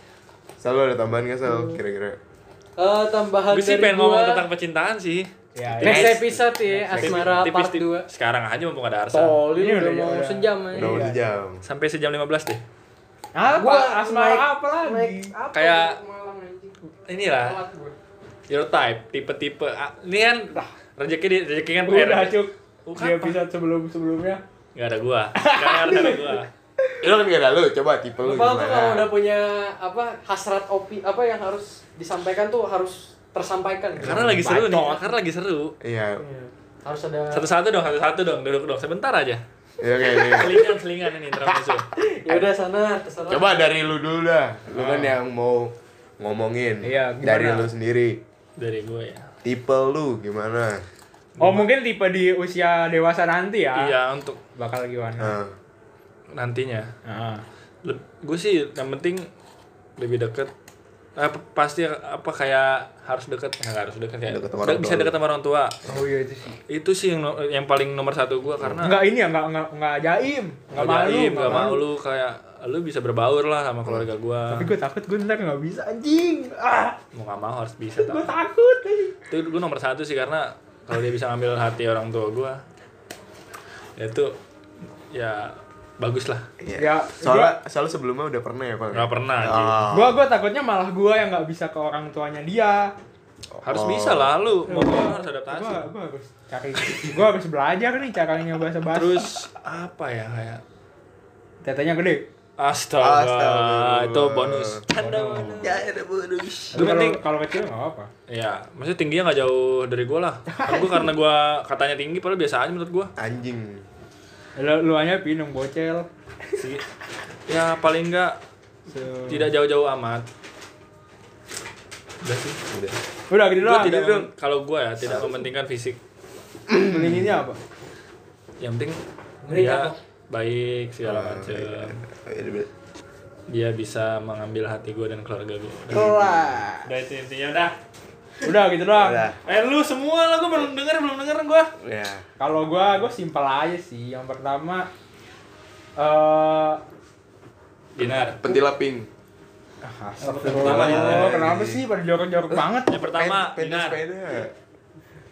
Speaker 2: Selalu ada tambahan gak Sal kira-kira?
Speaker 3: Eh, tambahan
Speaker 4: gue sih
Speaker 3: dari
Speaker 4: pengen ngomong
Speaker 3: gua,
Speaker 4: tentang percintaan sih
Speaker 1: Ya, ya.
Speaker 3: next
Speaker 4: Guys,
Speaker 3: episode ya asmara
Speaker 4: Tipis-
Speaker 3: part 2
Speaker 4: tipis- sekarang aja mumpung ada Arsa
Speaker 3: tol
Speaker 1: Ini
Speaker 3: ini udah
Speaker 1: udah-
Speaker 3: mau
Speaker 1: udah.
Speaker 3: sejam
Speaker 2: Udah
Speaker 3: aja
Speaker 2: udah
Speaker 1: Iya.
Speaker 2: jam.
Speaker 4: sampai sejam 15 deh
Speaker 1: Apa?
Speaker 3: Gua
Speaker 1: Asmara
Speaker 3: naik-
Speaker 1: apa lagi?
Speaker 4: Kayak-
Speaker 3: Malang,
Speaker 4: inilah your type tipe-tipe ah, ini kan rezeki di rezeki kan
Speaker 1: Udah
Speaker 4: PR.
Speaker 1: cuk.
Speaker 4: Bukan,
Speaker 1: Di episode sebelum-sebelumnya.
Speaker 4: nggak ada gua sekarang harus ada gua
Speaker 2: Lu kan gak ada lu, coba tipe lu
Speaker 3: Lupa tuh kalau udah
Speaker 2: gimana?
Speaker 3: punya apa hasrat opi apa yang harus disampaikan tuh harus tersampaikan.
Speaker 4: karena lagi seru nih karena lagi seru
Speaker 2: Iya.
Speaker 3: harus ada
Speaker 4: satu-satu dong satu-satu dong duduk dong sebentar aja
Speaker 2: Iya kayak gini.
Speaker 4: selingan selingan ini intermezzo
Speaker 3: ya udah sana terserah.
Speaker 2: Coba dari lu dulu dah. Lu kan yang mau ngomongin.
Speaker 1: Iya, gimana?
Speaker 2: Dari lu sendiri.
Speaker 4: dari gua ya
Speaker 2: Tipe lu gimana?
Speaker 1: Oh, mungkin tipe di usia dewasa nanti ya.
Speaker 4: iya untuk
Speaker 1: Bakal gimana? Ah.
Speaker 2: Nah,
Speaker 4: nantinya
Speaker 1: Heeh.
Speaker 4: gue sih yang penting lebih deket Eh, p- pasti apa kayak harus deket nggak harus deket ya
Speaker 2: Deket sama orang
Speaker 4: bisa
Speaker 2: tua
Speaker 4: deket sama orang tua
Speaker 1: Oh iya itu sih.
Speaker 4: itu sih yang, no- yang paling nomor satu gua karena
Speaker 1: Enggak ini ya, enggak enggak enggak jaim, enggak malu,
Speaker 4: jaim, Nah. nggak malu. kayak lu bisa berbaur lah sama keluarga gua
Speaker 1: Tapi gue takut gue ntar nggak bisa anjing. Ah,
Speaker 4: mau nggak mau harus bisa
Speaker 1: gue
Speaker 4: tau.
Speaker 1: takut.
Speaker 4: itu gue nomor satu sih karena kalau dia bisa ngambil hati orang tua gua ya itu ya bagus lah
Speaker 1: Ya,
Speaker 2: Iya. Soalnya soalnya sebelumnya udah pernah ya, Pak.
Speaker 4: Nggak pernah, Ji.
Speaker 2: Ah.
Speaker 1: Gue gue takutnya malah gue yang nggak bisa ke orang tuanya dia.
Speaker 4: harus
Speaker 2: Oh.
Speaker 4: bisa lah lu mau gimana harus
Speaker 1: Gue
Speaker 4: adaptasi
Speaker 1: gue harus cari, gue harus belajar nih caranya bahasa bahasa. Terus
Speaker 4: terus apa ya kayak
Speaker 1: tetenya gede.
Speaker 4: Astaga,
Speaker 2: Astaga.
Speaker 4: itu bonus. Tanda
Speaker 2: Ya, ada
Speaker 1: Tapi
Speaker 2: bonus.
Speaker 4: Itu
Speaker 1: kalau
Speaker 4: penting.
Speaker 1: kalau kecil nggak apa.
Speaker 4: Ya, maksudnya tingginya nggak jauh dari gua lah. Kan gua karena gua katanya tinggi, padahal biasa aja menurut gua.
Speaker 2: Anjing.
Speaker 1: Lu lu hanya pinum bocel.
Speaker 4: Si- ya paling enggak
Speaker 1: So-
Speaker 4: tidak jauh-jauh amat. Udah sih.
Speaker 2: Udah.
Speaker 1: Udah gini
Speaker 4: Gua
Speaker 1: doang.
Speaker 4: tidak
Speaker 1: gitu.
Speaker 4: mem- kalau gua ya tidak mementingkan fisik.
Speaker 1: Beliinnya apa?
Speaker 4: Yang penting
Speaker 3: Ngeri
Speaker 2: kan,
Speaker 4: dia
Speaker 3: apa?
Speaker 4: baik segala macam.
Speaker 2: Oh, Ah, iya, udah.
Speaker 4: Dia bisa mengambil hati gua dan keluarga gua. Udah,
Speaker 2: Oh.
Speaker 1: Kelar.
Speaker 4: udah itu intinya udah.
Speaker 1: Udah gitu doang.
Speaker 2: Udah.
Speaker 4: Eh lu semua lah gua belum denger belum denger gua.
Speaker 2: Ya.
Speaker 1: Kalau gua gua simpel aja sih. Yang pertama eh
Speaker 4: Dinar.
Speaker 2: Pentila pink.
Speaker 1: ah,
Speaker 4: pertama
Speaker 1: astagfirullah.
Speaker 2: ya.
Speaker 1: Kenapa sih pada jorok-jorok banget?
Speaker 4: Yang pertama Iya.
Speaker 2: Pen-
Speaker 4: Dinar.
Speaker 2: sepeda.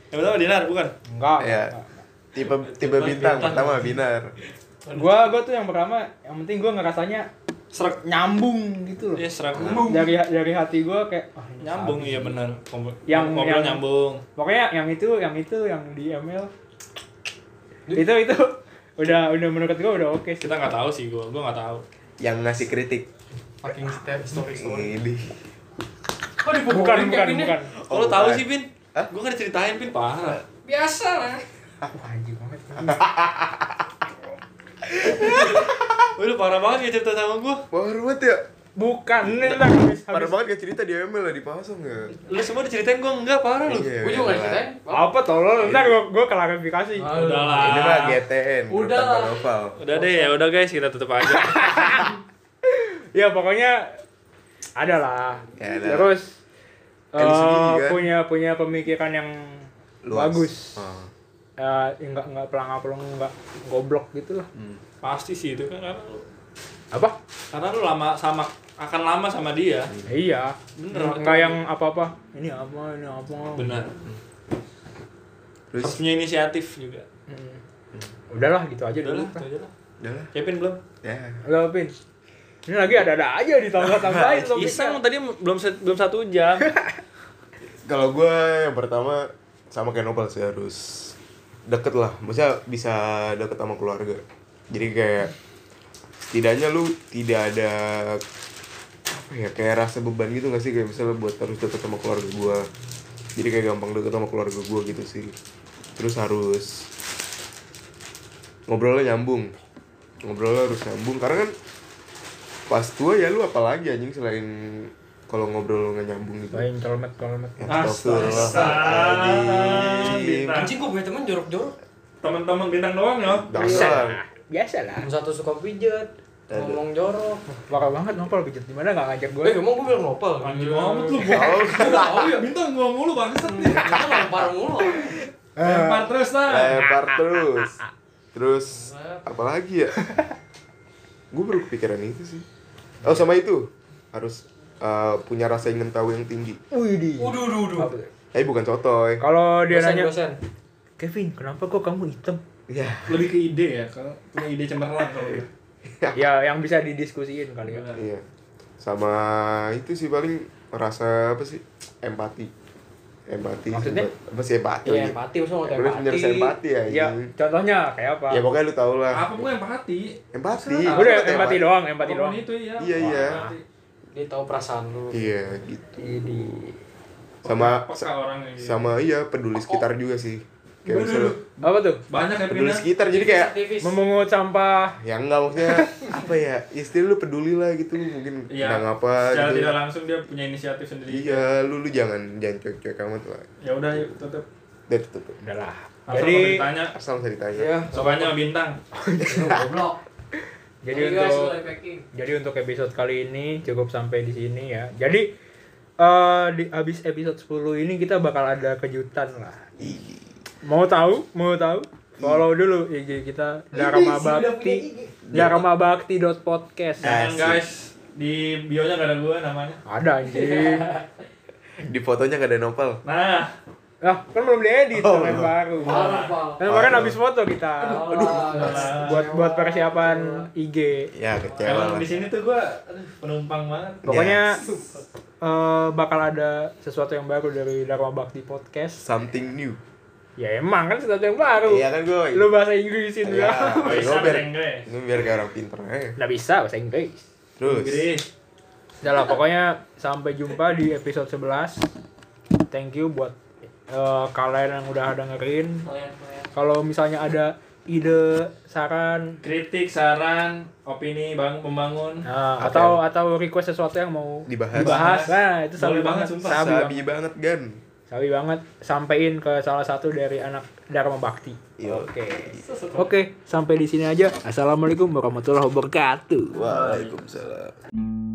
Speaker 4: Yang pertama Dinar bukan.
Speaker 1: Enggak.
Speaker 2: Ya.
Speaker 1: enggak.
Speaker 2: Tipe tipe bintang pertama binar.
Speaker 1: Gua gua tuh yang pertama yang penting gua ngerasanya
Speaker 4: Serak.
Speaker 1: nyambung gitu loh.
Speaker 4: Iya serak.
Speaker 1: Dari dari hati gua kayak wah, ini
Speaker 4: Nyambung
Speaker 1: sabi.
Speaker 4: iya benar. Kompor-
Speaker 1: Yang-
Speaker 4: Ngobrol
Speaker 1: yang-
Speaker 4: nyambung.
Speaker 1: Pokoknya yang itu, yang itu, yang di ML. itu itu udah udah menurut gua udah oke sih.
Speaker 4: Kita nggak tahu sih gua, gua nggak tahu.
Speaker 2: Yang ngasih kritik.
Speaker 5: Fucking step story story.
Speaker 2: Ini.
Speaker 5: Kok dipukulin
Speaker 1: Bukan,
Speaker 5: kayak
Speaker 1: bukan,
Speaker 5: gini?
Speaker 1: bukan.
Speaker 4: Kalau
Speaker 2: bukan.
Speaker 4: Oh, tahu sih, Pin.
Speaker 2: Hah?
Speaker 4: Gua kan diceritain, Pin, parah.
Speaker 5: Biasa lah.
Speaker 1: Wah, anjing banget.
Speaker 4: Wih, lu parah banget ya cerita sama gua.
Speaker 2: Baru banget ya.
Speaker 1: Bukan, ini lah habis
Speaker 2: Parah
Speaker 1: habis.
Speaker 2: banget gak cerita di ML lah dipasang gak?
Speaker 4: Lu semua diceritain gua enggak parah lu.
Speaker 2: Iya,
Speaker 5: Gue juga
Speaker 2: udah
Speaker 5: gak
Speaker 2: lah.
Speaker 5: ceritain.
Speaker 1: Apa tolol? Ntar gua gua klarifikasi.
Speaker 5: Ah.
Speaker 4: Udah lah.
Speaker 2: Ini mah GTN.
Speaker 5: Udah
Speaker 2: Tanpa
Speaker 5: lah.
Speaker 2: novel.
Speaker 4: Udah deh, ya udah guys, kita tutup aja.
Speaker 1: Ya pokoknya ada lah.
Speaker 2: Ya, ada.
Speaker 1: Terus
Speaker 2: Dari segi
Speaker 1: eh,
Speaker 2: juga.
Speaker 1: punya punya pemikiran yang
Speaker 2: Luas.
Speaker 1: bagus.
Speaker 2: Ah.
Speaker 1: Eh, enggak enggak pelang-pelang enggak goblok gitu lah.
Speaker 4: Pasti sih itu kan karena lu,
Speaker 1: Apa?
Speaker 4: karena lu lama sama akan lama sama dia.
Speaker 2: Hmm.
Speaker 1: Ya, iya.
Speaker 4: Bener.
Speaker 1: Enggak yang apa-apa. Ini apa? Ini apa?
Speaker 4: Benar. Harus
Speaker 2: Terus
Speaker 4: punya inisiatif juga.
Speaker 1: Hmm. Udahlah gitu aja
Speaker 4: Udah
Speaker 1: dulu.
Speaker 4: lah, itu aja lah.
Speaker 2: udah lah.
Speaker 4: Kevin belum?
Speaker 2: Ya.
Speaker 1: Lo Pin. Ini lagi ada-ada aja ditambah-tambahin
Speaker 4: Iseng
Speaker 1: topiknya.
Speaker 4: tadi belum se- belum satu jam.
Speaker 2: Kalau gue yang pertama sama kayak Nopal sih harus deket lah, maksudnya bisa deket sama keluarga. Jadi kayak setidaknya lu tidak ada apa ya kayak rasa beban gitu gak sih kayak misalnya buat harus deket sama keluarga gua jadi kayak gampang deket sama keluarga gua gitu sih terus harus ngobrolnya nyambung ngobrolnya harus nyambung karena kan pas tua ya lu apalagi anjing selain kalau ngobrol nggak nyambung gitu
Speaker 1: Baik, colmet, colmet.
Speaker 2: Astagfirullahaladzim.
Speaker 5: Anjing gue punya temen jorok-jorok.
Speaker 4: Teman-teman bintang doang ya.
Speaker 1: Biasa
Speaker 2: Dasar.
Speaker 1: lah. Biasa lah.
Speaker 5: Yang satu suka pijat.
Speaker 2: Aduh.
Speaker 5: Ngomong jorok.
Speaker 1: Parah banget nongpol pijat di mana enggak ngajak gue.
Speaker 5: Eh emang gue bilang nopal.
Speaker 4: Anjing banget lu.
Speaker 2: Tahu.
Speaker 5: Tahu ya.
Speaker 4: Bintang gua mulu bangsat nih.
Speaker 5: Kita lempar mulu.
Speaker 4: Lempar terus lah.
Speaker 2: Lempar terus. Terus apa lagi ya? Gue baru kepikiran itu sih. Oh sama itu harus eh, punya rasa ingin tahu yang tinggi.
Speaker 1: Wih di.
Speaker 5: Uduh, uduh, uduh.
Speaker 1: Apa tuh?
Speaker 2: Eh bukan sotoy.
Speaker 1: Kalau dia
Speaker 5: Dosen,
Speaker 1: nanya,
Speaker 5: dosen.
Speaker 1: Kevin, kenapa kok kamu hitam?
Speaker 2: Ya.
Speaker 4: Lebih ke ide ya, kalau punya ide cemerlang kalau gitu.
Speaker 1: ya, yang bisa didiskusiin kali ya.
Speaker 2: Iya. Sama itu sih paling rasa apa sih? Empati. Empati.
Speaker 1: Maksudnya?
Speaker 2: Apa sih empati?
Speaker 5: Iya, empati. Maksudnya
Speaker 2: Ya,
Speaker 5: ngomong
Speaker 2: Lu punya rasa
Speaker 5: empati.
Speaker 2: empati ya.
Speaker 1: Ya,
Speaker 2: anjing.
Speaker 1: contohnya kayak apa? Ah,
Speaker 2: Ya pokoknya lu tau lah.
Speaker 4: Apa bukan yang hati?
Speaker 2: Empati.
Speaker 1: Udah
Speaker 2: Lu kata
Speaker 1: empati doang, empati doang.
Speaker 4: Apapun itu ya.
Speaker 2: Iya, iya.
Speaker 5: Dia tahu perasaan lu.
Speaker 2: Iya gitu.
Speaker 1: Ini.
Speaker 2: Sama
Speaker 4: Peka orangnya gitu.
Speaker 2: sama iya peduli sekitar juga sih kayak misalnya
Speaker 1: Apa tuh?
Speaker 4: Banyak ya
Speaker 2: peduli
Speaker 4: Pina.
Speaker 2: sekitar jadi kayak
Speaker 5: Aktivis.
Speaker 1: Memungut sampah.
Speaker 2: ya enggak maksudnya apa ya istri lu peduli lah gitu lu mungkin
Speaker 4: Iya.
Speaker 2: tentang apa
Speaker 4: Secara
Speaker 2: gitu
Speaker 4: tidak langsung gitu. dia punya inisiatif sendiri.
Speaker 2: iya lu lu jangan jangan cuek-cuek amat lah
Speaker 4: Ya udah yuk tutup.
Speaker 2: dari tutup
Speaker 1: Udahlah.
Speaker 4: Asal
Speaker 1: Jadi
Speaker 4: ditanya,
Speaker 2: asal saya ditanya
Speaker 5: Iya.
Speaker 4: sukanya bintang.
Speaker 5: Lu Goblok.
Speaker 1: jadi
Speaker 5: Sorry, guys,
Speaker 1: untuk
Speaker 5: lu packing.
Speaker 1: Jadi untuk episode kali ini cukup sampai di sini ya. Jadi eh di habis episode 10 ini kita bakal ada kejutan lah. Mau tahu? Mau tahu? Follow dulu IG kita Dharma Bakti. Dharma Podcast.
Speaker 2: Nah.
Speaker 4: Dan guys, di bio-nya gak ada gue namanya.
Speaker 1: Ada anjing.
Speaker 2: di fotonya gak ada nopal
Speaker 4: Nah,
Speaker 1: Lah, kan belum diedit
Speaker 2: Oh,
Speaker 1: yang
Speaker 2: belum.
Speaker 1: baru.
Speaker 5: Parah, Pal.
Speaker 1: Kan kemarin
Speaker 2: Parah.
Speaker 1: habis foto kita
Speaker 5: Alah.
Speaker 1: buat buat persiapan
Speaker 5: Iya.
Speaker 1: IG.
Speaker 2: ya kecewa
Speaker 4: kalau
Speaker 2: lah
Speaker 4: di sini tuh gue aduh, penumpang banget.
Speaker 1: Pokoknya
Speaker 2: Yes.
Speaker 1: eh, bakal ada sesuatu yang baru dari Dharma Bakti Podcast.
Speaker 2: something new
Speaker 1: Ya emang kan sesuatu yang baru.
Speaker 2: iya kan gue
Speaker 1: Lu bahasa Inggrisin
Speaker 2: Iya,
Speaker 1: ya.
Speaker 2: gue
Speaker 4: Bisa
Speaker 2: biar,
Speaker 4: bahasa Inggris.
Speaker 2: gue biar kayak orang pinter aja.
Speaker 1: Nggak bisa bahasa Inggris.
Speaker 2: Terus,
Speaker 4: Inggris.
Speaker 1: Udah lah, pokoknya sampai jumpa di episode 11. Thank you buat eh, kalian yang udah dengerin.
Speaker 5: Kalian, kalian.
Speaker 1: Kalau misalnya ada ide saran
Speaker 4: kritik saran opini bang pembangun
Speaker 1: nah,
Speaker 2: Apa
Speaker 1: atau atau request sesuatu yang mau
Speaker 2: Dibahas.
Speaker 1: dibahas. Nah, itu sabi
Speaker 4: Boleh banget,
Speaker 1: banget,
Speaker 4: sumpah.
Speaker 1: sabi,
Speaker 2: sabi
Speaker 1: banget.
Speaker 2: banget gan
Speaker 1: Sabi banget sampein ke salah satu dari anak Dharma Bakti.
Speaker 2: Yo.
Speaker 1: Oke. Oke, sampai di sini aja. Assalamualaikum warahmatullahi wabarakatuh.
Speaker 2: waalaikumsalam